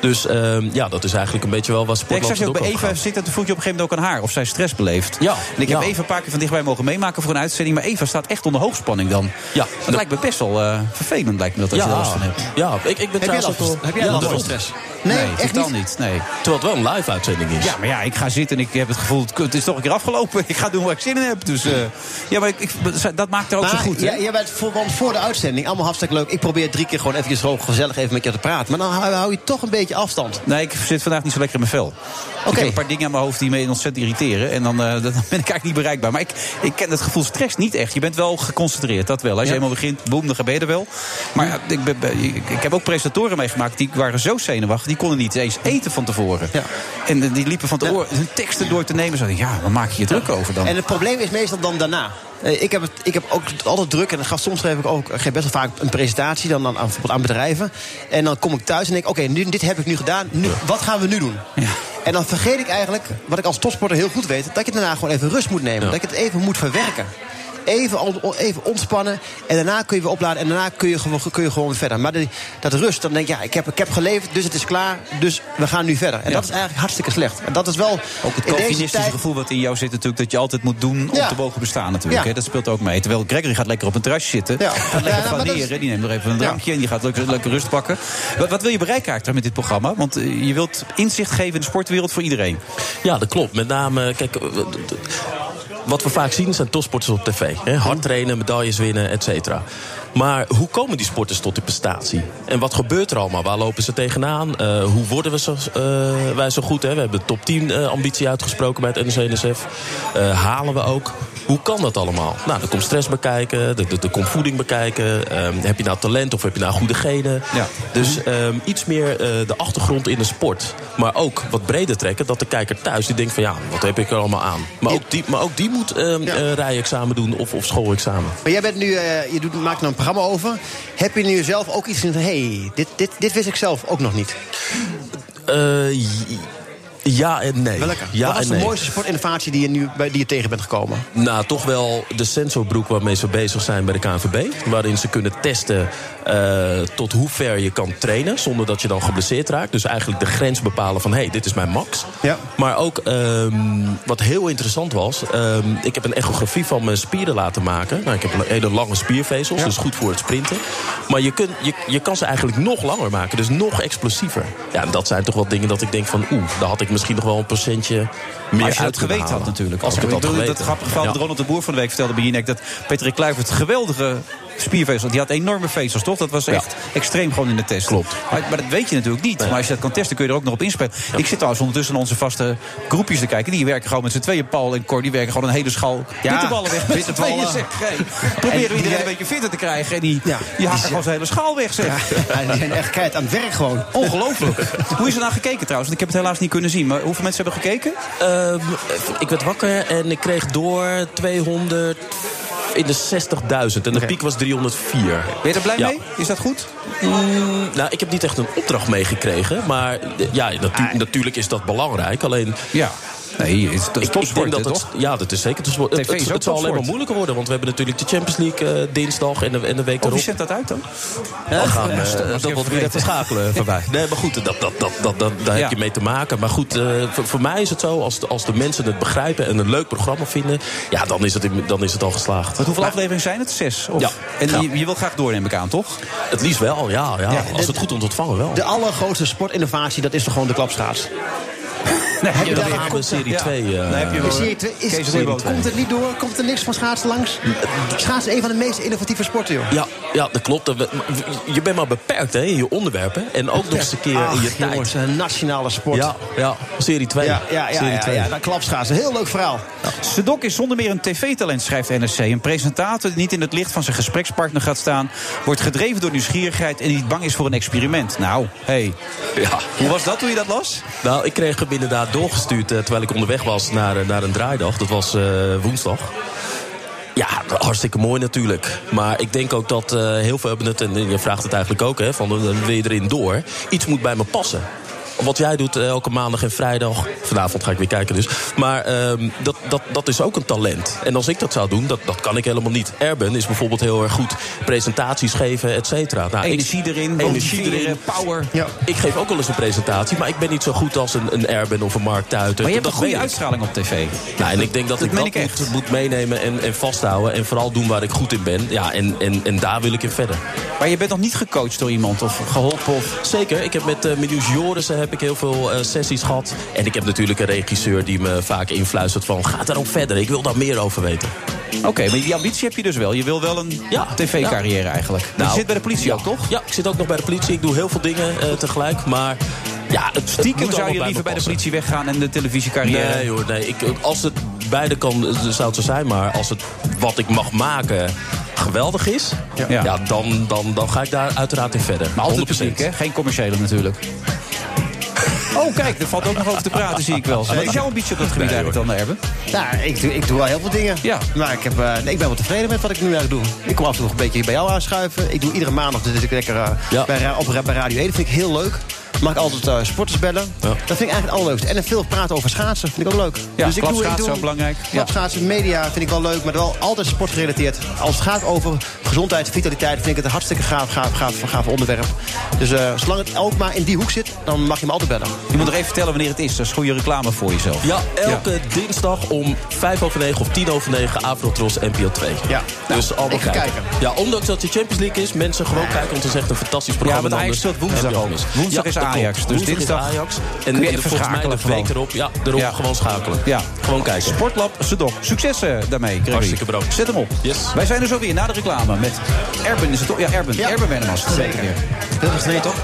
Dus eh, ehm, ja, dat is eigenlijk een beetje wel wat Ja, ik zag sportland je ook bij ook al Eva gaat. zitten, toen voel je op een gegeven moment ook aan haar. Of zij stress beleeft. Ja. En ik heb ja. Eva een paar keer van dichtbij mogen meemaken voor een uitzending. Maar Eva staat echt onder hoogspanning dan. Ja. Dat lijkt me best wel eh, vervelend, lijkt me dat als je Ja. er last van hebt. Ja, ik, ik ben jij trouwens last ook van- wel- heb jij Ja, last van daarom. stress? Nee, echt niet. Nee. Terwijl het wel een live uitzending is. Ja, maar ja, ik ga zitten en ik heb het gevoel, het- het is toch een keer afgelopen. Ik ga doen waar ik zin in heb. Dus, eh, ja, maar ik, ik- dat maakt er ook zo Maar goed. hè? ja, jij bent voor, want voor de uitzending, allemaal hartstikke leuk. Ik probeer drie keer gewoon eventjes gewoon gezellig even met je te praten. Maar dan hou, hou je toch een beetje afstand. Nee, ik zit vandaag niet zo lekker in mijn vel. Dus Ik heb een paar dingen aan mijn hoofd die me ontzettend irriteren. En dan, eh, dat- dan ben ik eigenlijk niet bereikbaar. Maar ik, ik ken het gevoel stress niet echt. Je bent wel geconcentreerd, dat wel. Als je helemaal begint, boem, dan ben je er wel. Maar ja, ik, ben, ben- ik, ik heb ook presentatoren meegemaakt die waren zo zenuwachtig. Die konden niet eens eten van tevoren. En eh, die liepen van te oor hun teksten door te nemen. Zo, ja, dan maak je je druk over dan. En het probleem is meestal dan daarna. Eh, Ik heb, het, ik heb ook altijd druk en dan ga, soms geef ik ook ik geef best wel vaak een presentatie dan aan, aan, bijvoorbeeld aan bedrijven. En dan kom ik thuis en denk: Oké, nu dit heb ik nu gedaan, nu, wat gaan we nu doen? En dan vergeet ik eigenlijk, wat ik als topsporter heel goed weet, dat je daarna gewoon even rust moet nemen. Dat ik het even moet verwerken. Even, on- even ontspannen en daarna kun je weer opladen en daarna kun je gewoon, kun je gewoon weer verder. Maar die- dat rust, dan denk je, ja, ik heb, ik heb geleverd, dus het is klaar, dus we gaan nu verder. En dat is eigenlijk hartstikke slecht. En dat is wel Ook het in deze Calvinistische tijd- gevoel wat in jou zit natuurlijk... dat je altijd moet doen om Ja. te mogen bestaan natuurlijk. Ja. nou, hè. Dat speelt ook mee. Terwijl Gregory gaat lekker op een terrasje zitten. Gaat lekker flaneren. die neemt nog even een drankje en die gaat lekker, lekker rust pakken. Wat, wat wil je bereiken eigenlijk met dit programma? Want eh, je wilt inzicht geven in de sportwereld voor iedereen. Ja, dat klopt. Met name, eh, kijk, eh, d- d- wat we vaak zien zijn topsporters op tv. Hè? Hard trainen, medailles winnen, et cetera. Maar hoe komen die sporters tot die prestatie? En wat gebeurt er allemaal? Waar lopen ze tegenaan? Eh, hoe worden we zo, eh, wij zo goed? Hè? We hebben de top 10 eh, ambitie uitgesproken bij het NOC-NSF. Eh, halen we ook? Hoe kan dat allemaal? Nou, er komt stress bekijken, er, er- er komt voeding bekijken. Ehm, heb je nou talent of heb je nou goede genen? Dus ehm, iets meer eh, de achtergrond in de sport. Maar ook wat breder trekken, dat de kijker thuis die denkt van ja, wat heb ik er allemaal aan? Maar ook die, maar ook die moet ehm eh, rijexamen doen of, of schoolexamen. Maar jij bent nu, eh, je doet, maakt er een programma over. Heb je nu zelf ook iets van, hé, hey, dit, dit, dit wist ik zelf ook nog niet. Eh, j- ja en nee. Welke? Ja Wat was en de nee. mooiste sportinnovatie die je nu bij, die je tegen bent gekomen? Nou, toch wel de sensorbroek waarmee ze bezig zijn bij de KNVB. Waarin ze kunnen testen eh, tot hoe ver je kan trainen zonder dat je dan geblesseerd raakt. Dus eigenlijk de grens bepalen van hé, hey, dit is mijn max. Maar ook ehm, wat heel interessant was, ehm, ik heb een echografie van mijn spieren laten maken. Nou, ik heb een hele lange spiervezels, dus goed voor het sprinten. Maar je, kunt, je, je kan ze eigenlijk nog langer maken, dus nog explosiever. Ja, en dat zijn toch wel dingen dat ik denk van oeh, daar had ik misschien nog wel een procentje meer als uit je het kunnen geweten had halen. natuurlijk. Als ik het had bedoel, geweten. Dat grappige verhaal dat Ronald de Boer van de week vertelde bij Jinek... dat Patrick Kluivert geweldige spiervezels... die had enorme vezels, toch? Dat was echt extreem gewoon in de test. Klopt. Maar, maar dat weet je natuurlijk niet. Maar als je dat kan testen, kun je er ook nog op inspelen. Ik zit trouwens ondertussen naar onze vaste groepjes te kijken. Die werken gewoon met z'n tweeën. Paul en Cor, die werken gewoon een hele schaal Ja, witte ballen weg. Met z'n witte ballen. tweeën, zeg. Hey, Proberen we iedereen een beetje fitter te krijgen. En die, die hakken gewoon zijn hele schaal weg, zeg. Ja, die zijn echt keihard aan het werk gewoon. Ongelooflijk. Hoe is er nou gekeken trouwens? Want ik heb het helaas niet kunnen zien. Maar hoeveel mensen hebben gekeken? Ehm, ik werd wakker en ik kreeg door 200 in de 60.000. En de piek was 304. Ben je er blij mee? Is dat goed? Mm. nou, ik heb niet echt een opdracht meegekregen. Maar eh, ja, natu- natuurlijk is dat belangrijk. Alleen... Ja. Nee, het is ik, ik denk topsport, dat hè, het, toch? Ja, dat is zeker topsport. Het, TV is het, ook het zal alleen maar topsport. moeilijker worden. Want we hebben natuurlijk de Champions League eh, dinsdag en de, en de week Of erop. Oh, wie zet dat uit dan? Oh, We gaan Ja, stom, eh, was ik dat even wat weer te vergeten. schakelen voorbij. Nee, maar goed, dat, dat, dat, dat, dat, daar Ja. heb je mee te maken. Maar goed, eh, voor, voor mij is het zo, als de, als de mensen het begrijpen en een leuk programma vinden, ja, dan is het, in- dan is het al geslaagd. Want hoeveel afleveringen zijn het? Zes? Of? Ja. En Ja. Je, je wil graag door, neem ik aan, toch? Het liefst wel, ja. ja. Ja. Als het goed wordt ontvangen wel. De allergrootste sportinnovatie, dat is toch gewoon de klapschaats? Nee, heb ja, je daar dat een hebben we concept? serie eh, Ja. 2. Dan heb je wel- Serie twee is- Kees Serie twee. Komt er niet door? Komt er niks van schaatsen langs? Eh, Schaatsen is een van de meest innovatieve sporten, joh. Ja, ja, dat klopt. Dat we- Je bent maar beperkt hè, in je onderwerpen. En ook nog eens een keer in je Ach, tijd. jongens, een nationale sport. Ja, ja, serie 2. Ah, Ja, ja, ja, Serie ja, twee. ja, dat klapschaatsen. Heel leuk verhaal. Sedok is zonder meer een tv-talent, schrijft NRC. Een presentator die niet in het licht van zijn gesprekspartner gaat staan... wordt gedreven door nieuwsgierigheid en niet bang is voor een experiment. Nou, hey. Ja. Hoe was dat toen je dat las? Nou, ik kreeg hem inderdaad doorgestuurd eh, terwijl ik onderweg was naar, eh, naar een draaidag. Dat was eh, woensdag. Ja, hartstikke mooi natuurlijk. Maar ik denk ook dat eh, heel veel hebben het, en je vraagt het eigenlijk ook, hè, van eh, wil je erin door? Iets moet bij me passen. wat jij doet elke maandag en vrijdag. Vanavond ga ik weer kijken dus. Maar ehm, dat, dat, dat is ook een talent. En als ik dat zou doen, dat, dat kan ik helemaal niet. Erben is bijvoorbeeld heel erg goed presentaties geven, et cetera. Nou, Energie erin, energie motiveren, erin. power. Ik geef ook wel eens een presentatie, maar ik ben niet zo goed als een, een Erben of een Mark Tuiter. Maar je hebt Dus Dat een goede weet ik. uitstraling op tv. Nou, en ik denk dat, Dat ik meen dat ik echt. Moet, moet meenemen en, en vasthouden. En vooral doen waar ik goed in ben. Ja, en, en, en daar wil ik in verder. Maar je bent nog niet gecoacht door iemand of geholpen? Of... Zeker. Ik heb met eh Miljoes Jorissen heb ik heel veel eh, sessies gehad. En ik heb natuurlijk een regisseur die me vaak influistert van... ga daarop verder, ik wil daar meer over weten. Oké, maar die ambitie heb je dus wel. Je wil wel een tv-carrière eigenlijk. Nou, je zit bij de politie ook, toch? Ja, ik zit ook nog bij de politie. Ik doe heel veel dingen eh, tegelijk, maar... Ja, het, het Stiekem moet zou allemaal je liever me bij de passen. politie weggaan en de televisiecarrière... Nee hoor, nee. Ik, als het beide kan, eh, zou het zo zijn. Maar als het wat ik mag maken geweldig is... Ja. dan, dan, dan ga ik daar uiteraard in verder. Maar altijd 100%. publiek, hè? Geen commerciële natuurlijk. Oh, kijk, er valt ook nog over te praten, zie ik wel. Wat is jouw ambitie op dat gebied Nee, eigenlijk dan, Erben? Nou, ik, doe- ik doe wel heel veel dingen. Ja. Maar ik, heb, eh, nee, ik ben wel tevreden met wat ik nu eigenlijk doe. Ik kom af en toe nog een beetje bij jou aanschuiven. Ik doe iedere maandag dus ik lekker eh, bij, ra- op, ra- bij Radio 1. Dat vind ik heel leuk. Mag ik altijd eh, sporters bellen. Dat vind ik eigenlijk het allerleukste. En veel praten over schaatsen vind ik ook leuk. Dus Ja, ik klapschaatsen ook belangrijk. Ja. Klapschaatsen, media vind ik wel leuk. Maar wel altijd sportgerelateerd. Als het gaat over gezondheid, vitaliteit... vind ik het een hartstikke gaaf, gaaf, gaaf, gaaf onderwerp. Dus eh, zolang het ook maar in die hoek zit... dan mag je me altijd bellen. Je moet nog even vertellen wanneer het is. Dat is goede reclame voor jezelf. Ja, elke dinsdag om 5 over 9 of 10 over 9 Avrotros NPO 2. Ja, dus allemaal ik ga kijken. Ja, ondanks dat de Champions League is, mensen gewoon kijken, want het is echt een fantastisch Ja, programma. want Ajax anders speelt woensdag heb je ook. alles. Woensdag Ja, is dat klopt. Ajax, dus Woensdag is dinsdag Ajax. kun En je en het volgens mij verschakelen de week gewoon. erop, ja, erop Ja. gewoon schakelen. Ja. Gewoon kijken. Sportlab Sedok. Succes eh, daarmee, Gregory. Hartstikke bedankt. Zet hem op. Yes. Wij zijn er zo weer na de reclame met Erben. Is het toch? Ja, Erben. Erben Wennemars. Zeker. Heel gesneden, toch?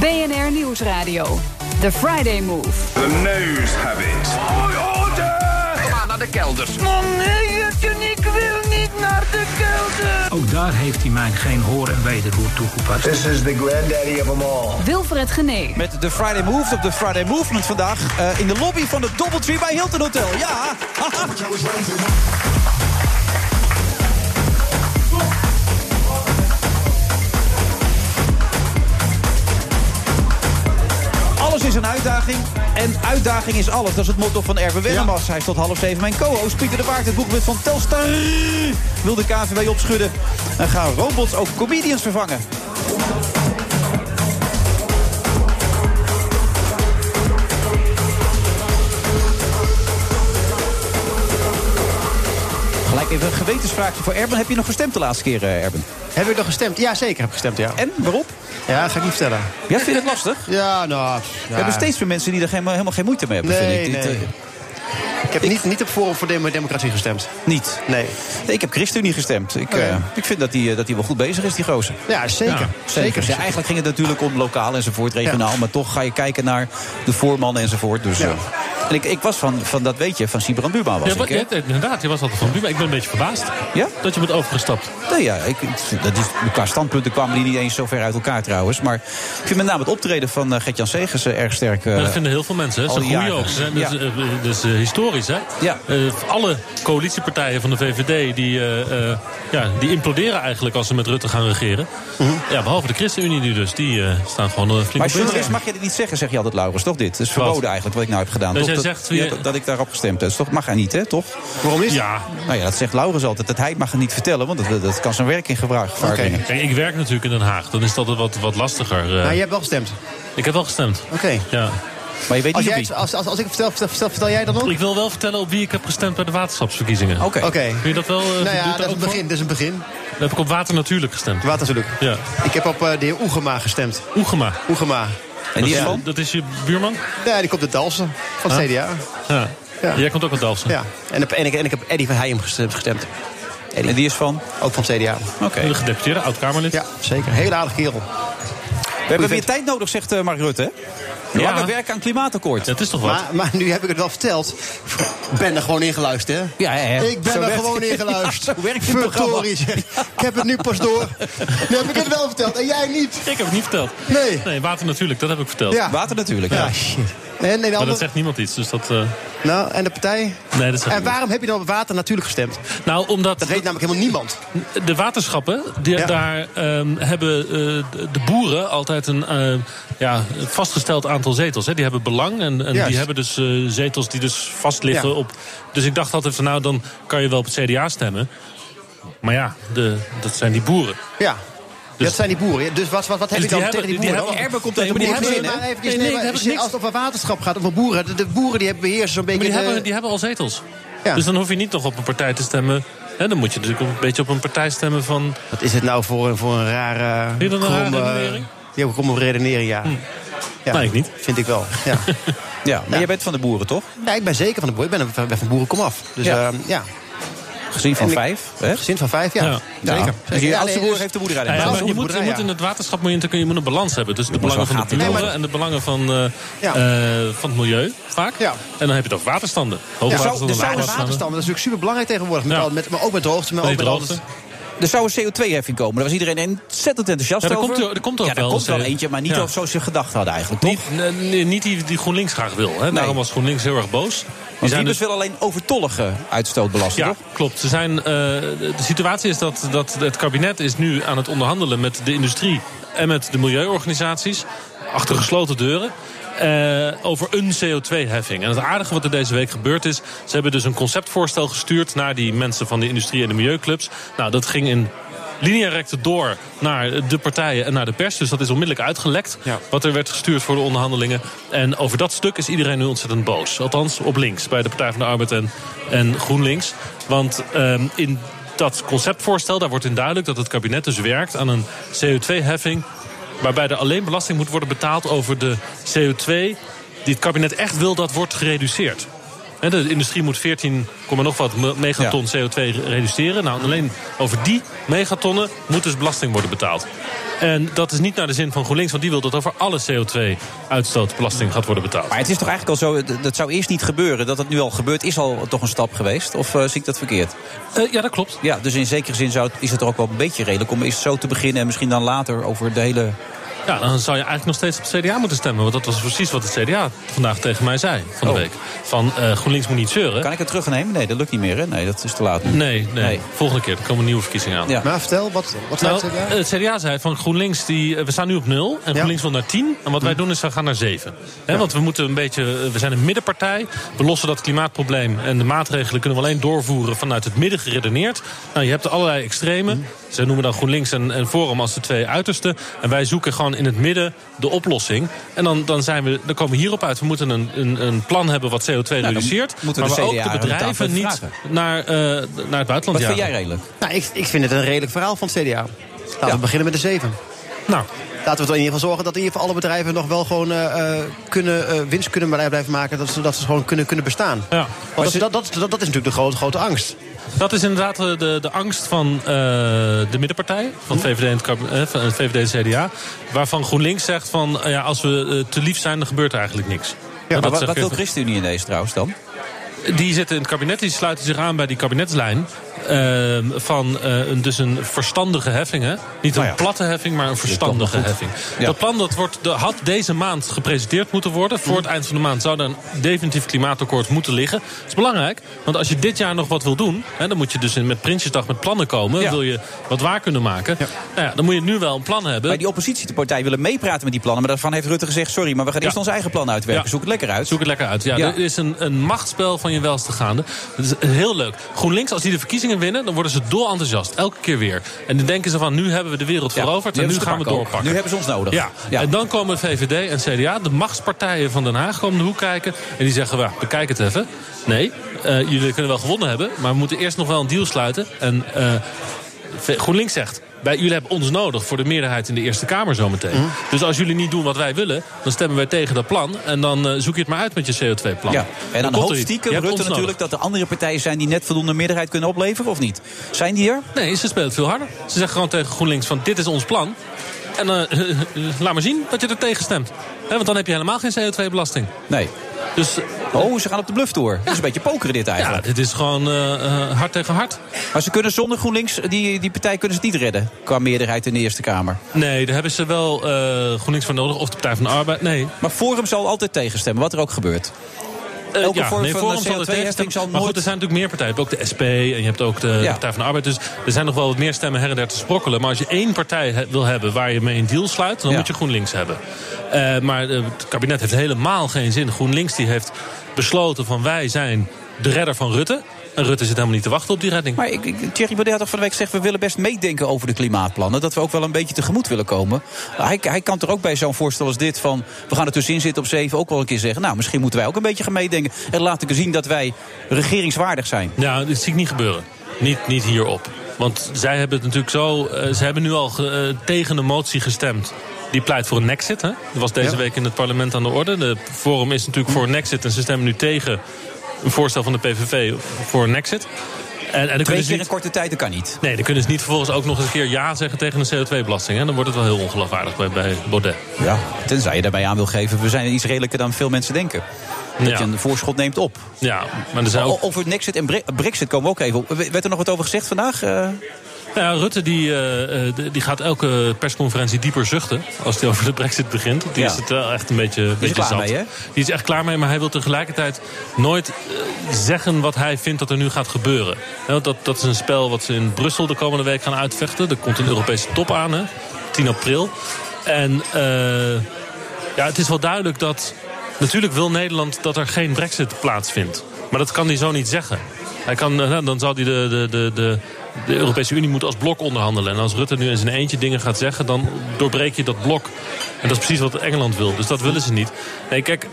BNR Nieuwsradio. The Friday Move. The nose habit. Orde! Kom maar naar de kelders. ik wil niet naar de kelder. Ook daar heeft hij mij geen hoor en wederhoor toegepast. This is the granddaddy of them all. Wilfred Genee. Met de Friday Move op de Friday Movement vandaag. eh, in de lobby van het Doubletree bij Hilton Hotel. Ja! Alles is een uitdaging. En uitdaging is alles. Dat is het motto van Erwin Wennemars. Hij is tot half zeven mijn co-host. Pieter de Waard, het boekbeeld van Telstar. Wil de KVW opschudden. En gaan robots ook comedians vervangen. Gelijk even een gewetensvraagje voor Erben. Heb je nog gestemd de laatste keer, eh, Erben? Heb ik nog gestemd? Ja, zeker heb ik gestemd, ja. En, waarop? Ja, ga ik niet vertellen. Ja, vind je het lastig? Ja, nou... We hebben steeds meer mensen die er helemaal, helemaal geen moeite mee hebben, Nee, vind ik. Dit, nee. eh, Ik heb niet, niet op Forum voor Demo- Democratie gestemd. Niet? Nee. Nee, ik heb ChristenUnie gestemd. Ik, Oké. eh, ik vind dat hij dat die wel goed bezig is, die gozer. Ja, zeker. Zeker. Ja, eigenlijk ging het natuurlijk om lokaal enzovoort, regionaal. Maar toch ga je kijken naar de voorman enzovoort. Dus, eh, en ik, ik was van, van dat weet je, van Sibran Buma was Ja, ik. wat, hè? ja, inderdaad, je was altijd van Buma. Ik ben een beetje verbaasd dat je bent overgestapt. Nee, ja, ik, dat is, qua standpunten kwamen die niet eens zo ver uit elkaar trouruit. Maar ik vind met name het optreden van eh, Gert-Jan Segers eh, erg sterk. eh, Maar dat vinden heel veel mensen. hè. al Dat is die een goeie ook. jaren. hè. Dat is, Ja. eh, dat is, eh, historisch, hè? Eh, alle coalitiepartijen van de VVD die, eh, eh, ja, die imploderen eigenlijk als ze met Rutte gaan regeren. Ja, behalve de ChristenUnie nu dus. Die eh, staan gewoon eh, flink Mhm. Maar op als journalist punt. mag je dit niet zeggen, zeg je altijd, Laurens, toch dit? Het is verboden eigenlijk wat ik nou heb gedaan. Dus toch? jij dat, zegt wie- ja, dat, dat ik daarop gestemd heb. Dus toch mag hij niet, hè? Toch? Waarom is Ja. Nou ja, dat zegt Laurens altijd. Dat hij mag het niet vertellen, want dat, dat kan zijn werk in gevaar gevaar brengen. Kijk, ik werk natuurlijk in Den Haag. Dan is dat wat, wat lastiger. eh. Maar Nou, je hebt wel gestemd. Ik heb wel gestemd. Oké. Ja. Maar je weet Als, jij, als, als, als ik vertel, vertel, vertel, vertel jij dan ook? Ik wil wel vertellen op wie ik heb gestemd bij de waterschapsverkiezingen. Oké. Kun je dat wel... eh, nou doet ja, daar dat is ook een voor? begin. Dat is een begin. Dan heb ik op Water Natuurlijk gestemd. Water Natuurlijk. Ja. Ik heb op eh, de heer Oegema gestemd. Oegema? Oegema. En die Ja. is van? Dat is je buurman? Ja, die komt uit Dalsen. Van het Huh? CDA. Ja. Jij komt ook uit Dalfsen. Ja. En, op, en, ik, en ik heb Eddie van Heijem gestemd. gestemd. Eddie. En die is van? Ook van het CDA. Oké. De gedeputeerde, oud-Kamerlid. Ja, zeker. Heel aardig kerel. We hebben weer tijd nodig, zegt eh, Mark Rutte. hè? Ja. Lange werk aan klimaatakkoord. Dat is toch wat? Maar, maar nu heb ik het wel verteld. Ik ben er gewoon ingeluisterd, hè? Ja, ja, ja. Ik ben Zo er werkt- gewoon ingeluisterd. Ja, zo werkt dit programma. Verdorie, zeg. Ik heb het nu pas door. Nu heb ik het wel verteld. En jij niet. Ik heb het niet verteld. Nee. Nee, water natuurlijk, dat heb ik verteld. Ja. Water natuurlijk, ja. Ja, shit. En, en, Maar dat ander, zegt niemand iets, dus dat... eh, nou, en de partij? nee, dat zegt En niemand. waarom heb je dan op water natuurlijk gestemd? Nou, omdat... Dat weet namelijk helemaal niemand. De waterschappen, die, Ja. daar ehm, hebben eh, de- de boeren altijd een eh, ja, vastgesteld aantal zetels. Hè. Die hebben belang en, en Juist. die hebben dus eh, zetels die dus vast liggen Ja. op... Dus ik dacht altijd van nou, dan kan je wel op het CDA stemmen. Maar ja, de, dat zijn die boeren. Ja. dat zijn die boeren. ja. Dus wat, wat, wat heb Dus je dan die tegen die hebben- boeren? Oh, die dan? hebben- Erbe komt tegen, Nee, maar die nee, hebben- maar nee, even, nee, nee, nee, maar daar hebben als ze je- niks. als het over waterschap gaat, over boeren. De, de boeren die hebben beheersen zo'n beetje... Maar die de- hebben, die hebben al zetels. Ja. Dus dan hoef je niet nog op een partij te stemmen. Hè, dan moet je natuurlijk een beetje op een partij stemmen van... Wat is het nou voor, voor een rare... Vind je dat een rare kromme- redenering? Die hebben kromme redenering, ja. ja. Nee, ik niet. Vind ik wel, ja. Ja, maar jij bent van de boeren, toch? Nee, ik ben zeker van de boeren. Ik ben, ben van boeren kom af. Dus Ja. ja. ja. Gezin van En ik- vijf, hè? Gezin van vijf, ja. Ja. Zeker. Ja. Dus je Ja, oudste nee, broer dus- heeft de boerderij. Ja, Ja, maar dat is je, een moet, je boerderij, moet ja. in het waterschap moet je, natuurlijk- je moet een balans hebben. Dus de belangen wel van de gaten boeren houden. en de belangen van, eh, Ja. eh, van het milieu vaak. Ja. En dan heb je het over waterstanden. Hoge Ja, zo, waterstanden, dus lage zouden waterstanden, dat is natuurlijk super belangrijk tegenwoordig. Met Ja. al, met, maar ook met hoogte, maar ook Nee, met droogte. alles. Er zou een CO2-heffing komen. Daar was iedereen ontzettend enthousiast Ja, er over. komt er- er komt er ook ja, er wel komt een wel CO2. eentje, maar niet Ja. zoals ze gedacht hadden eigenlijk, toch? Niet, nee, nee, niet die die GroenLinks graag wil. Hè. Daarom was GroenLinks heel erg boos. Die Want die zijn dus dus- wil alleen overtollige uitstoot belasten, ja, toch? klopt. Ze zijn, eh, de situatie is dat, dat het kabinet is nu aan het onderhandelen met de industrie en met de milieuorganisaties. Achter gesloten deuren. eh, over een CO2-heffing. En het aardige wat er deze week gebeurd is. Ze hebben dus een conceptvoorstel gestuurd naar die mensen van de industrie en de milieuclubs. Nou, dat ging in linea recta door naar de partijen en naar de pers. Dus dat is onmiddellijk uitgelekt. Wat er werd gestuurd voor de onderhandelingen. En over dat stuk is iedereen nu ontzettend boos. Althans, op links, bij de Partij van de Arbeid en, en GroenLinks. Want ehm, in dat conceptvoorstel, daar wordt in duidelijk dat het kabinet dus werkt aan een CO2-heffing. Waarbij er alleen belasting moet worden betaald over de CO2 die het kabinet echt wil dat wordt gereduceerd. Hè, De industrie moet 14, komma nog wat me- megaton CO2 re- reduceren. Nou, alleen over die megatonnen moet dus belasting worden betaald. En dat is niet naar de zin van GroenLinks, want die wil dat over alle CO2-uitstoot belasting gaat worden betaald. Maar het is toch eigenlijk al zo, d- dat zou eerst niet gebeuren. Dat het nu al gebeurt, is al toch een stap geweest? Of eh, zie ik dat verkeerd? Eh, ja, dat klopt. Ja, dus in zekere zin zou, het- is het er ook wel een beetje redelijk om eerst zo te beginnen... en misschien dan later over de hele... Ja, dan zou je eigenlijk nog steeds op het CDA moeten stemmen. Want dat was precies wat het CDA vandaag tegen mij zei van de Oh. week. Van eh, GroenLinks moet niet zeuren. Kan ik het terugnemen? Nee, dat lukt niet meer, hè? Nee, dat is te laat. nu. Nee, nee, Nee. Volgende keer. Er komen nieuwe verkiezingen aan. Ja. Maar vertel, wat, wat Nou, zei het, ja? het CDA zei van GroenLinks, die, eh, we staan nu op 0 en GroenLinks wil naar 10. En Hm. wat wij doen is, we gaan naar 7. Hè, Want we moeten een beetje, eh, we zijn een middenpartij. We lossen dat klimaatprobleem en de maatregelen kunnen we alleen doorvoeren vanuit het midden geredeneerd. Nou, je hebt allerlei extremen. Hm. Ze noemen dan GroenLinks en, en Forum als de twee uitersten. En wij zoeken gewoon in het midden de oplossing. En dan, dan, zijn we, dan komen we hierop uit. We moeten een, een, een plan hebben wat CO2 Nou, dan reduceert. moeten we maar de we ook CDA aan de de tafel bedrijven even niet vragen. naar, eh, naar het buitenland Wat vind jagen. jij redelijk? Nou, ik, ik vind het een redelijk verhaal van het CDA. Laten we beginnen met de zeven. Nou, Laten we er in ieder geval zorgen dat in ieder geval alle bedrijven nog wel gewoon eh, eh, kunnen, eh, winst kunnen blijven maken. Dat ze, dat ze gewoon kunnen, kunnen bestaan. ja. Want dat, dat, dat, dat, dat is natuurlijk de grote, grote angst. Dat is inderdaad eh, de, de angst van eh, de middenpartijen, Hm? van VVD en het, kab- eh, van het VVD en CDA. Waarvan GroenLinks zegt van eh, ja, als we eh, te lief zijn, dan gebeurt er eigenlijk niks. Ja, Nou, maar wat, zeg wat ik wil even. ChristenUnie in deze trouwens dan? Die zitten in het kabinet, die sluiten zich aan bij die kabinetslijn. eh, van eh, een, dus een verstandige heffing. Hè? Niet een Nou ja. platte heffing, maar een verstandige goed. heffing. Ja. Dat plan dat wordt, de, had deze maand gepresenteerd moeten worden. Voor het Mhm. eind van de maand zou er een definitief klimaatakkoord moeten liggen. Dat is belangrijk, want als je dit jaar nog wat wil doen... Hè, dan moet je dus in, met Prinsjesdag met plannen komen. Ja. Wil je wat waar kunnen maken. Nou ja, dan moet je nu wel een plan hebben. Maar die oppositiepartijen willen meepraten met die plannen. Maar daarvan heeft Rutte gezegd: sorry, maar we gaan eerst Ja. ons eigen plan uitwerken. Ja. Zoek het lekker uit. Zoek het lekker uit. Ja, Ja. Er is een, een machtsspel van je welste gaande. Dat is heel leuk. GroenLinks, als die de verkiezingen winnen, dan worden ze dol enthousiast. Elke keer weer. En dan denken ze van, nu hebben we de wereld Ja, veroverd... nu en nu hebben ze gaan te we pakken ook. doorpakken. Nu hebben ze ons nodig. Ja. Ja. en dan komen VVD en CDA, de machtspartijen van Den Haag... komen de hoek kijken en die zeggen, we bekijk het even. Nee, eh, jullie kunnen wel gewonnen hebben... maar we moeten eerst nog wel een deal sluiten. En eh, V- GroenLinks zegt... Wij, jullie hebben ons nodig voor de meerderheid in de Eerste Kamer zometeen. Mm. Dus als jullie niet doen wat wij willen, dan stemmen wij tegen dat plan. En dan eh, zoek je het maar uit met je CO2-plan. Ja. En dan komt er hoopt iets. stiekem Nou, Je hebt Rutte ons natuurlijk dat er andere partijen zijn die net voldoende meerderheid kunnen opleveren, of niet? Zijn die er? nodig. Nee, ze speelt veel harder. Ze zegt gewoon tegen GroenLinks van dit is ons plan. En eh, laat maar zien dat je er tegen stemt. Hè, want dan heb je helemaal geen CO2-belasting. Nee. Dus, oh, ze gaan op de bluff door. Het is een beetje pokeren dit eigenlijk. Ja, dit is gewoon eh, hard tegen hard. Maar ze kunnen zonder GroenLinks, die, die partij kunnen ze niet redden. Qua meerderheid in de Eerste Kamer. Nee, daar hebben ze wel eh GroenLinks voor nodig. Of de Partij van de Arbeid, nee. Maar Forum zal altijd tegenstemmen, wat er ook gebeurt. Eh, Elke vorm nee, van Forum CO2 zal er tegen heffing stemmen. zal Maar goed, nooit- er zijn natuurlijk meer partijen. Je hebt ook de SP en je hebt ook de Ja. Partij van de Arbeid. Dus er zijn nog wel wat meer stemmen her en der te sprokkelen. Maar als je één partij he- wil hebben waar je mee een deal sluit... dan Ja. moet je GroenLinks hebben. Eh, maar eh, het kabinet heeft helemaal geen zin. GroenLinks die heeft besloten van wij zijn de redder van Rutte. En Rutte zit helemaal niet te wachten op die redding. Maar ik, ik- Thierry Baudet had toch van de week gezegd... we willen best meedenken over de klimaatplannen. Dat we ook wel een beetje tegemoet willen komen. Hij, hij kan toch ook bij zo'n voorstel als dit van... we gaan er tussenin zitten op zeven ook wel een keer zeggen... nou, misschien moeten wij ook een beetje gaan meedenken. En laten we zien dat wij regeringswaardig zijn. Ja, dat zie ik niet gebeuren. Niet, niet hierop. Want zij hebben het natuurlijk zo. eh, ze hebben nu al ge- eh, tegen de motie gestemd. Die pleit voor een exit. Hè? Dat was deze Ja. Hm. week in het parlement aan de orde. De Forum is natuurlijk voor een exit. En ze stemmen nu tegen een voorstel van de PVV voor een exit. En, en dan Twee kunnen keer ze in niet, korte tijd, dat kan niet. nee, dan kunnen ze niet vervolgens ook nog eens een keer ja zeggen tegen een CO2-belasting. hè. Dan wordt het wel heel ongeloofwaardig bij, bij Baudet. Ja, tenzij je daarbij aan wil geven... we zijn iets redelijker dan veel mensen denken. Dat Ja. je een voorschot neemt op. Ja, maar er zijn ook O- Over Nexit en Bre- Brexit komen we ook even op. W- Werd er nog wat over gezegd vandaag? Eh, Nou ja, Rutte die, eh, eh, d- die gaat elke persconferentie dieper zuchten als hij over de brexit begint. Die Ja. is het wel echt een beetje, een beetje klaar zat. mee, hè? Die is echt klaar mee, maar hij wil tegelijkertijd nooit eh, zeggen wat hij vindt dat er nu gaat gebeuren. Hè, want Dat, dat is een spel wat ze in Brussel de komende week gaan uitvechten. Er komt een Europese top aan, hè? 10 april. En eh, ja, het is wel duidelijk dat... Natuurlijk wil Nederland dat er geen brexit plaatsvindt. Maar dat kan hij zo niet zeggen. Hij kan, eh, nou, dan zal hij de, de, de, de, de Europese Unie moet als blok onderhandelen. En als Rutte nu in zijn eentje dingen gaat zeggen... dan doorbreek je dat blok. En dat is precies wat Engeland wil. Dus dat willen ze niet. Nee, kijk,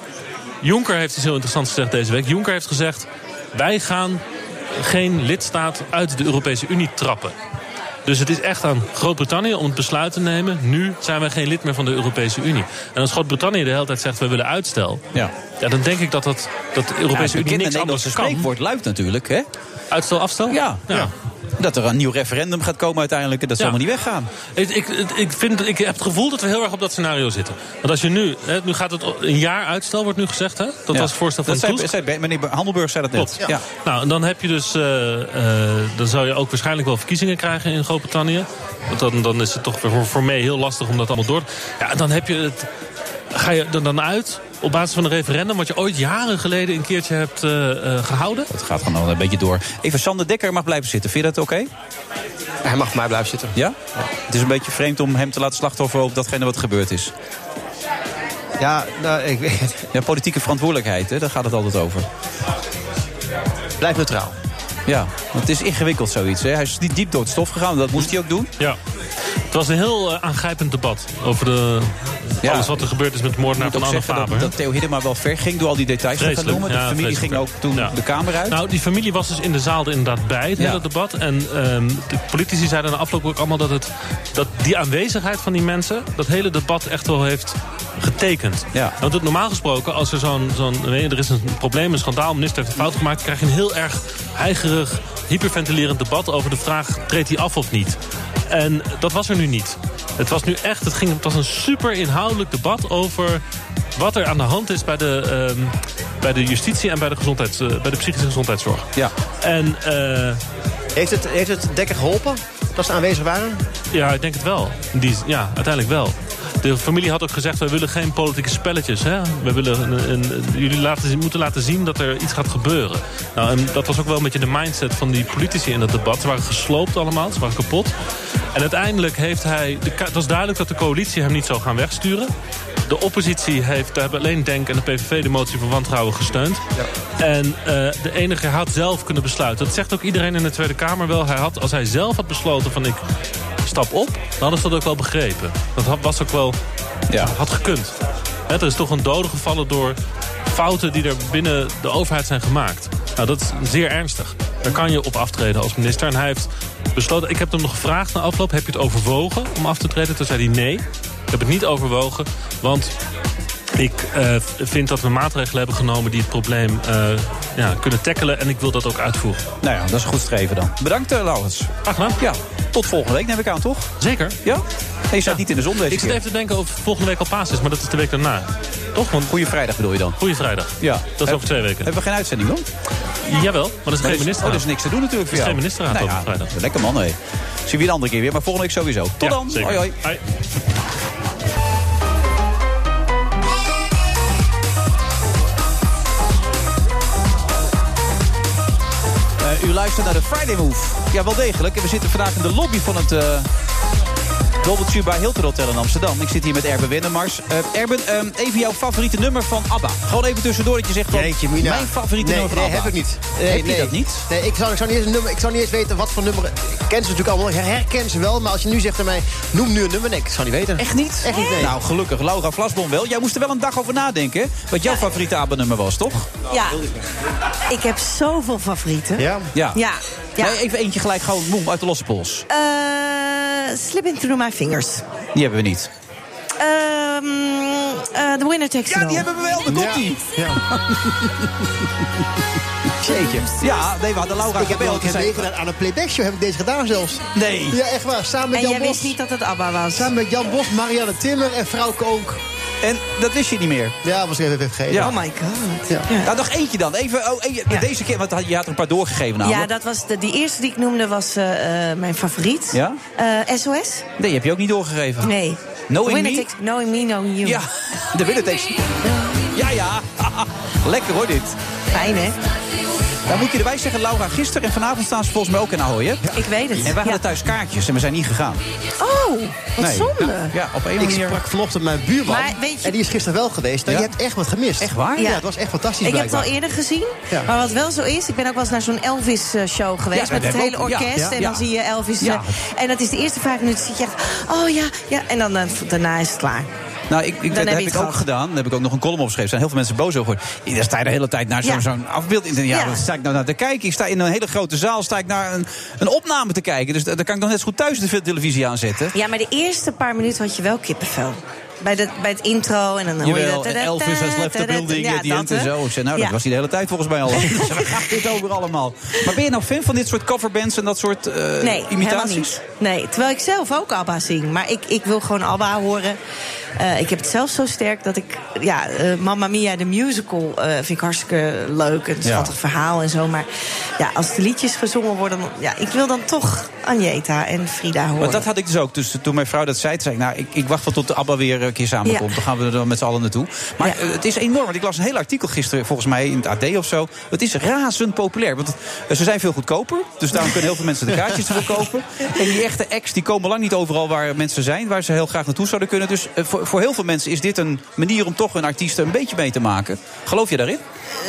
Juncker heeft iets heel interessants gezegd deze week. Juncker heeft gezegd, wij gaan geen lidstaat uit de Europese Unie trappen. Dus het is echt aan Groot-Brittannië om het besluit te nemen... nu zijn wij geen lid meer van de Europese Unie. En als Groot-Brittannië de hele tijd zegt, we willen uitstel... Ja. Ja, dan denk ik dat, dat, dat de Europese ja, Unie niks Nederlandse anders kan. spreekwoord luidt natuurlijk, hè? Uitstel, afstel? Ja. Ja. Dat er een nieuw referendum gaat komen uiteindelijk en dat ze Ja. allemaal niet weggaan. Ik, ik, ik, vind, ik heb het gevoel dat we heel erg op dat scenario zitten. Want als je nu, hè, nu gaat het een jaar uitstel, wordt nu gezegd, hè? Dat Ja. was het voorstel van dat zei, Tusk. zei- Meneer Handelburg zei dat net. Klopt. Nou, en dan heb je dus. eh, eh, dan zou je ook waarschijnlijk wel verkiezingen krijgen in Groot-Brittannië. Want dan, dan is het toch weer voor, voor mij heel lastig om dat allemaal door. Ja, en dan heb je het. Ga je er dan uit op basis van een referendum wat je ooit jaren geleden een keertje hebt eh, eh, gehouden? Het gaat gewoon al een beetje door. Even Sander Dekker mag blijven zitten. Vind je dat oké? Hij mag mij blijven zitten. Ja? Het is een beetje vreemd om hem te laten slachtoffer op datgene wat gebeurd is. Ja, nou, ik weet Ja, politieke verantwoordelijkheid, hè? daar gaat het altijd over. Blijf neutraal. Ja, want het is ingewikkeld zoiets. Hè? Hij is niet diep door het stof gegaan, dat moest hij ook doen. Ja. Het was een heel eh, aangrijpend debat over de, Ja. alles wat er gebeurd is met de moordenaar Ik moet van ook Anne zeggen Faber. hè? dat, dat Theo Hiddema wel ver ging door al die details te gaan Vreselijk, noemen. De ja, familie ging vreselijk. ook toen Ja. de kamer uit. Nou, die familie was dus in de zaal er inderdaad bij het Ja. hele debat. En ehm, de politici zeiden na afloop ook allemaal dat, het, dat die aanwezigheid van die mensen... dat hele debat echt wel heeft getekend. Ja. Want het, normaal gesproken, als er zo'n... zo'n weet je, er is een probleem, een schandaal, een minister heeft een fout gemaakt... krijg je een heel erg heigerig, hyperventilerend debat over de vraag... treedt hij af of niet? En dat was er nu niet. Het was nu echt, het, ging, het was een super inhoudelijk debat over wat er aan de hand is bij de, ehm, bij de justitie en bij de, gezondheids, eh, bij de psychische gezondheidszorg. Ja. En eh, Heeft het, heeft het Dekker geholpen dat ze aanwezig waren? ja, ik denk het wel. Die, ja, uiteindelijk wel. De familie had ook gezegd, wij willen geen politieke spelletjes. Hè? We willen een, een- jullie laten, zien- moeten laten zien dat er iets gaat gebeuren. Nou, en dat was ook wel een beetje de mindset van die politici in dat debat. Ze waren gesloopt allemaal, ze waren kapot. En uiteindelijk heeft hij... De, ka- het was duidelijk dat de coalitie hem niet zou gaan wegsturen. De oppositie heeft, daar hebben alleen Denk en de PVV de motie van wantrouwen gesteund. En eh, de enige hij had zelf kunnen besluiten. Dat zegt ook iedereen in de Tweede Kamer wel. Hij had, als hij zelf had besloten van ik stap op, dan hadden ze dat ook wel begrepen. Dat had, was ook wel, ja. had gekund. Hè, er is toch een dode gevallen door fouten die er binnen de overheid zijn gemaakt. Nou, dat is zeer ernstig. Daar kan je op aftreden als minister. En hij heeft besloten, ik heb hem nog gevraagd na afloop, heb je het overwogen om af te treden? Toen zei hij nee, ik heb het niet overwogen, want ik eh, v- vind dat we maatregelen hebben genomen die het probleem eh, ja, kunnen tackelen en ik wil dat ook uitvoeren. Nou ja, dat is een goed streven dan. Bedankt, eh, Laurens. Graag gedaan. Ja, tot volgende week neem ik aan, toch? Zeker. Ja? je staat niet in de zon deze Ik zit keer. even te denken of volgende week al paas is, maar dat is de week daarna. Toch? Want... Goeie vrijdag bedoel je dan? Goeie vrijdag. Ja. Dat is Heb- over twee weken. Hebben we geen uitzending dan? Jawel, maar dat is geen minister. Oh, dat is niks te doen natuurlijk voor Er is jou. geen ministerraad Nou op ja, vrijdag. Lekker man, hé. Zien we je een andere keer weer, maar volgende week sowieso. Tot Ja, dan. zeker. Hoi, hoi. Hoi. Eh, u luistert naar de Friday Move. Ja, wel degelijk. En we zitten vandaag in de lobby van het... eh Doubletree bij Hilton Hotel in Amsterdam. Ik zit hier met Erben Wennemars. Eh Erben, ehm, even jouw favoriete nummer van ABBA. Gewoon even tussendoor dat je zegt... van, Jeetje, Mina. Mijn favoriete nee, nummer van nee, ABBA. heb ik niet. Nee, heb nee. je dat niet? Nee, ik zou, ik, zou niet eens een nummer, ik zou niet eens weten wat voor nummer... Ik ken ze natuurlijk allemaal, ik herken ze wel. Maar als je nu zegt aan mij, noem nu een nummer, nee, ik zou niet weten. Echt niet? Echt niet, nee. Nou, gelukkig. Laura Vlasbom wel. Jij moest er wel een dag over nadenken. hè? Wat jouw favoriete ABBA-nummer was, toch? Ja. Ik heb zoveel favorieten. Nou, Ja. Ja. ja. Nee, even eentje gelijk gewoon boem uit de losse pols. Eh, slip in through my fingers. Die hebben we niet. Ehm eh, the winner takes it all. Ja, die hebben we wel. Daar komt die. Zeker. Ja, nee, we hadden Laura Ik heb wel gebeld. een keer en zei- meegedaan aan een playback show, heb ik deze gedaan zelfs. Nee. Ja, echt waar. Samen met En Jan jij Bos. wist niet dat het ABBA was. Samen Ah, met Jan Bos, Marianne Timmer en Frauke ook. En dat wist je niet meer? Ja, was even vergeten. Ja. Oh my god. Nou, nog eentje dan. Even, oh, eentje- Deze keer, want je had er een paar doorgegeven Ja, namelijk. dat was de, die eerste die ik noemde was eh, eh, mijn favoriet. Ja? Eh, SOS? Nee, die heb je ook niet doorgegeven. Nee. Knowing Winner Me? Takes, knowing me, knowing you. Ja, de winner takes... Ja, ja. Lekker hoor, dit. Fijn, hè? Dan moet je erbij zeggen, Laura, gisteren en vanavond staan ze volgens mij ook in Ahoy, hè? Ik weet het. En wij hadden thuis kaartjes en we zijn niet gegaan. Oh, wat Nee. zonde. Ja, ja, op een Ik manier... sprak vanochtend mijn buurman. Maar weet je- En die is gisteren wel geweest. Nou, Ja? Je hebt echt wat gemist. Echt waar? Ja, het was echt fantastisch Ik heb het al blijkbaar. eerder gezien. Ja. Maar wat wel zo is, ik ben ook wel eens naar zo'n Elvis-show geweest. Ja, dat met het hebben hele we ook. Ja, orkest. ja, en ja. dan zie je Elvis. Ja. eh, en dat is de eerste vijf minuten. zit je echt, oh ja, ja. En dan, eh, daarna is het klaar. Nou, ik, ik, Dan dat heb heb, je het ik ook gehad. gedaan. Daar heb ik ook nog een column opgeschreven. Er zijn heel veel mensen boos over. geworden. Daar sta je de hele tijd naar zo'n Ja. zo'n afbeeld. Ja, Ja. Daar sta ik nou naar te kijken. Ik sta in een hele grote zaal sta ik naar een, een opname te kijken. Dus da- daar kan ik nog net zo goed thuis de televisie aanzetten. Ja, maar de eerste paar minuten had je wel kippenvel. Bij, de, bij het intro en dan hoor je Jawel, dat. en Elvis has left the building at the end en zo. Ik zei, nou, dat Ja. was hij de hele tijd volgens mij al. Dus Waar gaat dit over allemaal? Maar ben je nou fan van dit soort coverbands en dat soort eh, Nee, helemaal imitaties? niet. Nee, terwijl ik zelf ook ABBA zing. Maar ik, ik wil gewoon ABBA horen. Eh, ik heb het zelf zo sterk dat ik... Ja, eh, Mamma Mia, de musical, eh, vind ik hartstikke leuk. Een Ja. schattig verhaal en zo. Maar ja, als de liedjes gezongen worden... dan- Ja, ik wil dan toch Anjeta en Frida horen. Want dat had ik dus ook. Dus toen mijn vrouw dat zei, toen zei ik, nou, ik, ik wacht wel tot de ABBA weer een keer samenkomt. Ja. Dan gaan we er dan met z'n allen naartoe. Maar eh, het is enorm. Want ik las een heel artikel gisteren, volgens mij in het AD of zo. Het is razend populair. Want eh, ze zijn veel goedkoper. Dus daarom kunnen heel veel mensen de kaartjes ervoor kopen. En die echte acts, die komen lang niet overal waar mensen zijn. Waar ze heel graag naartoe zouden kunnen. Dus eh, voor, voor heel veel mensen is dit een manier om toch hun artiesten een beetje mee te maken. Geloof je daarin?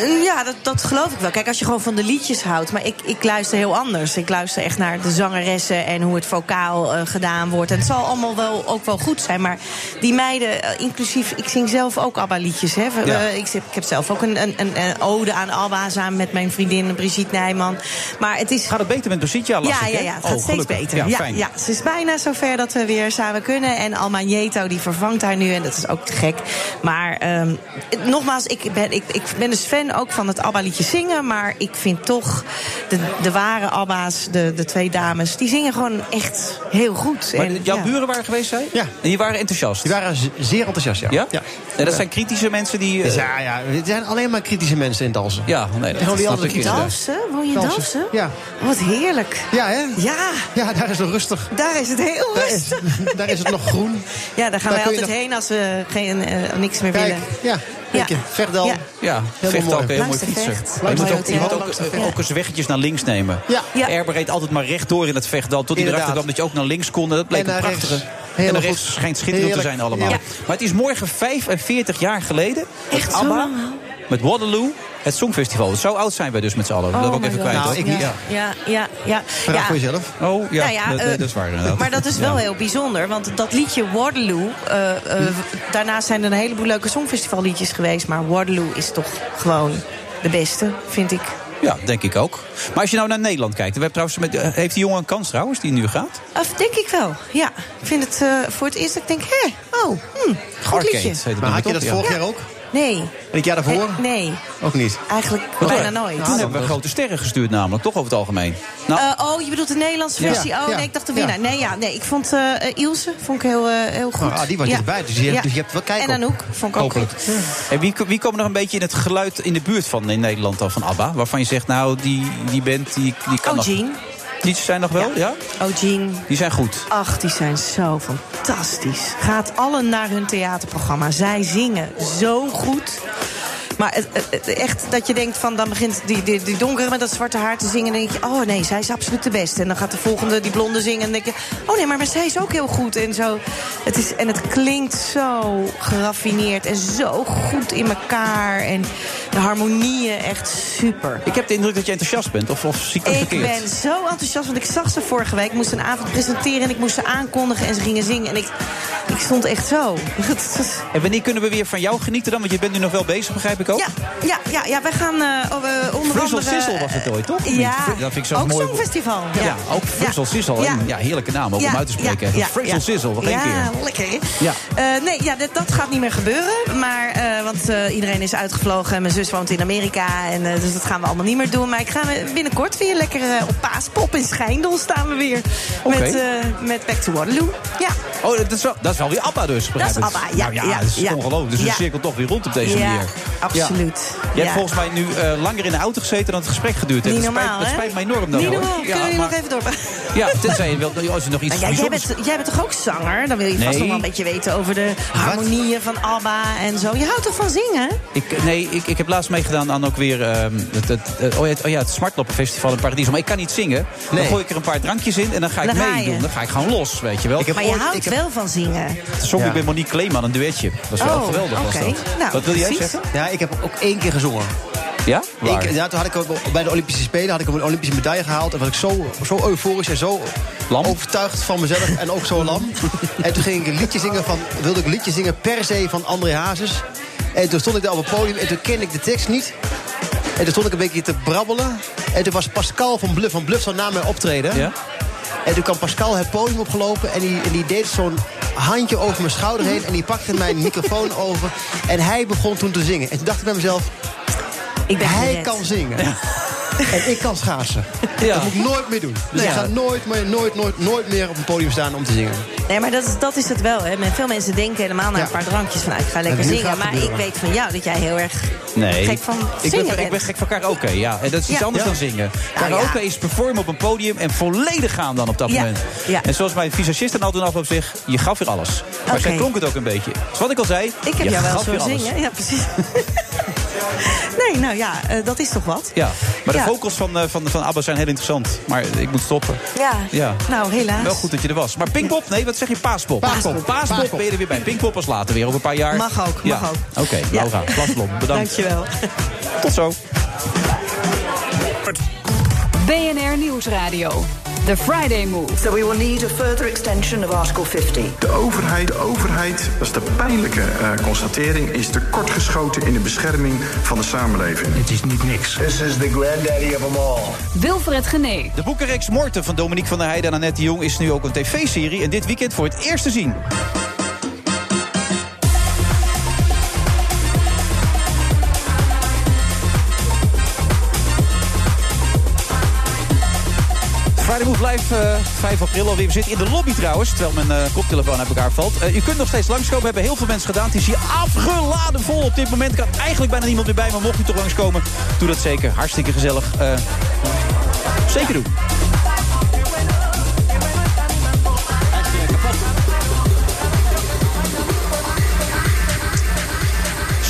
Eh, Ja, dat, dat geloof ik wel. Kijk, als je gewoon van de liedjes houdt. Maar ik, ik luister heel anders. Ik luister echt naar de zangeressen en hoe het vocaal eh, gedaan wordt. En het zal allemaal wel, ook wel goed zijn. Maar die meiden, eh, inclusief, ik zing zelf ook ABBA-liedjes. Hè. We- Ja. we- ik, zit- ik heb zelf ook een, een, een, een ode aan ABBA samen met mijn vriendin Brigitte Nijman. Maar het is... Gaat het beter met Brigitte? Ja, ja, lastig, ja, hè? ja, het Oh, gaat steeds gelukkig. beter. Ja, Ja, ja, fijn. ze is bijna zover dat we weer samen kunnen. En Alma Nieto die vervangt haar nu en dat is ook te gek. Maar ehm, het- nogmaals, ik ben, ik, ik ben dus fan ook van het ABBA-liedje zingen. Maar ik vind toch de, de ware ABBA's, de, de twee dames... die zingen gewoon echt heel goed. Maar En, jouw ja. buren waren geweest, zij? Ja. En die waren enthousiast? Die waren zeer enthousiast, ja. Ja? Ja. En dat Ja. zijn kritische mensen die... eh, Ja, ja, het zijn alleen maar kritische mensen in Dalsen. Ja, nee, dat Gewoon die andere snap ik kritische- inderdaad. Dalfsen? Woon je in Dalfsen. Dalfsen? Ja. Wat heerlijk. Ja, hè? Ja. Ja, daar is het rustig. Daar is het heel rustig. Daar is het nog groen. Ja, daar gaan Daar wij kun je altijd heen als we geen, eh, niks meer Kijk, willen. ja, kijk eh, je, Vechtdal. Ja. Ja, Heel vecht mooi. ook heel mooi Langs de fietsen. vecht. Maar Je Langs moet de ook, je hotel, moet ook, langs de eh, vecht. ook eens weggetjes naar links nemen. Ja. ja. Erber reed altijd maar rechtdoor in het vechtdal. Tot hij erachter Inderdaad. kwam dat je ook naar links kon. En Dat bleek En een naar prachtige. rechts. En Heel de goed. rest schijnt schitterend te Heerlijk. zijn allemaal. Ja. Maar het is morgen 45 jaar geleden. dat Echt zo ABBA lang al? Met Waterloo. Het Songfestival. Zo oud zijn wij dus met z'n allen. dat Oh wil ik ook my even God. kwijt. Nou, hoor. Ja, Ja, ja, ja. ja. Oh ja, Nou ja, dat, nee, eh, dat is waar inderdaad. Maar dat is wel Ja. heel bijzonder, want dat liedje Waterloo... eh, eh, Hm. daarnaast zijn er een heleboel leuke songfestivalliedjes geweest... maar Waterloo is toch gewoon de beste, vind ik. Ja, denk ik ook. Maar als je nou naar Nederland kijkt. We hebben trouwens met, eh, heeft die jongen een kans trouwens die nu gaat? Of denk ik wel, ja. Ik vind het eh, voor het eerst dat ik denk, hé, oh, hm, goed Arcade liedje. heet het Maar nummer had je toch? dat Ja. vorig jaar ook? Nee. Eh, En het jaar daarvoor? Nee. Ook niet. Eigenlijk Wat bijna doen we? nooit. Toen hebben we grote sterren gestuurd namelijk, toch over het algemeen. Nou, Eh, oh, je bedoelt de Nederlandse Ja. versie? Oh, Ja. nee, ik dacht de Ja. winnaar. Nee, ja, nee, ik vond eh, eh, Ilse vond ik heel, eh, heel goed. Ah, die was ja. erbij, dus je hebt- dus je hebt wel kijk En op. Anouk vond ik ook hopelijk. goed. En wie, wie komen nog een beetje in het geluid in de buurt van in Nederland dan van ABBA? Waarvan je zegt, nou, die, die band, die, die kan Ogeen. nog... Die zijn nog wel, ja? Ogeen. Die zijn goed. Ach, die zijn zo fantastisch. Gaat allen naar hun theaterprogramma. Zij zingen zo goed. Maar het, het- het- echt dat je denkt van dan begint die, die, die donkere met dat zwarte haar te zingen. En dan denk je, oh nee, zij is absoluut de beste. En dan gaat de volgende, die blonde, zingen. En dan denk je, oh nee, maar, maar zij is ook heel goed. En, zo. Het is, en het klinkt zo geraffineerd en zo goed in elkaar. En de harmonieën echt super. Ik heb de indruk dat je enthousiast bent, of, of zie ik het Ik verkeerd? ben zo enthousiast, want ik zag ze vorige week. Ik moest een avond presenteren en ik moest ze aankondigen en ze gingen zingen. En ik, ik stond echt zo. En wanneer kunnen we weer van jou genieten dan? Want je bent nu nog wel bezig, begrijp ik ook. Ja, Ja, ja, ja wij gaan eh, oh, eh, onder Frizzle andere... Sissel was het ooit, toch? Of niet? Ja, dat vind ik zo'n ook mooi woord. Songfestival. Ja, ook Frizzle Sissel. Ja. Ja. ja, heerlijke naam ook om uit te spreken. Ja, Frizzle Sissel, wat één ja, keer. lekker. hè? Ja. Eh, nee, ja, dat, dat gaat niet meer gebeuren. Maar, eh, want eh, iedereen is uitgevlogen. en Mijn zus woont in Amerika. En, eh, dus dat gaan we allemaal niet meer doen. Maar ik ga me- binnenkort weer lekker eh, op Paaspop in Schijndel staan we weer. Oké. Met, eh, met Back to Waterloo. Ja. Oh, dat is, wel, dat is wel weer ABBA dus, begrijp Dat is ik. ABBA, ja, Nou ja, ja, dat is ja. ongelooflijk. Dus de Ja. cirkel toch weer rond op deze Ja, manier. absoluut. Je hebt Ja. volgens mij nu eh, langer in de auto gezeten dan het gesprek geduurd heeft. Niet Dat spijt- normaal, Dat hè? spijt mij enorm. dan, Niet hoor. normaal. Kun je maar- nog even door? Ja, tenzij je wilt, als je nog iets Nou, jij, jij, bijzonders- bent, jij bent toch ook zanger? Dan wil je vast Nee. nog wel een beetje weten over de harmonieën van ABBA en zo. Je houdt toch van zingen? Ik, nee, ik, ik heb laatst meegedaan aan ook weer ehm, het, het, het- oh ja, het, oh ja, het Smartloppenfestival in Paradiso. Maar ik kan niet zingen. Dan Nee. gooi ik er een paar drankjes in en dan ga ik Dan ga je. meedoen. Dan ga ik gewoon los, weet je wel. maar je houdt wel van zingen. Zong ik bij Monique Kleeman, een duetje. Dat was wel Oh, geweldig. was oké. dat. Nou, Wat wil jij precies. zeggen? Ja, ik heb ook één keer gezongen. Ja? Waar? Ik, ja, toen had ik ook bij de Olympische Spelen had ik een Olympische medaille gehaald. En was ik zo, zo euforisch en zo overtuigd van mezelf en ook zo lam. en toen ging ik een liedje zingen van, wilde ik een liedje zingen per se van André Hazes. En toen stond ik daar op het podium en toen kende ik de tekst niet. En toen stond ik een beetje te brabbelen. En toen was Pascal van Bluff van Bluff zo na mijn optreden. En toen kwam Pascal het podium opgelopen en die, en die deed zo'n handje over mijn schouder heen. En die pakte mijn microfoon over. En hij begon toen te zingen. En toen dacht ik bij mezelf, ik ben hij gered. kan zingen. En ik kan schaatsen. Dat moet ik nooit meer doen. Dus Nee. ik ga Ja. nooit, meer, nooit, nooit, nooit meer op een podium staan om te zingen. Nee, maar dat is, dat is het wel. Hè. Men- Veel mensen denken helemaal na een paar drankjes van... nou, ik ga lekker En nu zingen. gaat het Maar ik gebeuren. weet van jou dat jij heel erg Nee. gek van ik, zingen ben, ik bent. ben gek van karaoke, ja. En dat is iets Ja. anders Ja. dan zingen. Nou, karaoke ja. is performen op een podium en volledig gaan dan op dat Ja. moment. Ja. En zoals mijn visagist dan al toen afloop zegt, je gaf weer alles. Maar Oké. zij klonk het ook een beetje. Dus wat ik al zei, Ik heb je jou wel gaf weer zo alles. zingen. Ja, precies. nee, nou ja, eh, dat is toch wat? Ja, maar de Ja. vocals van, eh, van, van ABBA zijn heel interessant. Maar ik moet stoppen. Ja. Ja. Nou, helaas. Wel goed dat je er was. Maar Pinkpop, nee, wat zeg je? Paaspop. Paaspop. Paaspop, Paaspop. ben je er weer bij. Pinkpop was later weer, over een paar jaar. Mag ook, mag ja. ook. Oké, Laura, Glasblom, bedankt. Dankjewel. Tot zo. BNR Nieuwsradio. The Friday Move. So we will need a further extension of Article 50. De overheid, de overheid, dat is de pijnlijke eh, constatering, is tekortgeschoten in de bescherming van de samenleving. Het is niet niks. This is the granddaddy of them all. Wilfred Genee. De boekenreeks Morten van Dominique van der Heijden en Annette de Jong... is nu ook een tv-serie en dit weekend voor het eerst te zien. Friday Move Live, eh, 5 april alweer. We zitten in de lobby trouwens, terwijl mijn eh, koptelefoon uit elkaar valt. Eh, u kunt nog steeds langskomen, hebben heel veel mensen gedaan. Het is hier afgeladen vol op dit moment. Er kan eigenlijk bijna niemand meer bij, maar mocht u toch langskomen... doe dat zeker, hartstikke gezellig. Eh, zeker doen.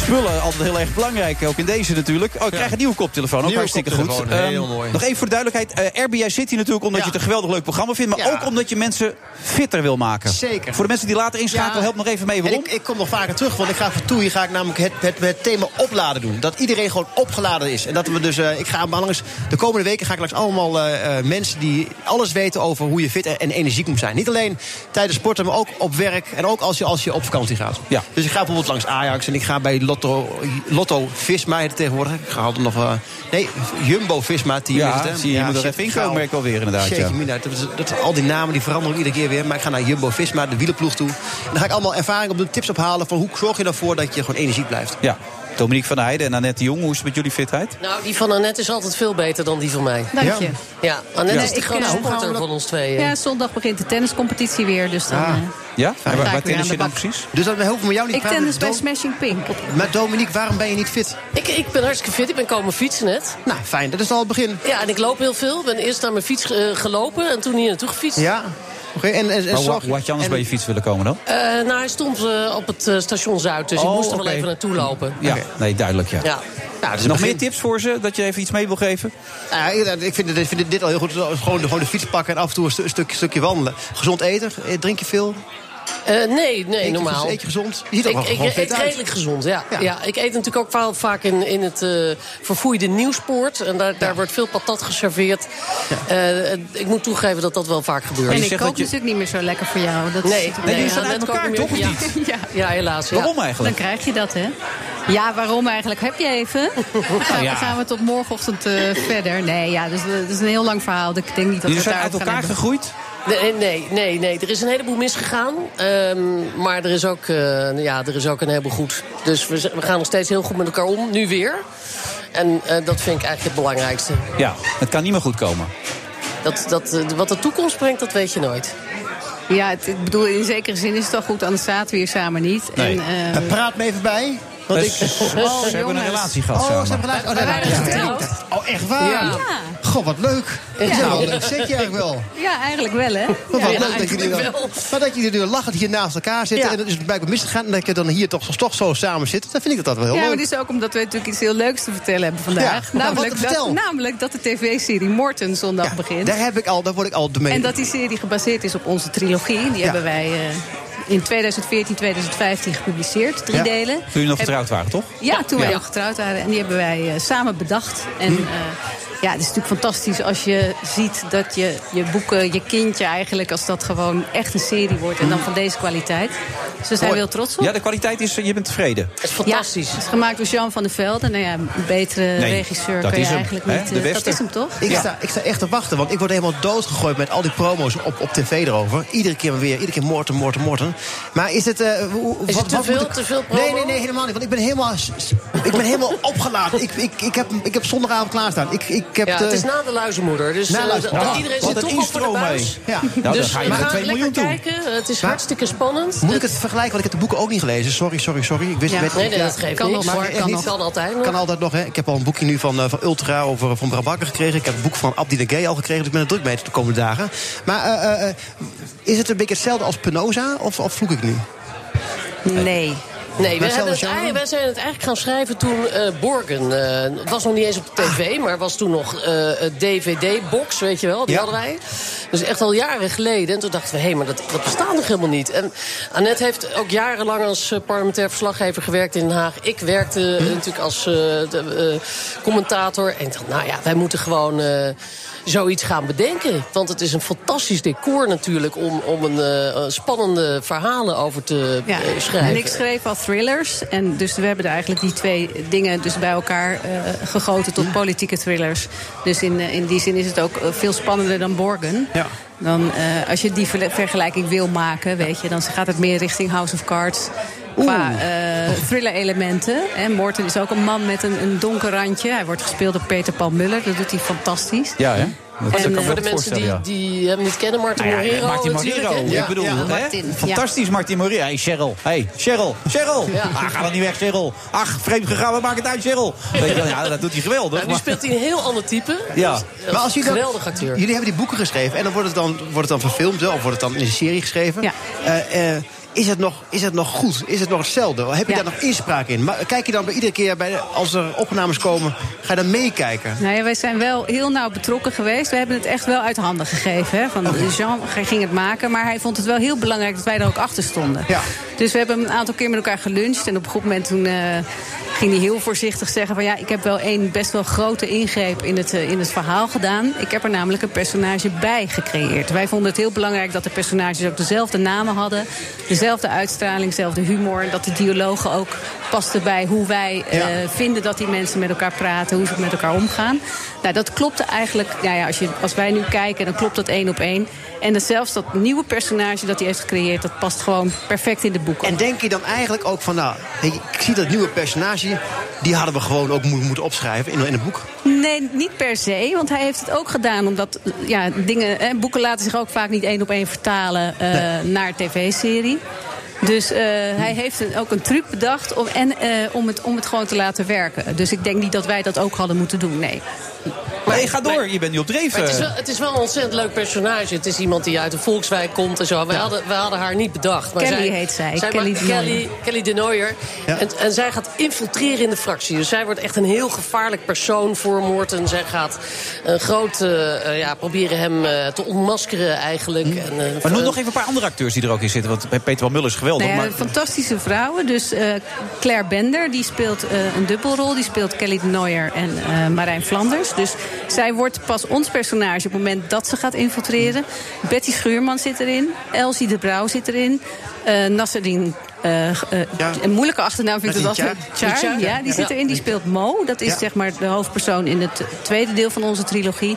Spullen, altijd heel erg belangrijk, ook in deze natuurlijk. Oh, ik krijg een nieuwe koptelefoon, ook Nieuwe hartstikke goed. koptelefoon, heel Ehm, mooi. nog even voor de duidelijkheid. eh, RB, jij zit hier natuurlijk omdat je het een geweldig leuk programma vindt... maar Ja. ook omdat je mensen fitter wil maken. Zeker. Voor de mensen die later inschakelen, Ja. help nog even mee En waarom. ik, ik kom nog vaker terug, want ik ga voor toe. Hier ga ik namelijk het, het, het thema opladen doen. Dat iedereen gewoon opgeladen is. En dat we dus, eh, ik ga maar langs, de komende weken ga ik langs allemaal eh, eh, mensen die alles weten over hoe je fit en, en energiek moet zijn. Niet alleen tijdens sporten, maar ook op werk. En ook als je, als je op vakantie gaat. Dus ik ga bijvoorbeeld langs Ajax en ik ga bij Lot Lotto, Lotto Visma heet het tegenwoordig. Ik had hem nog... eh, nee, Jumbo Visma team Ja, is het, hè? zie je, je moet er even in komen, merk ik alweer, inderdaad, ja. Jeetje, mina, dat, is- dat, al die namen die veranderen ook iedere keer weer. Maar ik ga naar Jumbo Visma, de wielenploeg toe. En dan ga ik allemaal ervaring op doen, tips ophalen... van hoe zorg je ervoor dat je gewoon energiek blijft. Ja, Dominique van der Heijden en Annette de Jong, hoe is het met jullie fitheid? Nou, die van Annette is altijd veel beter dan die van mij. Dank je. Ja, Annette Ja. is de Ik, grootste eh, sporter hou- van ons tweeën. Ah. Ja, zondag begint de tenniscompetitie weer. Dus dan, eh, Ja? ga ik En waar, weer waar aan tennis de je dan bak. precies? Dus dat hoeven we jou niet ik praten. tennis bij Do- Smashing Pink. Maar Dominique, waarom ben je niet fit? Ik, ik ben hartstikke fit. Ik ben komen fietsen net. Nou, fijn. Dat is al het begin. Ja, en ik loop heel veel. Ik ben eerst naar mijn fiets eh, gelopen en toen hier naartoe gefietst. Ja. Oké, en, en, en Maar zorg- wat, wat je anders en- bij je fiets willen komen dan? Eh, nou, hij stond eh, op het eh, station Zuid, dus ik Oh, moest er wel oké. even naartoe lopen. Ja, nee, duidelijk ja. Ja. dat is Nog een begin. meer tips voor ze, dat je even iets mee wil geven? Ja, ik- ik vind, het- ik vind het dit al heel goed. Gewoon, de- gewoon de fiets pakken en af en toe een stu- stuk, stukje wandelen. Gezond eten, eh, drink je veel? Eh, nee, nee, Eet je normaal. gez- eet je gezond? Je ziet er ik, wel ik, gewoon ik fit eet uit. redelijk gezond, ja. Ja. ja. ik eet natuurlijk ook vaal- vaak in, in het eh, vervoeide nieuwspoort. En daar, daar wordt veel patat geserveerd. Eh, ik moet toegeven dat dat wel vaak gebeurt. En ik kook natuurlijk niet meer zo lekker voor jou. Dat Nee, is, nee, ja, ja, dat dat kan ik kook niet ik meer. niet. Ja. Ja, helaas. Ja. Dan krijg je dat, hè? Ja, waarom eigenlijk? Heb je even? Gaan, ja. gaan we tot morgenochtend eh, verder? Nee, ja, dus, eh, dat is een heel lang verhaal. Ik denk niet dat we Jullie het zijn daarover uit gaan elkaar hebben. Gegroeid? Nee, nee, nee, nee. Er is een heleboel misgegaan. Ehm, maar er is, ook, eh, ja, er is ook een heleboel goed. Dus we, z- we gaan nog steeds heel goed met elkaar om. Nu weer. En eh, dat vind ik eigenlijk het belangrijkste. Ja, het kan niet meer goed komen. Dat, dat, eh, wat de toekomst brengt, dat weet je nooit. Ja, het, ik bedoel, in zekere zin is het wel goed, anders zaten we hier samen niet. Nee. En, Eh, praat me even bij. Want ik... Dus ze hebben een relatie gehad Oh, samen. ze hebben relatie. Oh, We nee, waren ja. getrouwd. Oh, echt waar? Ja. Goh, wat leuk. Dat is Ja. wel een leuk setje eigenlijk wel. Ja, eigenlijk wel, hè? Maar wat Ja, leuk dat jullie dan, maar dat jullie dan lachend hier naast elkaar zitten... en dat is blijkbaar misgegaan... en dat je dan hier toch, toch zo samen zit... dan vind ik dat wel heel Ja, leuk. maar dit is ook omdat we natuurlijk iets heel leuks te vertellen hebben vandaag. Ja, nou, namelijk, wat- dat, vertel. namelijk dat de tv-serie Morten zondag begint. Daar, heb ik al, daar word ik al de mee. En dat die serie gebaseerd is op onze trilogie. Die hebben wij eh, in 2014, 2015 gepubliceerd. Drie Ja. delen. Toen jullie nog Heb- getrouwd waren, toch? Ja, toen wij Ja. Hm. nog getrouwd waren. En die hebben wij eh, samen bedacht. En eh, ja, het is natuurlijk fantastisch als je ziet dat je, je boeken, je kindje eigenlijk... als dat gewoon echt een serie wordt. Hm. En dan van deze kwaliteit. Dus daar zijn we heel trots op. Ja, de kwaliteit is, eh, je bent tevreden. is fantastisch. het is gemaakt door Jean van der Velde. Nou ja, een betere Nee, regisseur dat kun je is hem, eigenlijk hè? De niet... eh, dat beste. is hem toch? Ik, sta, ik sta echt te wachten, want ik word helemaal doodgegooid met al die promo's op, op tv erover. Iedere keer maar weer, iedere keer Morten, Morten, Morten. Maar is het... eh, hoe- Is wat, het te wat veel- moet ik- te veel promo? Nee, nee, nee, helemaal niet. Want ik ben helemaal, s- s- ik ben helemaal opgeladen. Ik, ik, ik, heb, ik heb zondagavond klaarstaan. Ik, ik heb Ja, de- het is na de luizenmoeder. Dus Na eh, luizenmoeder. Ah, dat iedereen wat zit een toch op voor de intro buis. mee. Ja. Nou, dan dus ga je we naar gaan 2 lekker miljoen toe. kijken. Het is Maar- hartstikke spannend. Moet ik het vergelijken? Want ik heb de boeken ook niet gelezen. Sorry, sorry, sorry. Ik wist Ja. het Nee, nee, dat geeft Kan niks. nog, Maakt hoor. echt Kan niet. nog. Kan altijd nog. Kan altijd nog, hè. Ik heb al een boekje nu van, eh, van Ultra over eh, van Brabakker gekregen. Ik heb het boek van Abdi de Gay al gekregen. Dus ik ben er druk mee de komende dagen. Maar eh, eh, eh, is het een beetje hetzelfde als Penosa? Of, of vloek ik nu? Nee. Nee, wij, Met hebben het, hetzelfde ei- genre? wij zijn het eigenlijk gaan schrijven toen eh Borgen. eh, Het was nog niet eens op de tv, maar was toen nog eh DVD-box, weet je wel. Die Ja. hadden wij. Dus echt al jaren geleden. En toen dachten we, hé, maar dat, dat bestaat nog helemaal niet. En Annette heeft ook jarenlang als eh, parlementair verslaggever gewerkt in Den Haag. Ik werkte eh, natuurlijk als eh, de, eh, commentator. En ik dacht, nou ja, wij moeten gewoon... eh, Zoiets gaan bedenken. Want het is een fantastisch decor natuurlijk om, om een eh, spannende verhalen over te Ja, eh, schrijven. en ik schreef al thrillers. En dus we hebben er eigenlijk die twee dingen dus bij elkaar eh, gegoten Hm. tot politieke thrillers. Dus in, eh, in die zin is het ook eh, veel spannender dan Borgen. Ja. Dan, eh, als je die verle- vergelijking wil maken, weet je, dan gaat het meer richting House of Cards. Qua eh, thriller-elementen. En Morten is ook een man met een, een donker randje. Hij wordt gespeeld door Peter Paul Muller. Dat doet hij fantastisch. Ja, hè? En, En eh, voor de mensen die, die eh, hem niet kennen, Martin Nou ja, Morero. Martin natuurlijk, Morero. hè? Ik bedoel, hè? Martin, fantastisch Martin Morero. Hey, Cheryl. Hey, Cheryl. Cheryl. Ah, ga dan niet weg, Cheryl. Ach, vreemd gegaan, we maken het uit, Cheryl. Weet je wel, ja, dat doet hij geweldig. Ja, nu maar- speelt hij een heel ander type. Ja. Dat is een dan- geweldig acteur. Jullie hebben die boeken geschreven en dan wordt het dan, wordt het dan verfilmd hè, of wordt het dan in een serie geschreven. Eh, eh, is, het nog, is het nog goed? Is het nog hetzelfde? Heb je daar nog inspraak in? Maar kijk je dan bij iedere keer bij de- als er opnames komen, ga je dan meekijken? Nou ja, wij zijn wel heel nauw betrokken geweest. We hebben het echt wel uit handen gegeven. Hè? Van Jean ging het maken, maar hij vond het wel heel belangrijk dat wij er ook achter stonden. Dus we hebben een aantal keer met elkaar geluncht. En op een goed moment toen eh, ging hij heel voorzichtig zeggen van ja, ik heb wel één best wel grote ingreep in het, eh, in het verhaal gedaan. Ik heb er namelijk een personage bij gecreëerd. Wij vonden het heel belangrijk dat de personages ook dezelfde namen hadden, dezelfde uitstraling, dezelfde humor. En dat de dialogen ook pasten bij hoe wij eh, vinden dat die mensen met elkaar praten, hoe ze met elkaar omgaan. Nou, dat klopte eigenlijk, nou ja, als, je, als wij nu kijken, dan klopt dat één op één. En dat zelfs dat nieuwe personage dat hij heeft gecreëerd, dat past gewoon perfect in de boeken. En denk je dan eigenlijk ook van, nou, ik ik zie dat nieuwe personage, die hadden we gewoon ook mo- moeten opschrijven in, in een boek. Nee, niet per se. Want hij heeft het ook gedaan omdat ja, dingen, hè, boeken laten zich ook vaak niet één op één vertalen eh, naar tv-serie. Dus eh, hij heeft een- ook een truc bedacht om, en, eh, om, het, om het gewoon te laten werken. Dus ik denk niet dat wij dat ook hadden moeten doen, nee. nee, ga door. je bent niet op dreef. Maar het, is eh. wel, het is wel een ontzettend leuk personage. Het is iemand die uit de Volkswijk komt en zo. We, hadden, we hadden haar niet bedacht. Maar Kelly zij, heet zij, zij Kelly maakt- de Nooijer. Kelly, Kelly de Nooijer. En, en zij gaat infiltreren in de fractie. Dus zij wordt echt een heel gevaarlijk persoon voor Morten. Zij gaat een groot, eh, eh, ja, proberen hem eh, te ontmaskeren eigenlijk. En, eh, Hm. Maar noem eh, nog even een paar andere acteurs die er ook in zitten. Want Peter van Muller is geweldig. Nou ja, maar... Fantastische vrouwen. Dus eh, Claire Bender, die speelt eh, een dubbelrol. Die speelt Kelly de Nooijer en eh, Marijn Vlanders. Dus zij wordt pas ons personage op het moment dat ze gaat infiltreren. Betty Schuurman zit erin. Elsie de Brouw zit erin. eh Nasserin... eh, eh, Een moeilijke achternaam vind ik dat Nasrin altijd. Tjaar. Tjaar, Tjaar, ja, die ja. zit erin. Die speelt Mo. Dat is Ja. zeg maar de hoofdpersoon in het tweede deel van onze trilogie.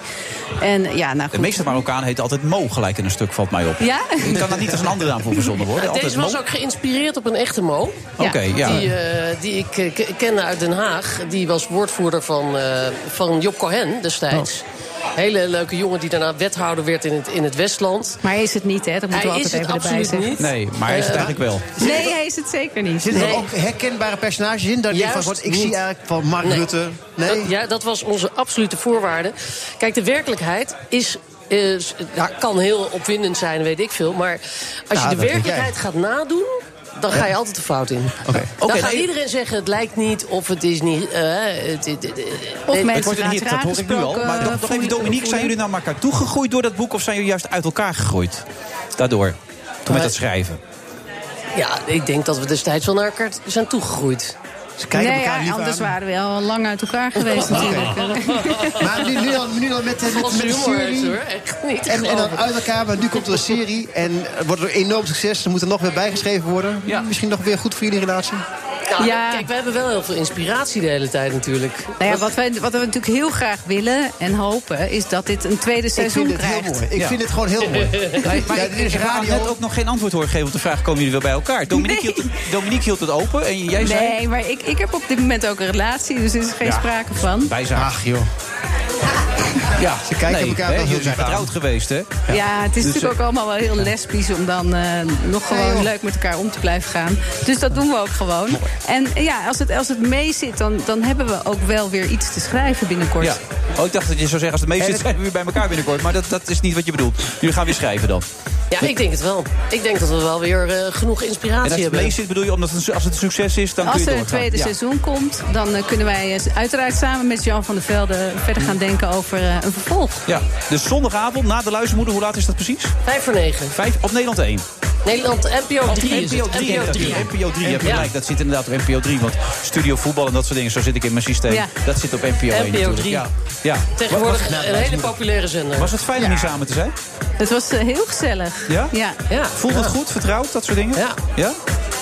En ja, nou De goed. meeste Marokkanen heten altijd Mo gelijk in een stuk, valt mij op. Ja? Ik kan daar niet als een andere naam voor verzonnen worden. Altijd Deze was Mo. ook geïnspireerd op een echte Mo. Oké, ja. Die, eh, die ik eh, k- kende uit Den Haag. Die was woordvoerder van, eh, van Job Cohen destijds. Oh. Hele leuke jongen die daarna wethouder werd in het, in het Westland. Maar hij is het niet, hè? Dat moeten Hij we is altijd het even erbij absoluut zeggen. niet. Nee, maar hij is het Eh, eigenlijk wel. Nee, hij is het zeker niet. Zitten er Nee. ook herkenbare personages in? Dat je Juist van, wat, ik niet. zie eigenlijk van Mark Nee. Rutte. Dat, ja, dat was onze absolute voorwaarde. Kijk, de werkelijkheid is. is ja, kan heel opwindend zijn, weet ik veel. Maar als Ja, dat je de weet werkelijkheid jij. gaat nadoen. Dan ga je altijd de fout in. Dan Oké, gaat nee. iedereen zeggen: het lijkt niet of het is niet. eh, het, het- het- Het het- wordt een hit, dat hoor ik nu al. eh, Maar nog- eh, nog even, Dominique, zijn jullie naar elkaar toegegroeid door dat boek... of zijn jullie juist uit elkaar gegroeid? Daardoor, toen Eh, met dat schrijven. Ja, ik denk dat we destijds wel naar elkaar zijn toegegroeid. Ze nee, ja, anders waren we al lang uit elkaar geweest natuurlijk. Oh, Maar nu, nu, al, nu al met, de- met, met de Volgens humor jury. is hoor, echt niet te en, en dan geloven. uit elkaar, maar nu komt er een serie. En het wordt een enorm succes. Er moet er nog weer bijgeschreven worden. Misschien nog weer goed voor jullie relatie. Ja, oh, nou, Kijk, we hebben wel heel veel inspiratie de hele tijd natuurlijk. Nou ja, wat, wij, wat we natuurlijk heel graag willen en hopen... is dat dit een tweede seizoen dit heel krijgt. mooi. Ik vind het gewoon heel mooi. Maar, maar Ja, ik, dit is ik heb radio. net ook nog geen antwoord horen geven op de vraag... komen jullie wel bij elkaar? Dominique, hield, het, Dominique hield het open en jij zei... Nee, maar ik, ik heb op dit moment ook een relatie, dus er is geen Ja. sprake van. Wij zijn... Ach, joh. Ja, ze kijken elkaar wel heel Jullie zijn raar aan. getrouwd geweest, hè? Ja, het is Dus, natuurlijk eh, ook allemaal wel heel lesbisch om dan eh, nog gewoon leuk met elkaar om te blijven gaan. Dus dat doen we ook gewoon. En eh, ja, als het, als het mee zit, dan, dan hebben we ook wel weer iets te schrijven binnenkort. Ja. Oh, ik dacht dat je zou zeggen, als het mee En zit, het- zijn we weer bij elkaar binnenkort. Maar dat, dat is niet wat je bedoelt. Jullie gaan weer schrijven dan. Ja, ik denk het wel. Ik denk dat we wel weer eh, genoeg inspiratie En als het hebben. mee zit, bedoel je, omdat het, een su- als het een succes is, dan kun Als je er doorgaan. een tweede Ja. seizoen komt, dan eh, kunnen wij eh, uiteraard samen met Jan van der Velde verder gaan denken over eh, een vervolg. Ja, dus zondagavond na de luistermoeder, hoe laat is dat precies? Vijf voor negen. Vijf op Nederland 1. Nederland, NPO 3 is het. NPO 3. NPO 3. NPO 3, je hebt Ja. gelijk, dat zit inderdaad op NPO 3. Want studio voetbal en dat soort dingen, zo zit ik in mijn systeem. Ja. Dat zit op NPO 1 NPO3. natuurlijk. Ja. ja. Tegenwoordig Was- was- een hele populaire zender. Was het fijn om hier samen te zijn? Het was eh, heel gezellig. Ja? Ja. Voelt het goed, vertrouwd, dat soort dingen? Ja. Ja?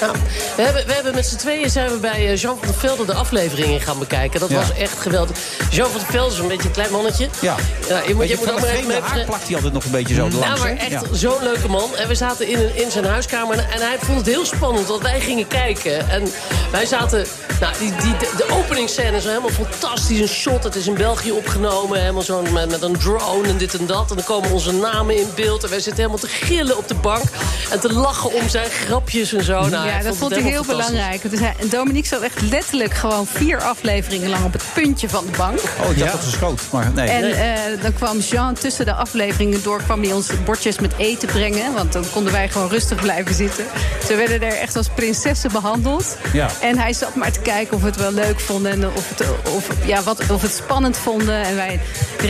Ja. Nou, We, hebben, we hebben met z'n tweeën zijn we bij eh, Jean van der Velde de afleveringen gaan bekijken. Dat Ja. was echt geweldig. Jean van der Velde is een beetje een klein mannetje. Ja. je moet, Weet je je, moet van ook dat maar even vreemde mee- haar plakt hij altijd nog een beetje zo Ja, langs. Nou, maar hè? echt Ja. zo'n leuke man. En we zaten in, in zijn huiskamer en hij vond het heel spannend dat wij gingen kijken. En wij zaten... Nou, die, die, de, de openingsscène is helemaal fantastisch. Een shot, het is in België opgenomen. Helemaal zo met, met een drone en dit en dat. En dan komen onze namen in beeld. En wij zitten helemaal te gillen op de bank. En te lachen om zijn grapjes en zo. Nou, ja, dat het vond ik heel helemaal fantastisch. belangrijk. Dus hij, en Dominique zat echt letterlijk gewoon vier afleveringen lang op het puntje van de bank. Oh, ik dacht dat ze schoot, maar nee. En eh, dan kwam Jean tussen de afleveringen door, kwam hij ons bordjes met eten brengen. Want dan konden wij gewoon rustig blijven zitten. Ze werden er echt als prinsessen behandeld. Ja. En hij zat maar te kijken of we het wel leuk vonden en of, het, of, ja, wat, of het spannend vonden. En wij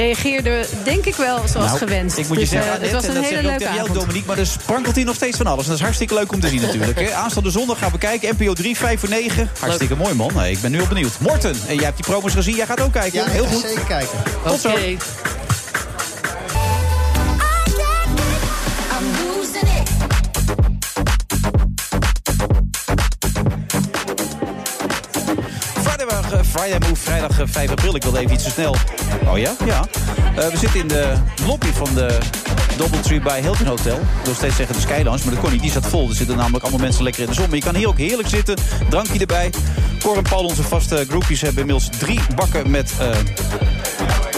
reageerden, denk ik wel, zoals Nou, gewenst. Ik moet je Dus, eh, zeggen, het Annette, was en een dat hele zeg ik ook leuke tegen jou, avond. Dominique, maar er sprankelt hier nog steeds van alles. En dat is hartstikke leuk om te zien natuurlijk. Hè. Aanstaande komende zondag gaan we kijken. NPO 3, 5 voor 9. Hartstikke mooi, man. Hey, ik ben nu al benieuwd. Morten, eh, jij hebt die promos gezien. Jij gaat ook kijken. Ja, ik Heel ga goed. zeker kijken. Tot zo. Oké. I'm losing it. Vrijdag, eh, Friday Move, vrijdag eh, 5 april. Ik wilde even iets te snel. Oh ja? Ja. Eh, we zitten in de lobby van de Doubletree bij Hilton Hotel. Ik wil steeds zeggen de Skylands, maar dat kon niet. Die zat vol. Er zitten namelijk allemaal mensen lekker in de zon. Maar je kan hier ook heerlijk zitten. Drankje erbij. Cor en Paul, onze vaste groepjes, hebben inmiddels drie bakken met... eh,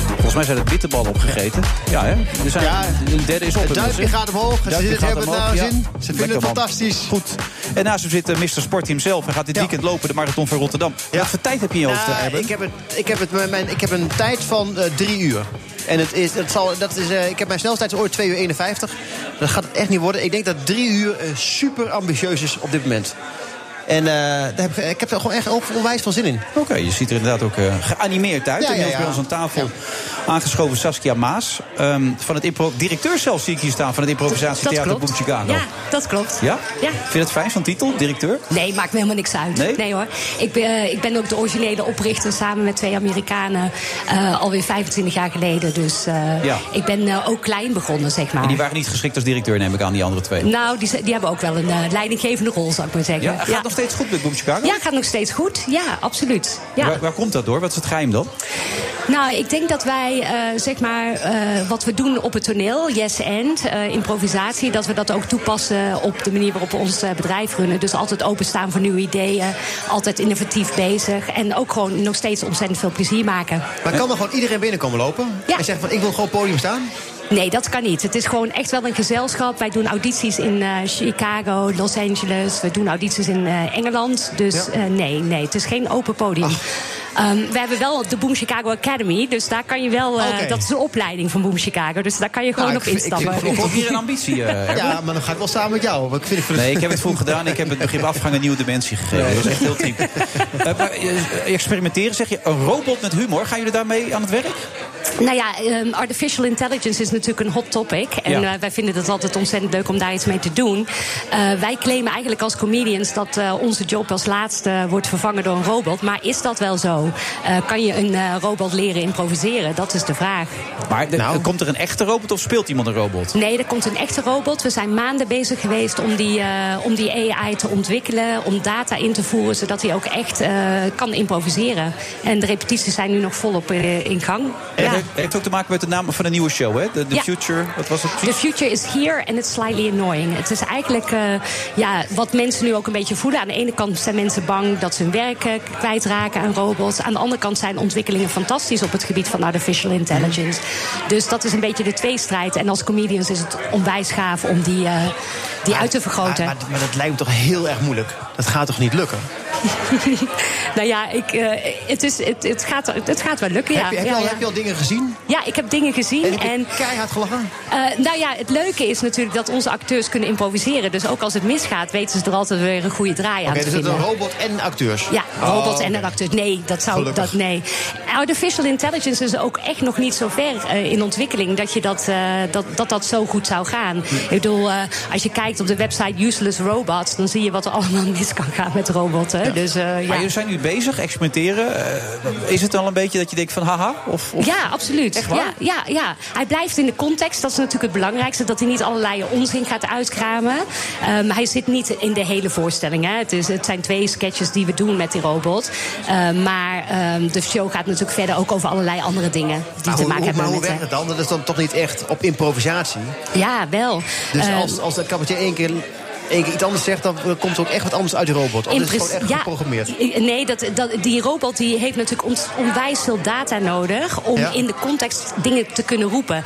Volgens mij zijn het bitterballen opgegeten. Ja, hè? Er zijn, Ja, een derde is op. het duimpje inmiddels, hè? gaat omhoog. Ze Duimpje zitten- gaat hebben het omhoog, nou ja. zin. Ze vinden Lekker, het man. fantastisch. Goed. En naast hem zit eh, Mr. Sportteam zelf. Hij gaat dit weekend lopen, de Marathon van Rotterdam. Wat voor tijd heb je in je hoofd, Nou, eh, Erben? ik, heb het, ik, heb het, met mijn, ik heb een tijd van eh, drie uur. En het is, het zal, dat is, eh, ik heb mijn snelheid ooit 2 uur 51. Dat gaat het echt niet worden. Ik denk dat drie uur eh, super ambitieus is op dit moment. En eh, daar heb ik, ik heb er gewoon echt onwijs veel zin in. Oké, je ziet er inderdaad ook eh, geanimeerd uit. Ja, en ja, inmiddels ja. bij ons aan tafel aangeschoven Saskia Maas. ehm, van het impro- directeur zelf zie ik hier staan van het improvisatietheater Boom Chicago. Ja, dat klopt. Ja? Ja. Vind je het fijn van titel, directeur? Nee, maakt me helemaal niks uit. Nee? hoor. Ik ben, eh, ik ben ook de originele oprichter samen met twee Amerikanen. eh, alweer 25 jaar geleden. Dus eh, Ja. ik ben eh, ook klein begonnen, zeg maar. En die waren niet geschikt als directeur, neem ik aan, die andere twee. Nou, die, z- die hebben ook wel een eh, leidinggevende rol, zou ik maar zeggen. Ja, gaat nog steeds goed met Boom Chicago? Ja, gaat nog steeds goed. Ja, absoluut. Ja. Waar, waar komt dat door? Wat is het geheim dan? Nou, ik denk dat wij, eh, zeg maar, eh, wat we doen op het toneel, yes and, eh, improvisatie, dat we dat ook toepassen op de manier waarop we ons eh, bedrijf runnen. Dus altijd openstaan voor nieuwe ideeën, altijd innovatief bezig en ook gewoon nog steeds ontzettend veel plezier maken. Maar kan er gewoon iedereen binnenkomen lopen? En zeggen van, ik wil gewoon op het podium staan? Nee, dat kan niet. Het is gewoon echt wel een gezelschap. Wij doen audities in eh, Chicago, Los Angeles. We doen audities in eh, Engeland. Dus eh, nee, nee, het is geen open podium. Ehm, we hebben wel de Boom Chicago Academy. Dus daar kan je wel... eh, Oké. Dat is een opleiding van Boom Chicago. Dus daar kan je gewoon Nou, op ik vind- ik instappen. vind- ik vind- Hier een ambitie, eh, Erben. ja, maar dan ga ik wel samen met jou. Want ik vind het Nee, ik heb het vroeg gedaan. Ik heb het begrip afgang een nieuwe dimensie gegeven. Dat is echt heel diep. Eh, maar, eh, experimenteren, zeg je. Een robot met humor. Gaan jullie daarmee aan het werk? Nou ja, ehm, artificial intelligence is natuurlijk een hot topic. En Ja. eh, wij vinden het altijd ontzettend leuk om daar iets mee te doen. Eh, wij claimen eigenlijk als comedians dat eh, onze job als laatste wordt vervangen door een robot. Maar is dat wel zo? Eh, kan je een eh, robot leren improviseren? Dat is de vraag. Maar de- Nou. komt er een echte robot of speelt iemand een robot? Nee, er komt een echte robot. We zijn maanden bezig geweest om die, eh, om die AI te ontwikkelen. Om data in te voeren, zodat hij ook echt eh, kan improviseren. En de repetities zijn nu nog volop eh, in gang. Het heeft- heeft ook te maken met de naam van een nieuwe show, hè? De, de Ja. Oh, Future, wat was het The precies? future is here and it's slightly annoying. Het is eigenlijk eh, ja, wat mensen nu ook een beetje voelen. Aan de ene kant zijn mensen bang dat ze hun werk eh, kwijtraken aan robots. Aan de andere kant zijn ontwikkelingen fantastisch op het gebied van artificial intelligence. Mhm. Dus dat is een beetje de tweestrijd. En als comedians is het onwijs gaaf om die, eh, die uit te vergroten. Maar dat lijkt me toch heel erg moeilijk. Dat gaat toch niet lukken? nou ja, ik, eh, het, is, het, het, gaat, het gaat wel lukken. heb, je, ja. heb, je Ja, al, ja. heb je al dingen gezien? Ja, ik heb dingen gezien. En keihard gelachen? nou ja, het leuke is natuurlijk dat onze acteurs kunnen improviseren. Dus ook als het misgaat, weten ze er altijd weer een goede draai Oké, aan te dus het is vinden. een robot en acteurs. Ja, Oh, robots en oké. een acteur. Nee, dat zou Gelukkig. dat nee. Artificial intelligence is ook echt nog niet zo ver eh, in ontwikkeling dat, je dat, eh, dat, dat dat zo goed zou gaan. Hm. Ik bedoel, eh, als je kijkt op de website Useless Robots, dan zie je wat er allemaal mis kan gaan met robotten. Dus, eh, ja. Maar jullie zijn nu bezig, experimenteren. Eh, is het dan een beetje dat je denkt van haha? Of, of... Ja, absoluut. Echt waar? Ja, ja, ja. Hij blijft in de context. Dat is natuurlijk het belangrijkste. Dat hij niet allerlei onzin gaat uitkramen. Ehm, hij zit niet in de hele voorstelling. Hè. Het, is, het zijn twee sketches die we doen met die robot. Ehm, maar ehm, de show gaat natuurlijk verder ook over allerlei andere dingen. Die Maar hoe, te maken hoe, hebben maar hoe met... eh, werkt het dan? Dat is dan toch niet echt op improvisatie? Ja, wel. Dus Ehm, als, als dat cabaretier één keer, één keer iets anders zegt... dan eh, komt er ook echt wat anders uit de robot. Of In is het gewoon principe- echt ja, geprogrammeerd? i- Nee, dat, dat, die robot die heeft natuurlijk ont- onwijs veel data nodig... om Ja. in de context dingen te kunnen roepen.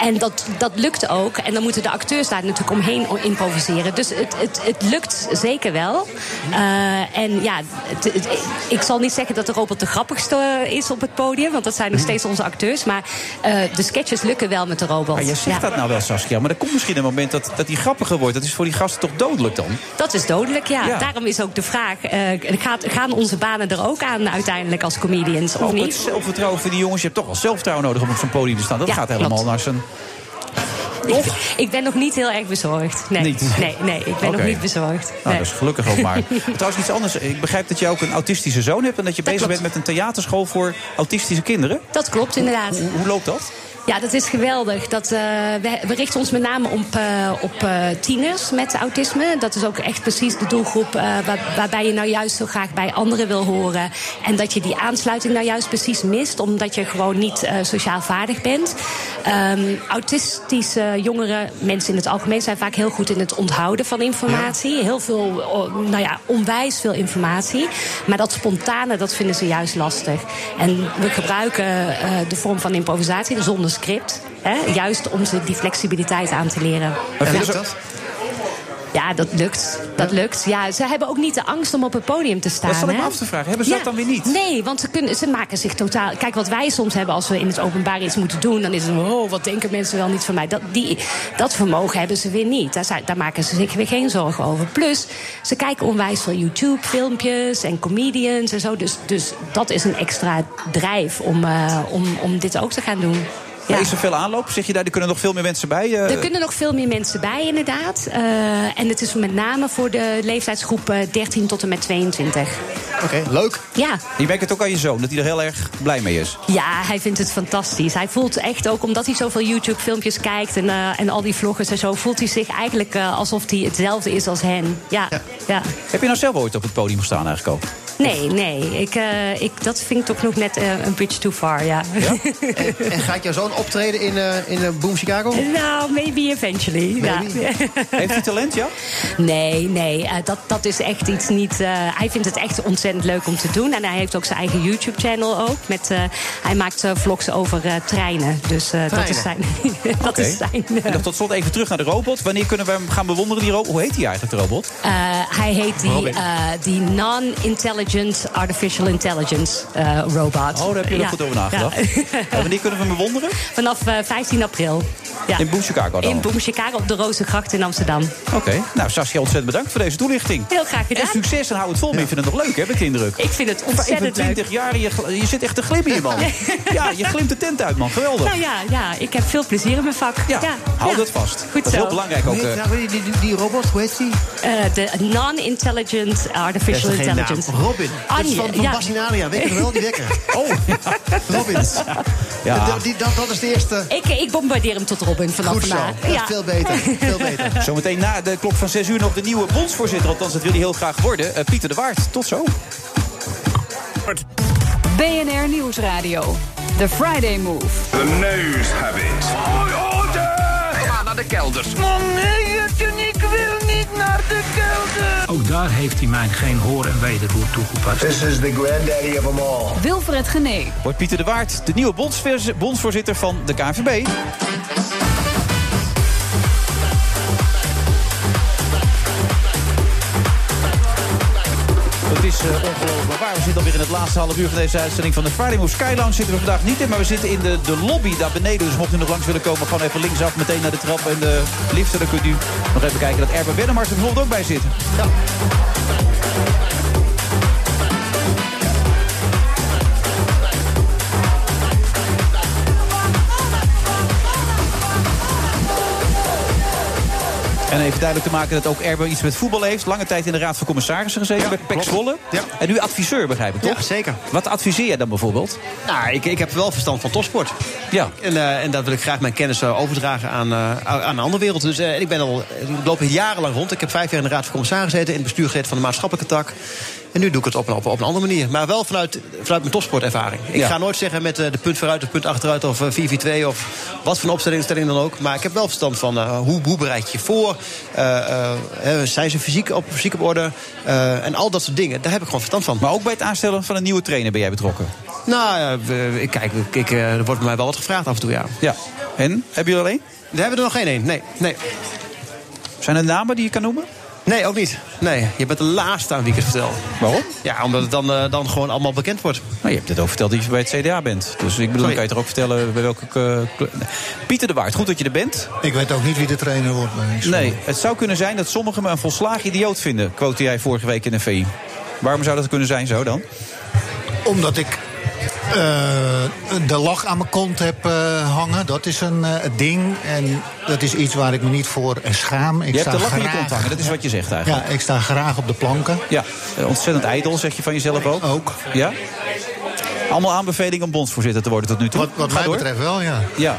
En dat, dat lukt ook. En dan moeten de acteurs daar natuurlijk omheen o- improviseren. Dus het, het, het lukt zeker wel. Eh, en ja, het- het- ik zal niet zeggen dat de robot de grappigste is op het podium... want dat zijn Mhm. nog steeds onze acteurs. Maar eh, de sketches lukken wel met de robot. Maar jij zegt Ja. dat nou wel, Saskia. Maar er komt misschien een moment dat, dat die grappiger wordt. Dat is voor die gasten toch dodelijk dan? Dat is dodelijk, ja. Ja. Daarom is ook de vraag: eh, gaat, gaan onze banen er ook aan uiteindelijk als comedians of Ook het niet? zelfvertrouwen van die jongens. Je hebt toch wel zelfvertrouwen nodig om op zo'n podium te staan. Dat Ja, gaat helemaal klopt. naar zijn... Ik, ik ben nog niet heel erg bezorgd. Nee, Niet? nee, nee ik ben Oké. nog niet bezorgd. Nou, Nee. dat is gelukkig ook maar. Trouwens, iets anders. Ik begrijp dat je ook een autistische zoon hebt... en dat je bezig bent met een theaterschool voor autistische kinderen. Dat klopt inderdaad. Hoe, hoe loopt dat? Ja, dat is geweldig. Dat, eh, we, we richten ons met name op, eh, op eh, tieners met autisme. Dat is ook echt precies de doelgroep eh, waar- waarbij je nou juist zo graag bij anderen wil horen. En dat je die aansluiting nou juist precies mist, omdat je gewoon niet eh, sociaal vaardig bent. Ehm, autistische jongeren, mensen in het algemeen, zijn vaak heel goed in het onthouden van informatie. Heel veel, oh, nou ja, onwijs veel informatie. Maar dat spontane, dat vinden ze juist lastig. En we gebruiken eh, de vorm van improvisatie zonder script. Hè, juist om ze die flexibiliteit aan te leren. Maar vinden ze- Ja, dat lukt. Dat lukt. Ja, ze hebben ook niet de angst om op het podium te staan. Dat zat ik me hè? af te vragen. Hebben ze Ja, dat dan weer niet? Nee, want ze, kunnen, ze maken zich totaal... Kijk, wat wij soms hebben als we in het openbaar iets moeten doen... dan is het, oh, wat denken mensen wel niet van mij. Dat, die, dat vermogen hebben ze weer niet. Daar, zijn- daar maken ze zich weer geen zorgen over. Plus, ze kijken onwijs veel YouTube-filmpjes en comedians en zo. Dus, dus dat is een extra drijf om, eh, om, om dit ook te gaan doen. Maar Is er veel aanloop? Zeg je daar, er kunnen nog veel meer mensen bij? eh? Er kunnen nog veel meer mensen bij, inderdaad. Eh, en het is met name voor de leeftijdsgroep eh, 13 tot en met 22. Oké, leuk. Ja. Je merkt het ook aan je zoon, dat hij er heel erg blij mee is. Ja, hij vindt het fantastisch. Hij voelt echt ook, omdat hij zoveel YouTube-filmpjes kijkt en, eh, en al die vloggers en zo, voelt hij zich eigenlijk eh, alsof hij hetzelfde is als hen. Ja, ja. Heb je nou zelf ooit op het podium gestaan eigenlijk ook? Nee, nee. Ik, eh, ik, dat vind ik toch nog net eh, een bridge too far, ja. En, en gaat jouw zoon optreden in, eh, in eh, Boom Chicago? Nou, maybe eventually. Ja. Heeft hij talent, ja? Nee, nee. eh, dat, dat is echt iets niet. eh, hij vindt het echt ontzettend leuk om te doen. En hij heeft ook zijn eigen YouTube-channel ook. Met, eh, hij maakt eh, vlogs over eh, treinen. Dus eh, dat is zijn. Treinen. dat Oké. is zijn eh, En dan tot slot even terug naar de robot. Wanneer kunnen we hem gaan bewonderen, die robot? Hoe heet hij eigenlijk, de robot? Eh, hij heet die, Robin. eh, die Non-Intelligent Artificial Intelligence eh, Robot. Oh, daar heb je er Ja, goed over nagedacht. En wanneer kunnen we hem bewonderen? ja. Vanaf eh, 15 april. Ja. In Boom Chicago dan? In Boom Chicago op de Rozengracht in Amsterdam. Oké. Nou, Saskia, ontzettend bedankt voor deze toelichting. Heel graag En gedaan. succes en hou het vol. Maar je vindt het nog leuk, heb ik de indruk. Ik vind het ontzettend leuk. 25 jaar, en je, gl- je zit echt te glimmen hier, man. Ja, je glimt de tent uit, man. Geweldig. Nou ja, ja, ik heb veel plezier in mijn vak. Ja, Hou ja. dat vast. Goed dat is zo. heel belangrijk ook. eh. die, robot, hoe heet die? de Non-Intelligent Artificial Dat is geen naam. Intelligence. Robin. Dat is van, van ja. Bassinalia. Weet je nog wel, die wekker. Oh. Robin. Ja. Dat, die- dat, dat is de eerste. Ik, eh, ik bombardeer hem tot Robin vanaf Goed zo. vandaag. Dat is veel beter. Veel beter. Zometeen na de klok van 6 uur nog de nieuwe bondsvoorzitter. Althans, dat wil hij heel graag worden. Eh, Pieter de Waard. Tot zo. BNR Nieuwsradio. The Friday Move. The nose habit. Ga naar de kelders. Man, nee, Jurgen, ik wil niet naar de kelder. Ook daar heeft hij mij geen hoor en wederhoor This toegepast. is the granddaddy of them all. Wilfred Genee. Wordt Pieter de Waard de nieuwe bondsvoorz- bondsvoorzitter van de KNVB. Het is eh, ongelooflijk waar. We zitten alweer in het laatste half uur van deze uitzending van de Friday Move Sky Lounge. Zitten we vandaag niet in, maar we zitten in de, de lobby daar beneden. Dus mocht u nog langs willen komen, gewoon even linksaf meteen naar de trap en de lift. En dan kunt u nog even kijken dat Erben Wennemars er bijvoorbeeld ook bij zit. En even duidelijk te maken dat ook Erben iets met voetbal heeft. Lange tijd in de Raad van Commissarissen gezeten bij PEC Zwolle. En nu adviseur, begrijp ik, toch? Ja, zeker. Wat adviseer jij dan bijvoorbeeld? Nou, ik, ik heb wel verstand van topsport. Ja. En, eh, en dat wil ik graag mijn kennis eh, overdragen aan, eh, aan een andere wereld. Dus eh, en ik ben al, ik loop hier jarenlang rond. Ik heb vijf jaar in de Raad van Commissarissen gezeten, in het bestuur gezeten van de maatschappelijke tak. En nu doe ik het op een, op, op een andere manier. Maar wel vanuit, vanuit mijn topsportervaring. Ik Ja. ga nooit zeggen met eh, de punt vooruit of punt achteruit of eh, 4-4-2 of wat voor een opstelling stelling dan ook. Maar ik heb wel verstand van eh, hoe, hoe bereid je je voor? Eh, eh, hè, zijn ze fysiek op, fysiek op orde? Eh, en al dat soort dingen. Daar heb ik gewoon verstand van. Maar ook bij het aanstellen van een nieuwe trainer ben jij betrokken? Nou, ja, we- ik kijk, ik- ik, eh, er wordt mij wel wat gevraagd af en toe, ja. Ja. En? Hebben jullie alleen? We hebben er nog geen één, nee. nee. Zijn er namen die je kan noemen? Nee, ook niet. Nee, je bent de laatste aan wie ik het vertel. Waarom? Ja, omdat het dan, eh, dan gewoon allemaal bekend wordt. Nou, je hebt net ook verteld dat je bij het CDA bent. Dus ik bedoel, dan kan je toch ook vertellen bij welke... eh, kle- Nee. Pieter de Waard, goed dat je er bent. Ik weet ook niet wie de trainer wordt. maar ik- Nee, het zou kunnen zijn dat sommigen me een volslagen idioot vinden... quote jij vorige week in de VI. Waarom zou dat kunnen zijn zo dan? Omdat ik eh, de lach aan mijn kont heb eh, hangen. Dat is een eh, ding. En dat is iets waar ik me niet voor eh, schaam. Ik je hebt sta de lach in je graag- kont hangen, dat is wat je zegt Ja, eigenlijk. ik sta graag op de planken. Ja, eh, ontzettend ijdel, zeg je van jezelf ook. Ook. Ja? Allemaal aanbevelingen om bondsvoorzitter te worden tot nu toe. Wat, wat Ga mij door. betreft wel, ja. Ja.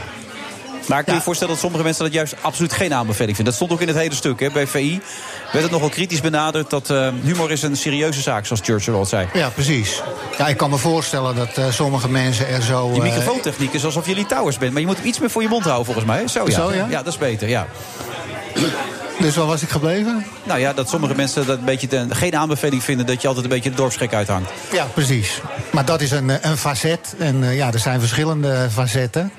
Maar ik kan je voorstellen dat sommige mensen dat juist absoluut geen aanbeveling vinden. Dat stond ook in het hele stuk. Hè. Bij VI werd het nogal kritisch benaderd dat eh, humor is een serieuze zaak, zoals Churchill al zei. Ja, precies. Ja, ik kan me voorstellen dat eh, sommige mensen er zo... Die eh, microfoontechniek is alsof je litouwers bent. Maar je moet iets meer voor je mond houden, volgens mij. Zo ja. Zo, ja? dat is beter, ja. dus waar was ik gebleven? Nou ja, dat sommige mensen dat een beetje ten- geen aanbeveling vinden... dat je altijd een beetje de dorpsgek uithangt. Ja, precies. Maar dat is een, eh, een facet. En eh, ja, er zijn verschillende facetten.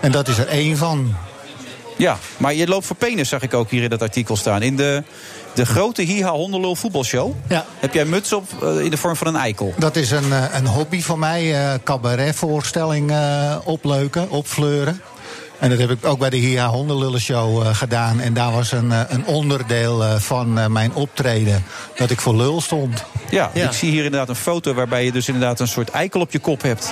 En dat is er één van. Ja, maar je loopt voor penis, zag ik ook hier in dat artikel staan. In de, de grote Hiha Hondenlul voetbalshow... Ja. heb jij muts op eh, in de vorm van een eikel. Dat is een, eh, een hobby van mij. eh cabaretvoorstelling eh, opleuken, opfleuren. En dat heb ik ook bij de Hia Hondenlullen Show eh, gedaan. En daar was een, eh, een onderdeel eh, van eh, mijn optreden dat ik voor lul stond. Ja, ik zie hier inderdaad een foto waarbij je dus inderdaad een soort eikel op je kop hebt.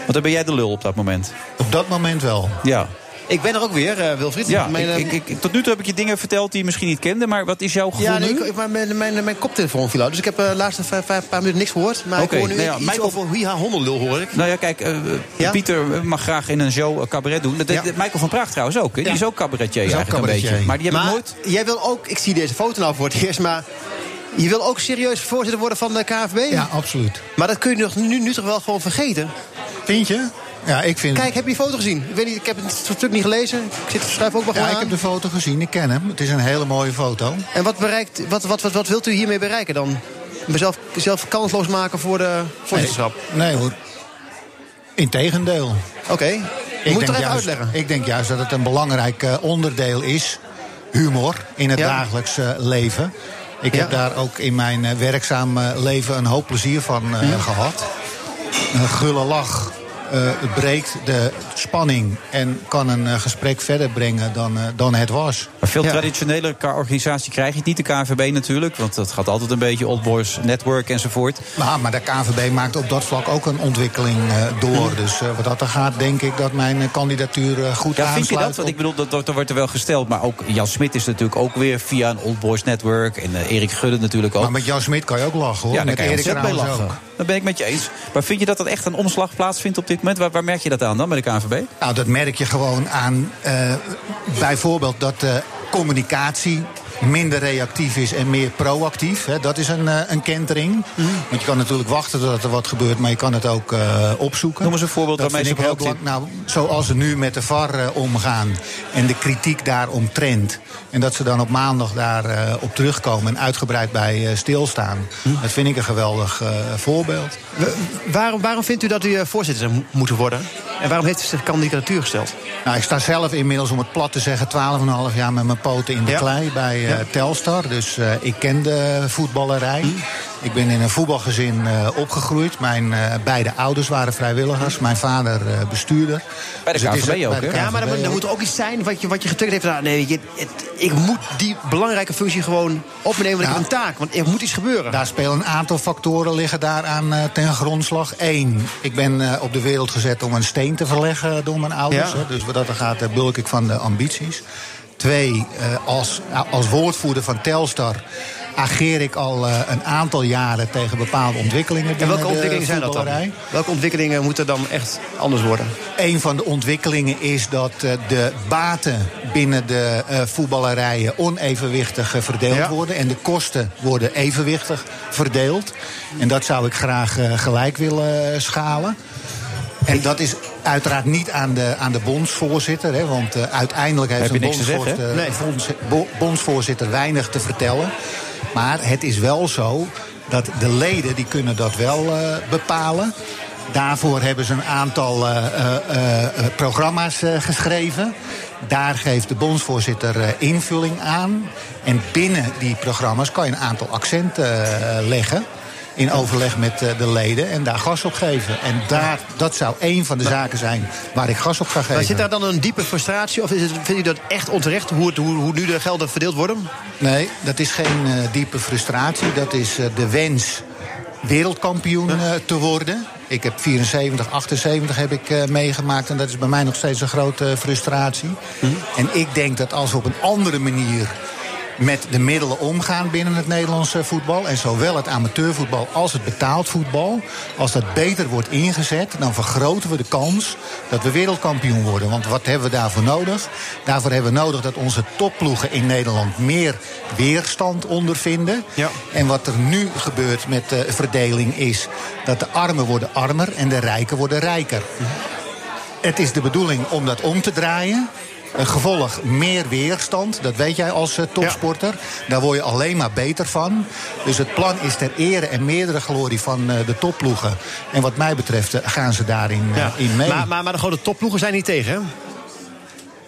Want dan ben jij de lul op dat moment. Op dat moment wel. Ja. Ik ben er ook weer, eh, Wilfried. Ja, Mijn, eh, ik, ik, ik- tot nu toe heb ik je dingen verteld die je misschien niet kende, maar wat is jouw gevoel Ja, nee, nu? ik, ik- mijn, mijn, mijn, mijn koptelefoon viel uit. Dus ik heb de laatste vijf, vijf- paar minuten niks gehoord. Maar Oké, ik hoor nu nou ja, iets mijn kop- over Hiha Hondenlul, hoor ik. Nou ja, kijk, eh, Ja? Pieter mag graag in een show eh, cabaret doen. Dat deed Michael van Praag trouwens ook. hè? Die Ja. is ook cabaretier Is ook eigenlijk cabaretier. een beetje. Maar die hebben Maar nooit... Jij wil ook, ik zie deze foto nou voor het eerst, maar... Je wil ook serieus voorzitter worden van de KFB? Ja, absoluut. Maar dat kun je nog nu, nu toch wel gewoon vergeten? Vind je? Ja, ik vind... Kijk, heb je die foto gezien? Ik, weet niet, ik heb het stuk niet gelezen. Ik zit schrijf ook wel Ja, gewoon ik aan. heb de foto gezien, ik ken hem. Het is een hele mooie foto. En wat, bereikt, wat, wat, wat, wat wilt u hiermee bereiken dan? Mezelf zelf kansloos maken voor de voorzitterschap? Nee, nee hoor. Integendeel. Oké. Je moet het er even juist- uitleggen. Ik denk juist dat het een belangrijk eh, onderdeel is. Humor in het dagelijks eh, leven. Ik heb daar ook in mijn eh, werkzaam eh, leven een hoop plezier van eh, gehad. Een gulle lach eh, het breekt de spanning en kan een eh, gesprek verder brengen dan, eh, dan het was. Maar veel traditionele ka- organisatie krijg je het niet, de KNVB natuurlijk. Want dat gaat altijd een beetje Old Boys Network enzovoort. Nou, Maar, maar de KNVB maakt op dat vlak ook een ontwikkeling eh, door. Dus eh, wat dat er gaat, denk ik dat mijn eh, kandidatuur eh, goed Ja, vind aansluit. je dat? Want ik bedoel, dat, dat wordt er wel gesteld. Maar ook Jan Smit is natuurlijk ook weer via een Old Boys Network. En eh, Erik Gudde natuurlijk ook. Maar met Jan Smit kan je ook lachen hoor. ja, daar met kan je Erik ontzettend mee trouwens lachen. ook. Dat ben ik met je eens. Maar vind je dat dat echt een omslag plaatsvindt op dit moment? Waar, waar merk je dat aan dan bij de KNVB? Nou, dat merk je gewoon aan eh, bijvoorbeeld dat eh, communicatie minder reactief is en meer proactief. Hè. Dat is een, eh, een kentering. Mm. Want je kan natuurlijk wachten tot er wat gebeurt, maar je kan het ook eh, opzoeken. Noem eens een voorbeeld dat waarmee vind ze ik heel proactief- belang- Nou, zoals ze nu met de VAR eh, omgaan en de kritiek daaromtrent. En dat ze dan op maandag daar eh, op terugkomen en uitgebreid bij eh, stilstaan. Hm. Dat vind ik een geweldig eh, voorbeeld. Wa- Waarom, waarom vindt u dat u eh, voorzitter zou mo- moeten worden? En waarom heeft u zich kandidatuur gesteld? Nou, ik sta zelf inmiddels, om het plat te zeggen, 12,5 jaar met mijn poten in de klei bij eh, Telstar. Dus eh, ik ken de Hm. voetballerij. Ik ben in een voetbalgezin eh, opgegroeid. Mijn eh, beide ouders waren vrijwilligers. Mijn vader eh, bestuurder. Bij de Dus het is KNVB bij ook, de hè? Ja, maar KNVB er, er ook. moet ook iets zijn wat je, wat je getriggerd heeft. Nou, nee, je, het- ik moet die belangrijke functie gewoon op me nemen. Want ik heb een taak, want er moet iets gebeuren. Daar spelen een aantal factoren liggen daaraan eh, ten grondslag. Eén, ik ben eh, op de wereld gezet om een steen te verleggen door mijn ouders. Ja. hè. Dus wat dat er gaat, eh, bulk ik van de ambities. Twee, eh, als, als woordvoerder van Telstar ageer ik al eh, een aantal jaren tegen bepaalde ontwikkelingen. En binnen welke de ontwikkelingen zijn dat dan? voetballerij. Welke ontwikkelingen moeten dan echt anders worden? Een van de ontwikkelingen is dat eh, de baten binnen de eh, voetballerijen onevenwichtig eh, verdeeld Ja. worden. En de kosten worden evenwichtig verdeeld. En dat zou ik graag eh, gelijk willen eh, schalen. En dat is uiteraard niet aan de, aan de bondsvoorzitter. Hè, want eh, uiteindelijk heeft Heb je een niks te zeggen, hè? bondsvoorzitter, bonds- bo- bondsvoorzitter weinig te vertellen. Maar het is wel zo dat de leden die kunnen dat wel eh, bepalen. Daarvoor hebben ze een aantal eh, eh, eh, eh, programma's eh, geschreven. Daar geeft de bondsvoorzitter eh, invulling aan. En binnen die programma's kan je een aantal accenten eh, leggen. In overleg met eh, de leden en daar gas op geven. En daar, dat zou één van de zaken zijn waar ik gas op ga geven. Maar zit daar dan een diepe frustratie? Of is het, vindt u dat echt onterecht, hoe, het, hoe, hoe nu de gelden verdeeld worden? Nee, dat is geen eh, diepe frustratie. Dat is eh, de wens wereldkampioen eh, te worden. Ik heb 74, 78 heb ik eh, meegemaakt. En dat is bij mij nog steeds een grote eh, frustratie. En ik denk dat als we op een andere manier met de middelen omgaan binnen het Nederlandse voetbal. En zowel het amateurvoetbal als het betaald voetbal. Als dat beter wordt ingezet, dan vergroten we de kans dat we wereldkampioen worden. Want wat hebben we daarvoor nodig? Daarvoor hebben we nodig dat onze topploegen in Nederland meer weerstand ondervinden. En wat er nu gebeurt met de verdeling is dat de armen worden armer en de rijken worden rijker. Het is de bedoeling om dat om te draaien. Een gevolg meer weerstand, dat weet jij als eh, topsporter. Daar word je alleen maar beter van. Dus het plan is ter ere en meerdere glorie van eh, de topploegen. En wat mij betreft eh, gaan ze daarin eh, in mee. Maar, maar, maar de grote topploegen zijn niet tegen, hè?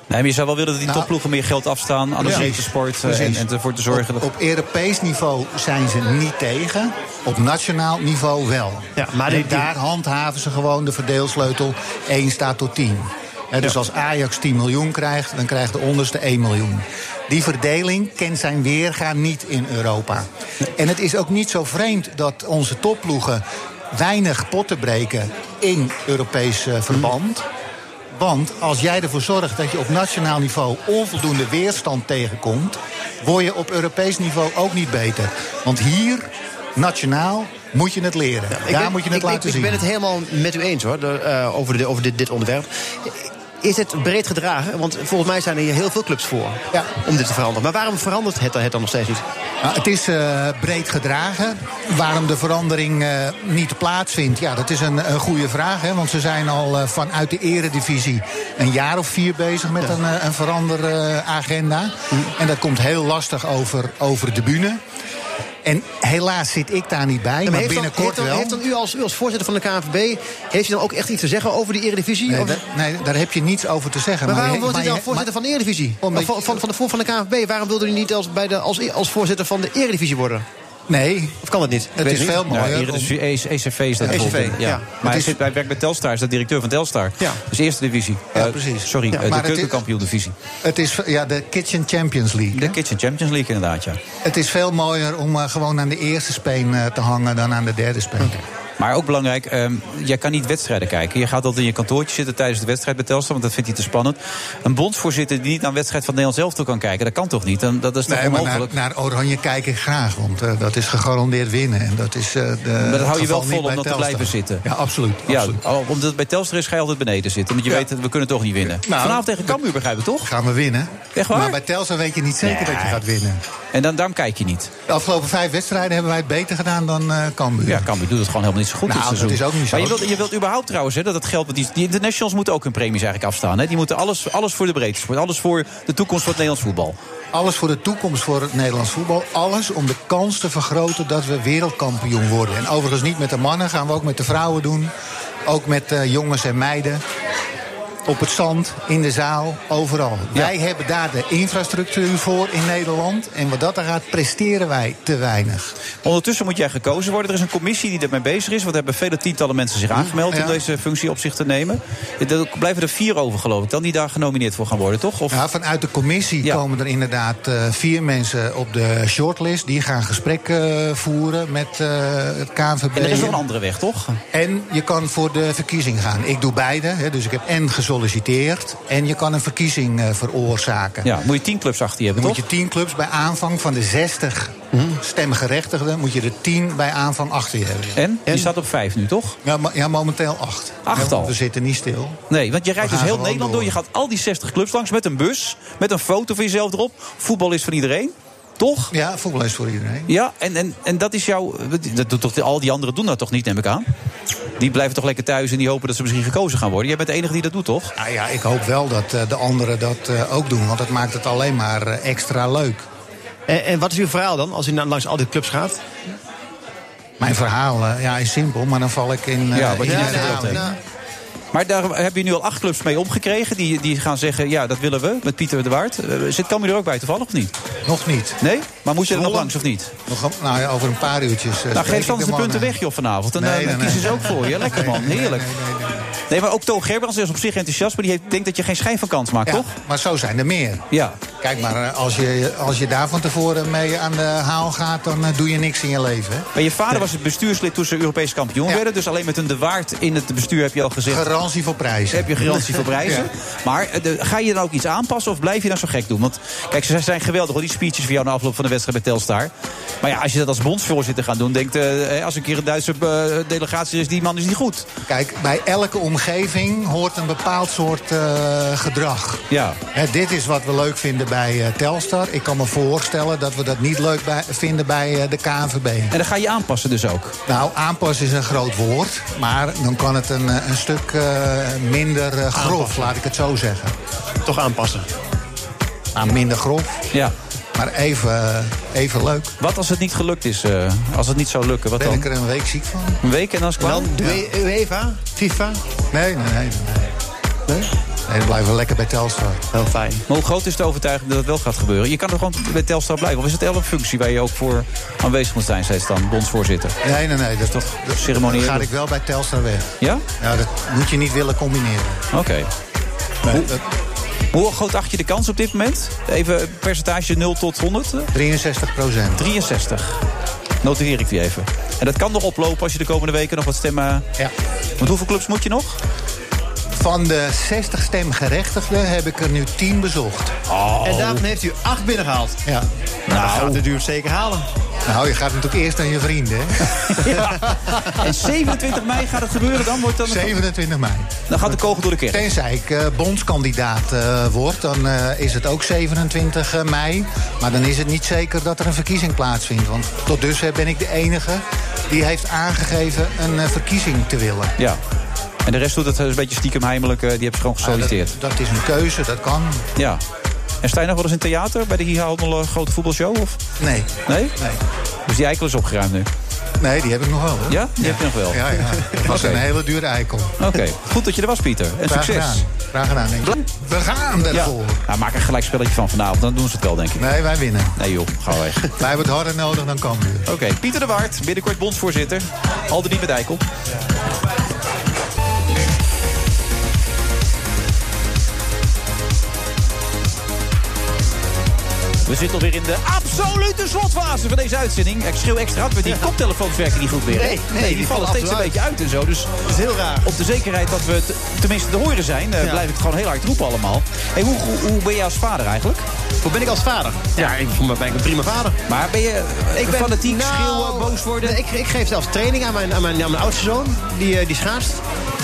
Nee, maar je zou wel willen dat die Nou, topploegen meer geld afstaan aan de Ja. zevensport. eh, En, Precies. en ervoor te zorgen dat... Op Europees niveau zijn ze niet tegen. Op nationaal niveau wel. maar En die- die- daar handhaven ze gewoon de verdeelsleutel 1 staat tot 10. Hè, dus als Ajax 10 miljoen krijgt, dan krijgt de onderste 1 miljoen. Die verdeling kent zijn weerga niet in Europa. En het is ook niet zo vreemd dat onze topploegen weinig potten breken in Europees eh, verband. Mhm. Want als jij ervoor zorgt dat je op nationaal niveau onvoldoende weerstand tegenkomt, word je op Europees niveau ook niet beter. Want hier, nationaal, moet je het leren. Ik Daar ben- moet je het ik, laten ik, zien. Ik ben het helemaal met u eens hoor, de- eh, over, de, over dit, dit onderwerp. Is het breed gedragen? Want volgens mij zijn er hier heel veel clubs voor om dit te veranderen. Maar waarom verandert het, dan- het dan nog steeds niet? Nou, het is eh, breed gedragen. Waarom de verandering eh, niet plaatsvindt, ja, dat is een, een goede vraag. Hè, want ze zijn al eh, vanuit de eredivisie een jaar of vier bezig met een, eh, een veranderagenda. Mm. En dat komt heel lastig over, over de bühne. En helaas zit ik daar niet bij, Ja, maar, heeft dan- binnenkort heeft dan, wel. Heeft dan u als, u als voorzitter van de KNVB... heeft u dan ook echt iets te zeggen over de Eredivisie? Nee, Of- da- nee, daar heb je niets over te zeggen. maar waarom je- wordt u maar dan je- voorzitter van maar- de Eredivisie? Omdat- Of van, van, van, de, voor- van de KNVB, waarom wilde u niet als, bij de, als, als voorzitter van de Eredivisie worden? Nee. Of kan dat niet? Ik Het weet is niet. veel Ja, mooier. Nou, E hier is E- EC- ECV is Ja, dat bijvoorbeeld. ECV, ja. ja. Maar hij, Het is- zit, hij werkt bij Telstar, hij is de directeur van Telstar. Ja. Dus eerste divisie. Ja, Eh, precies. sorry, eh, Ja, maar de het is- keukenkampioen-divisie. Het is ja, de Kitchen Champions League. De Kitchen Champions League inderdaad, ja. Het is veel mooier om eh, gewoon aan de eerste speen eh, te hangen dan aan de derde speen. Maar ook belangrijk, ehm, jij kan niet wedstrijden kijken. Je gaat altijd in je kantoortje zitten tijdens de wedstrijd bij Telstar, want dat vindt hij te spannend. Een bondsvoorzitter die niet naar een wedstrijd van Nederland zelf toe kan kijken, dat kan toch niet? En dat is toch Nee, maar nou, naar, onmogelijk? naar Oranje kijk ik graag, want eh, dat is gegarandeerd winnen. En dat is eh, de, Maar dat hou het je geval wel niet vol om bij dat te Telstar. blijven zitten. Ja, absoluut. Ja, al- omdat het bij Telstar is, ga je altijd beneden zitten. Want je weet, we kunnen toch niet winnen. Vanavond tegen Cambuur, begrijp ik toch? Nou, Gaan we winnen. Echt waar? Maar bij Telstar weet je niet zeker dat je gaat winnen. En dan, daarom kijk je niet. De afgelopen vijf wedstrijden hebben wij het beter gedaan dan eh Cambuur. Ja, Cambuur doet het gewoon helemaal niet zo goed Nou, dit dat seizoen. is ook niet zo. Maar je wilt, je wilt überhaupt trouwens hè, dat het geld... want Die, die internationals moeten ook hun premies eigenlijk afstaan. Hè? Die moeten alles, alles voor de breedte sport. Alles voor de toekomst van het Nederlands voetbal. Alles voor de toekomst voor het Nederlands voetbal. Alles om de kans te vergroten dat we wereldkampioen worden. En overigens niet met de mannen, gaan we ook met de vrouwen doen. Ook met eh, jongens en meiden. Op het zand, in de zaal, overal. Wij hebben daar de infrastructuur voor in Nederland. En wat dat dan gaat, presteren wij te weinig. Ondertussen moet jij gekozen worden. Er is een commissie die daarmee bezig is. Want er hebben vele tientallen mensen zich aangemeld... om Hm, ja. deze functie op zich te nemen. Er blijven er vier over, geloof ik. Dan die daar genomineerd voor gaan worden, toch? Of... Ja, vanuit de commissie komen er inderdaad eh, vier mensen op de shortlist. Die gaan gesprekken voeren met eh, het KNVB. En er is nog een andere weg, toch? En je kan voor de verkiezing gaan. Ik doe beide, hè, dus ik heb en gesolliciteerd... en je kan een verkiezing eh, veroorzaken. Ja, moet je tien clubs achter je hebben, Dan moet toch? je Hm? tien clubs bij aanvang van de 60 stemgerechtigden... moet je er tien bij aanvang achter je hebben. En? Je staat op vijf nu, toch? Ja, mo- ja momenteel acht. Acht Ja, al? We zitten niet stil. Nee, want je rijdt We dus heel gaan gewoon Nederland door. Je gaat al die 60 clubs langs met een bus. Met een foto van jezelf erop. Voetbal is van iedereen. Toch? Ja, voetbal is voor iedereen. Ja, en, en, en dat is jouw. Dat doet toch, al die anderen doen dat toch niet, neem ik aan? Die blijven toch lekker thuis en die hopen dat ze misschien gekozen gaan worden. Jij bent de enige die dat doet, toch? Nou ja, ik hoop wel dat eh, de anderen dat eh, ook doen. Want dat maakt het alleen maar eh, extra leuk. En, en wat is uw verhaal dan, als u nou langs al die clubs gaat? Mijn verhaal eh, ja, is simpel, maar dan val ik in... eh, Ja, wat in je net de verteld herhaling. Nou, hebt. Maar daar heb je nu al acht clubs mee opgekregen. Die, die gaan zeggen: ja, dat willen we. Met Pieter de Waard. Eh, Zit Cambuur er ook bij toevallig of niet? Nog niet. Nee? Maar moet je er nog langs of niet? Nog, een- nou ja, over een paar uurtjes. eh, nou, spreek geef anders ik de mannen. punten weg, joh, vanavond. En Nee, dan nee, eh, nee. kiezen ze ook voor je. Lekker, man. Heerlijk. Nee, maar ook Toon Gerbrands is op zich enthousiast, maar die heeft- denkt dat je geen schijn van kans maakt, Ja, toch? Maar zo zijn er meer. Ja. Kijk maar, eh, als je, als je daar van tevoren mee aan de haal gaat, dan eh, doe je niks in je leven. hè. Maar je vader was het bestuurslid toen ze Europees kampioen werden. Dus alleen met een de waard in het bestuur heb je al gezegd. Garantie voor prijzen. Heb je garantie voor prijzen. Ja. Maar eh, de- ga je dan ook iets aanpassen of blijf je dan zo gek doen? Want kijk, ze zijn geweldig hoor, die speeches van jou na afloop van de wedstrijd bij Telstar. Maar ja, als je dat als bondsvoorzitter gaat doen, denkt eh, eh, als een keer een Duitse eh, delegatie is, die man is niet goed. Kijk, bij elke omgeving hoort een bepaald soort eh, gedrag. Ja. Hè, dit is wat we leuk vinden bij eh, Telstar. Ik kan me voorstellen dat we dat niet leuk bij- vinden bij eh, de KNVB. En dan ga je aanpassen dus ook. Nou, aanpassen is een groot woord. Maar dan kan het een, eh, een stuk eh, minder eh, grof, laat ik het zo zeggen. Toch aanpassen? Maar minder grof. Ja. Maar even, eh, even leuk. Wat als het niet gelukt is? eh, als het niet zou lukken, wat ben dan? ik er een week ziek van. Een week en dan is het klaar? Ja. UEFA? FIFA? Nee, nee, nee. Nee? Nee, nee we blijven lekker bij Telstar. Heel fijn. Maar hoe groot is de overtuiging dat het wel gaat gebeuren? Je kan er gewoon bij Telstar blijven. Of is het elke functie waar je ook voor aanwezig moet zijn steeds dan, bondsvoorzitter? Nee, nee, nee. Dat, toch dat, ceremonieel? Dan ga ik wel bij Telstar weg. Ja? Ja, dat moet je niet willen combineren. Oké. hoe, hoe groot acht je de kans op dit moment? Even een percentage 0 tot 100? 63 procent. 63. Noteer ik die even. En dat kan nog oplopen als je de komende weken nog wat stemmen... Ja. Want hoeveel clubs moet je nog? Van de 60 Eh, stemgerechtigden heb ik er nu 10 bezocht. En daarvan heeft u acht binnengehaald. Oh. Ja. Nou, dat gaat de duur zeker halen. Nou, je gaat natuurlijk eerst aan je vrienden, hè? En 27 mei gaat het gebeuren, dan wordt dan... 27 mei. Dan gaat de kogel door de kerk. Tenzij ik eh, bondskandidaat eh, word, dan eh, is het ook 27 mei. Maar dan is het niet zeker dat er een verkiezing plaatsvindt. Want tot dusver ben ik de enige die heeft aangegeven een eh, verkiezing te willen. Ja. En de rest doet het eh, een beetje stiekem heimelijk. eh, Die hebben ze gewoon gesolliciteerd. Nou, Dat is een keuze, dat kan. Ja. En sta je nog wel eens in theater bij de Hier Haalt nog een grote voetbalshow? Of? Nee. Nee? Nee. Dus die eikel is opgeruimd nu. Nee, die heb ik nog wel. Hoor. Ja? Die heb je nog wel. Ja, ja. Dat was Oké. een hele dure eikel. Oké, goed dat je er was, Pieter. En Graag succes. gedaan. Graag gedaan, denk ik. We gaan ervoor. Nou, maak een gelijk spelletje van vanavond, dan doen ze het wel, denk ik. Nee, wij winnen. Nee joh, ga weg. Wij hebben het harder nodig dan Cambuur. Oké, Pieter de Waard, binnenkort bondsvoorzitter. Al dan niet met Eikel. We zitten alweer in de absolute slotfase van deze uitzending. Ik schreeuw extra hard, want die koptelefoons werken niet goed meer. hè? Nee, nee, die, die vallen vallen steeds een achteruit. beetje uit en zo. Dus dat is heel raar. Op de zekerheid dat we t- tenminste te horen zijn, eh, Ja. blijf ik het gewoon heel hard roepen allemaal. Hey, hoe, hoe, hoe ben je als vader eigenlijk? Hoe ben ik als vader? Ja, ik voel me ben ik een prima vader. Maar ben je ik ben, fanatiek, nou, schreeuwen, boos worden? nee, ik, ik geef zelfs training aan mijn, aan mijn, aan mijn oudste zoon, die, eh, die schaatst.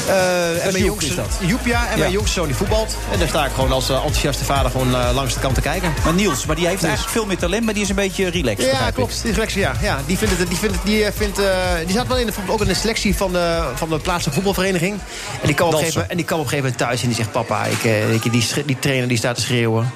Eh, en mijn Joep, jongste, is dat? Joep, ja, en Ja. mijn jongste zoon die voetbalt. En daar sta ik gewoon als eh, enthousiaste vader gewoon eh, langs de kant te kijken. Maar Niels, maar die heeft eigenlijk veel meer talent, maar die is een beetje relaxed. begrijp Ja, ik. klopt. Die selectie, ja. ja die, vindt het, die, vindt het, die, eh, vindt, eh, die zat wel in de, voetbal- ook in de selectie van de, van de plaatselijke voetbalvereniging. En die kwam op een gegeven moment- en die kwam op een gegeven moment thuis en die zegt... papa, ik, eh, ik, die, schre- die trainer die staat te schreeuwen.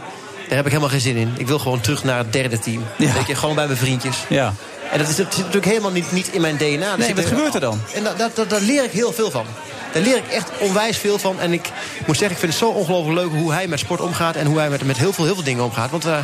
Daar heb ik helemaal geen zin in. Ik wil gewoon terug naar het derde team. Weet je, gewoon bij mijn vriendjes. Ja. En dat, is, dat zit natuurlijk helemaal niet, niet in mijn DNA. Dat Nee, zit wat er- gebeurt er dan? En da- da- da- daar leer ik heel veel van. Daar leer ik echt onwijs veel van. En ik moet zeggen, ik vind het zo ongelooflijk leuk hoe hij met sport omgaat. En hoe hij met, met heel, veel, heel veel dingen omgaat. Want eh,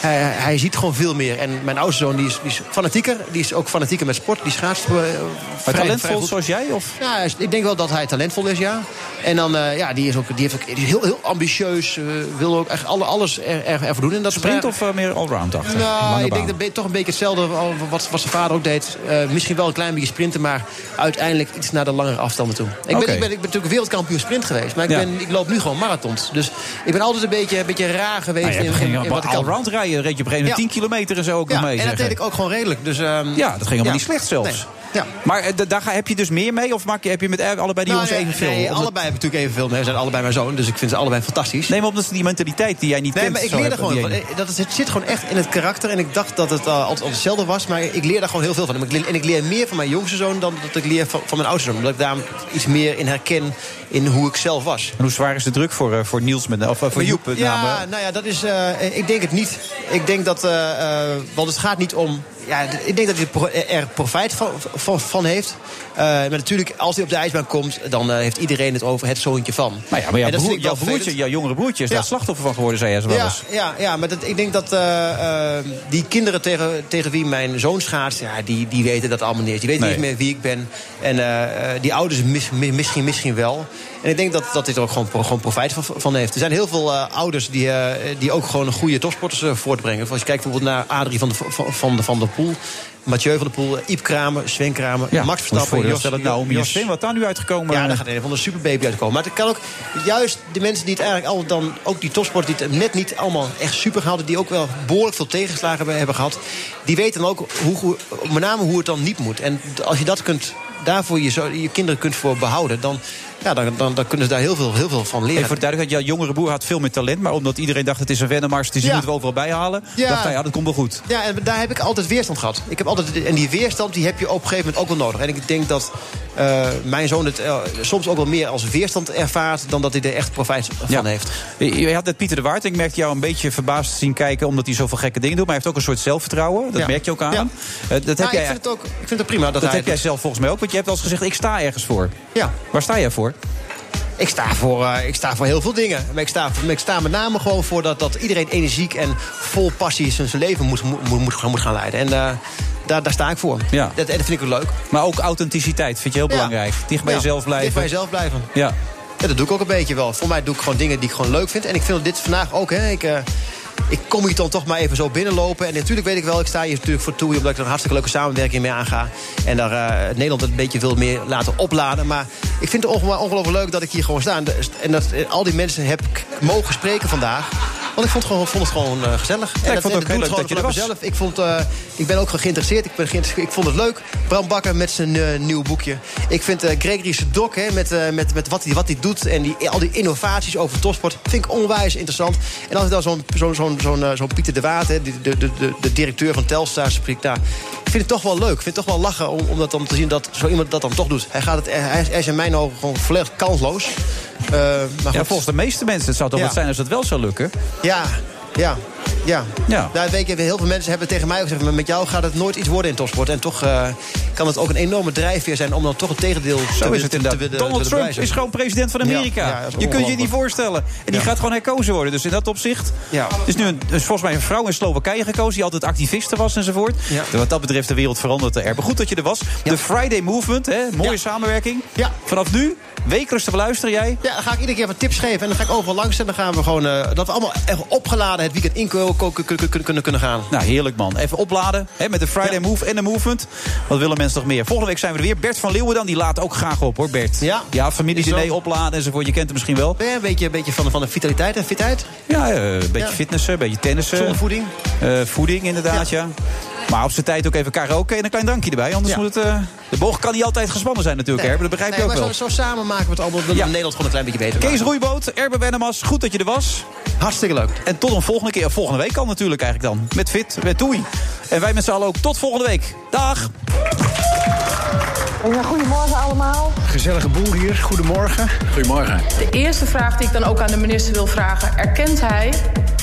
hij, hij ziet gewoon veel meer. En mijn oudste zoon die is, die is fanatieker. Die is ook fanatieker met sport. Die schaatst. eh, vrij- Maar vrij talentvol goed. zoals jij? Of? Ja, hij is- ik denk wel dat hij talentvol is, ja. En dan, eh, ja, die is ook, die heeft ook, die is heel, heel ambitieus. eh, wil ook echt alle, alles er, er, ervoor doen. En dat is Sprint vrij- of eh, meer allround achter? Lange nou, ik baan. denk dat be- toch een beetje hetzelfde al wat, wat zijn vader ook deed. Eh, misschien wel een klein beetje sprinten, maar uiteindelijk iets naar de langere afstanden toe. Ik ben, Oké. ik ben, ik ben natuurlijk wereldkampioen sprint geweest, maar ik, Ja. ben, ik loop nu gewoon marathons. Dus ik ben altijd een beetje, een beetje raar geweest Nou, je in, hebt in, geen in wat ik kan. allround rijden, reed je op een gegeven moment Ja. 10 kilometer en zo ook Ja, nog mee. en dat zeg deed ik ook gewoon redelijk. Dus, ehm, Ja, dat ging helemaal ja. niet slecht zelfs. Ja. Maar eh, da- daar ga- heb je dus meer mee of maak je, heb je met eh, allebei die Nou, jongens nee, evenveel? nee, Omdat- allebei heb ik natuurlijk evenveel. Nee, ze zijn allebei mijn zoon, dus ik vind ze allebei fantastisch. Nee, maar omdat die mentaliteit die jij niet Nee, kent... maar ik zo leer er hebt op gewoon die van. ene. Eh, Dat, is- het zit gewoon echt in het karakter. En ik dacht dat het eh, altijd, altijd hetzelfde was. Maar ik leer daar gewoon heel veel van. En ik leer, en ik leer meer van mijn jongste zoon dan dat ik leer van, van mijn oudste zoon. Omdat ik daar iets meer in herken in hoe ik zelf was. En hoe zwaar is de druk voor, eh, voor Niels met, of eh, voor Joep met name? Ja, nou ja, dat is. eh, ik denk het niet. Ik denk dat. eh, eh, want het gaat niet om. Ja, d- ik denk dat hij er pro- eh, er profijt van, van, van heeft. Eh, maar natuurlijk, als hij op de ijsbaan komt, dan eh, heeft iedereen het over het zoontje van. Nou ja, maar jouw, En dat broer- vind ik wel jouw broertje, vervelend. jouw jongere broertje is Ja. daar slachtoffer van geworden, zei jij zo wel Ja, eens. ja, ja, maar dat, ik denk dat eh, eh, die kinderen tegen, tegen wie mijn zoon schaatst... Ja, die, die weten dat allemaal niet. Die weten Nee. niet meer wie ik ben. En eh, eh, die ouders mis- mi- misschien, misschien wel. En ik denk dat, dat dit er ook gewoon, gewoon profijt van, van heeft. Er zijn heel veel eh, ouders die, eh, die ook gewoon goede topsporters eh, voortbrengen. Als je kijkt bijvoorbeeld naar Adrie van de, van, van de, van de Poel. Mathieu van der Poel, Iep Kramer, Sven Kramer, Max Verstappen, Jos, nou, Jos- Jos, wat daar nu uitgekomen? ja, daar gaat een van de superbaby uitkomen. Maar het kan ook juist de mensen die het eigenlijk al dan ook die topsport die het net niet allemaal echt super hadden, die ook wel behoorlijk veel tegenslagen hebben, hebben gehad, die weten dan ook hoe, hoe- met name hoe het dan niet moet. En d- als je dat kunt, daarvoor je, zo- je kinderen kunt voor behouden, dan, ja, dan, dan, dan kunnen ze daar heel veel, heel veel van leren. Even voor de duidelijkheid, jouw jongere boer had veel meer talent. Maar omdat iedereen dacht het is een Wennemars, dus die Ja. moeten we overal bijhalen. Ja. Dacht hij, ja, dat komt wel goed. Ja, en daar heb ik altijd weerstand gehad. Ik heb altijd, en die weerstand die heb je op een gegeven moment ook wel nodig. En ik denk dat eh, mijn zoon het eh, soms ook wel meer als weerstand ervaart... dan dat hij er echt profijt van heeft. Je je had net Pieter de Waard. Ik merkte jou een beetje verbaasd zien kijken... omdat hij zoveel gekke dingen doet. Maar hij heeft ook een soort zelfvertrouwen. Dat Ja. merk je ook aan. Ja. hem. Eh, dat heb Nou, jij, ik vind het ook ik vind het prima. Dat, dat hij heb het jij doet. zelf volgens mij ook. Want je hebt al eens gezegd, ik sta ergens voor. Ja. Waar sta jij voor? Ik sta, voor, eh, ik sta voor heel veel dingen. Maar ik sta, maar ik sta met name gewoon voor dat, dat iedereen energiek en vol passie zijn zijn leven moet, moet, moet, moet gaan leiden. En eh, daar, daar sta ik voor. Ja. Dat, en dat vind ik ook leuk. Maar ook authenticiteit vind je heel Ja. belangrijk. Dicht bij Ja, jezelf blijven. Dicht bij jezelf blijven. Ja. Ja, dat doe ik ook een beetje wel. Voor mij doe ik gewoon dingen die ik gewoon leuk vind. En ik vind dit vandaag ook. Hè. Ik, eh, ik kom hier dan toch maar even zo binnenlopen. En natuurlijk weet ik wel, ik sta hier natuurlijk voor toe... omdat ik er een hartstikke leuke samenwerking mee aanga. En daar eh, Nederland een beetje wil meer laten opladen. Maar ik vind het onge- ongelooflijk leuk dat ik hier gewoon sta. En, de- en dat eh, al die mensen heb ik mogen spreken vandaag. Want ik vond het gewoon, vond het gewoon eh, gezellig. Ja, ik vond het ook heel doe leuk dat je er gewoon was. vanuit mezelf. Ik, vond, eh, ik ben ook gewoon geïnteresseerd. Ik, ben geïnteresseerd. ik vond het leuk. Bram Bakker met zijn eh, nieuw boekje. Ik vind eh Gregory Sedok hè, met, eh, met, met wat hij wat hij doet... en die, al die innovaties over topsport vind ik onwijs interessant. En als ik dan zo'n zo'n zo'n zo'n eh, zo'n Pieter de Waard... hè, de, de, de, de, de directeur van Telstar, spreekt daar... Ik vind het toch wel leuk. Ik vind het toch wel lachen om, om dat dan te zien dat zo iemand dat dan toch doet. Hij, gaat het, hij, hij is in mijn ogen gewoon volledig kansloos. Eh, maar Ja, goed. volgens de meeste mensen het zou toch Ja. wat zijn als het wel zou lukken. Ja, ja, ja. Ja. Nou, weet je, heel veel mensen hebben tegen mij ook gezegd... maar met jou gaat het nooit iets worden in topsport. En toch eh, kan het ook een enorme drijfveer zijn... om dan toch het tegendeel te Zo is willen- het te inderdaad. willen- Donald willen Trump bewijzen. is gewoon president van Ja, Amerika. ja, dat is je kunt je ongelooflijk. niet voorstellen. En die Ja. gaat gewoon herkozen worden. Dus in dat opzicht. Ja. Er is nu een, er is volgens mij een vrouw in Slowakije gekozen die altijd activiste was enzovoort. Ja. Wat dat betreft, de wereld verandert er. Maar goed dat je er was. De Friday Movement, hè, mooie samenwerking. Vanaf nu, wekelijks te beluisteren jij. Ja, dan ga ik iedere keer wat tips geven. En dan ga ik overal langs. En dan gaan we gewoon... eh, dat we allemaal echt opgeladen het weekend in ko- ko- ko- ko- kunnen, kunnen gaan. Nou, heerlijk man. Even opladen hè, met de Friday Move en de Movement. Wat willen mensen nog meer? Volgende week zijn we er weer. Bert van Leeuwen dan, die laat ook graag op hoor, Bert. Ja, ja Is familiediner zo. opladen enzovoort. Je kent hem misschien wel. Ben jij een beetje, een beetje van, van de vitaliteit en fitheid? Ja, eh, een beetje Ja. fitnessen, een beetje tennissen. Zonder voeding? Eh, voeding, inderdaad, ja. Maar op zijn tijd ook even karaoke en een klein drankje erbij. Anders moet het... eh, de boog kan niet altijd gespannen zijn natuurlijk, Nee. Herbe. Dat begrijp Nee, je ook maar wel. Zo, zo samen maken we het allemaal... dat we Nederland gewoon een klein beetje beter Kees maken. Roeiboot, Erbe Wennemas, goed dat je er was. Hartstikke leuk. En tot een volgende keer. Volgende week al natuurlijk eigenlijk dan. Met Fit, met Toei. En wij met z'n allen ook tot volgende week. Dag! Goedemorgen allemaal. Gezellige boel hier. Goedemorgen. Goedemorgen. De eerste vraag die ik dan ook aan de minister wil vragen: erkent hij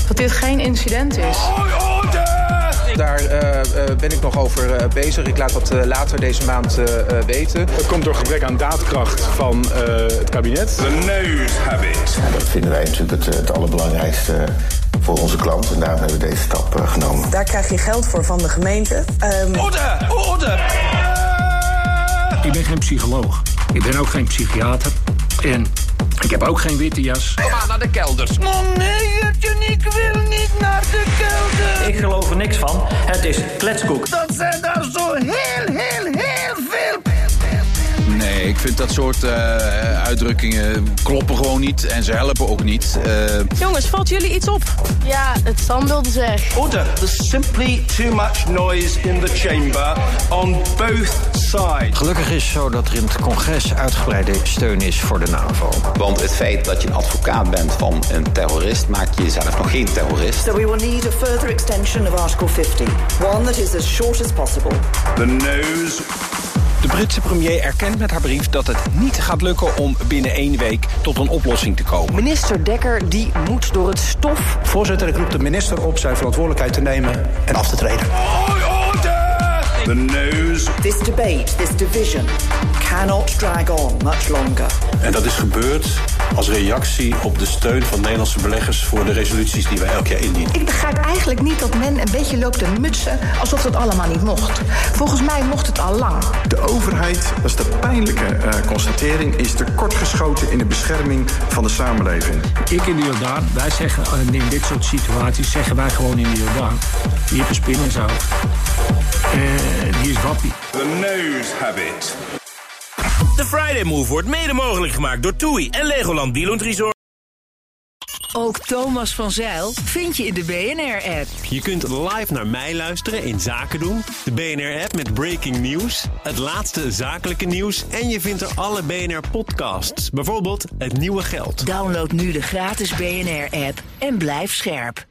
dat dit geen incident is? Daar eh, eh, ben ik nog over eh, bezig. Ik laat dat eh, later deze maand eh, eh, weten. Het komt door gebrek aan daadkracht van eh, het kabinet. The nose habit. Dat vinden wij natuurlijk het, het allerbelangrijkste eh, voor onze klant. En daarom hebben we deze stap eh, genomen. Daar krijg je geld voor van de gemeente. Ehm, Orde! Orde! Ik ben geen psycholoog. Ik ben ook geen psychiater. En ik heb ook geen witte jas. Kom aan naar de kelders. Monheertje, ik wil niet naar de kelder. Ik geloof er niks van. Het is kletskoek. Dat zijn daar zo heel, heel, heel veel... Nee, ik vind dat soort eh, uitdrukkingen kloppen gewoon niet en ze helpen ook niet. Eh, Jongens, valt jullie iets op? Ja, het Sam wilde zeggen. Order. There's simply too much noise in the chamber on both sides. Gelukkig is het zo dat er in het congres uitgebreide steun is voor de NAVO. Want het feit dat je een advocaat bent van een terrorist maakt je jezelf nog geen terrorist. So we will need a further extension of Article 50, one that is as short as possible. The nose. De Britse premier erkent met haar brief dat het niet gaat lukken om binnen één week tot een oplossing te komen. Minister Dekker die moet door het stof. Voorzitter, ik roep de minister op zijn verantwoordelijkheid te nemen en af te treden. The nose. This debate, this division, cannot drag on much longer. En dat is gebeurd als reactie op de steun van Nederlandse beleggers voor de resoluties die wij elk jaar indienen. Ik begrijp eigenlijk niet dat men een beetje loopt te mutsen alsof dat allemaal niet mocht. Volgens mij mocht het al lang. De overheid, dat is de pijnlijke eh, constatering, is tekortgeschoten in de bescherming van de samenleving. Ik in de Jordaan, wij zeggen eh, in dit soort situaties, zeggen wij gewoon in de Jordaan. Die heeft een spin in zijn hoofd. Eh, die is wappie. The nose habit. De Friday Move wordt mede mogelijk gemaakt door TUI en Legoland Bieland Resort. Ook Thomas van Zeil vind je in de BNR-app. Je kunt live naar mij luisteren in Zaken doen. De BNR-app met breaking nieuws, het laatste zakelijke nieuws... en je vindt er alle BNR-podcasts, bijvoorbeeld Het Nieuwe Geld. Download nu de gratis BNR-app en blijf scherp.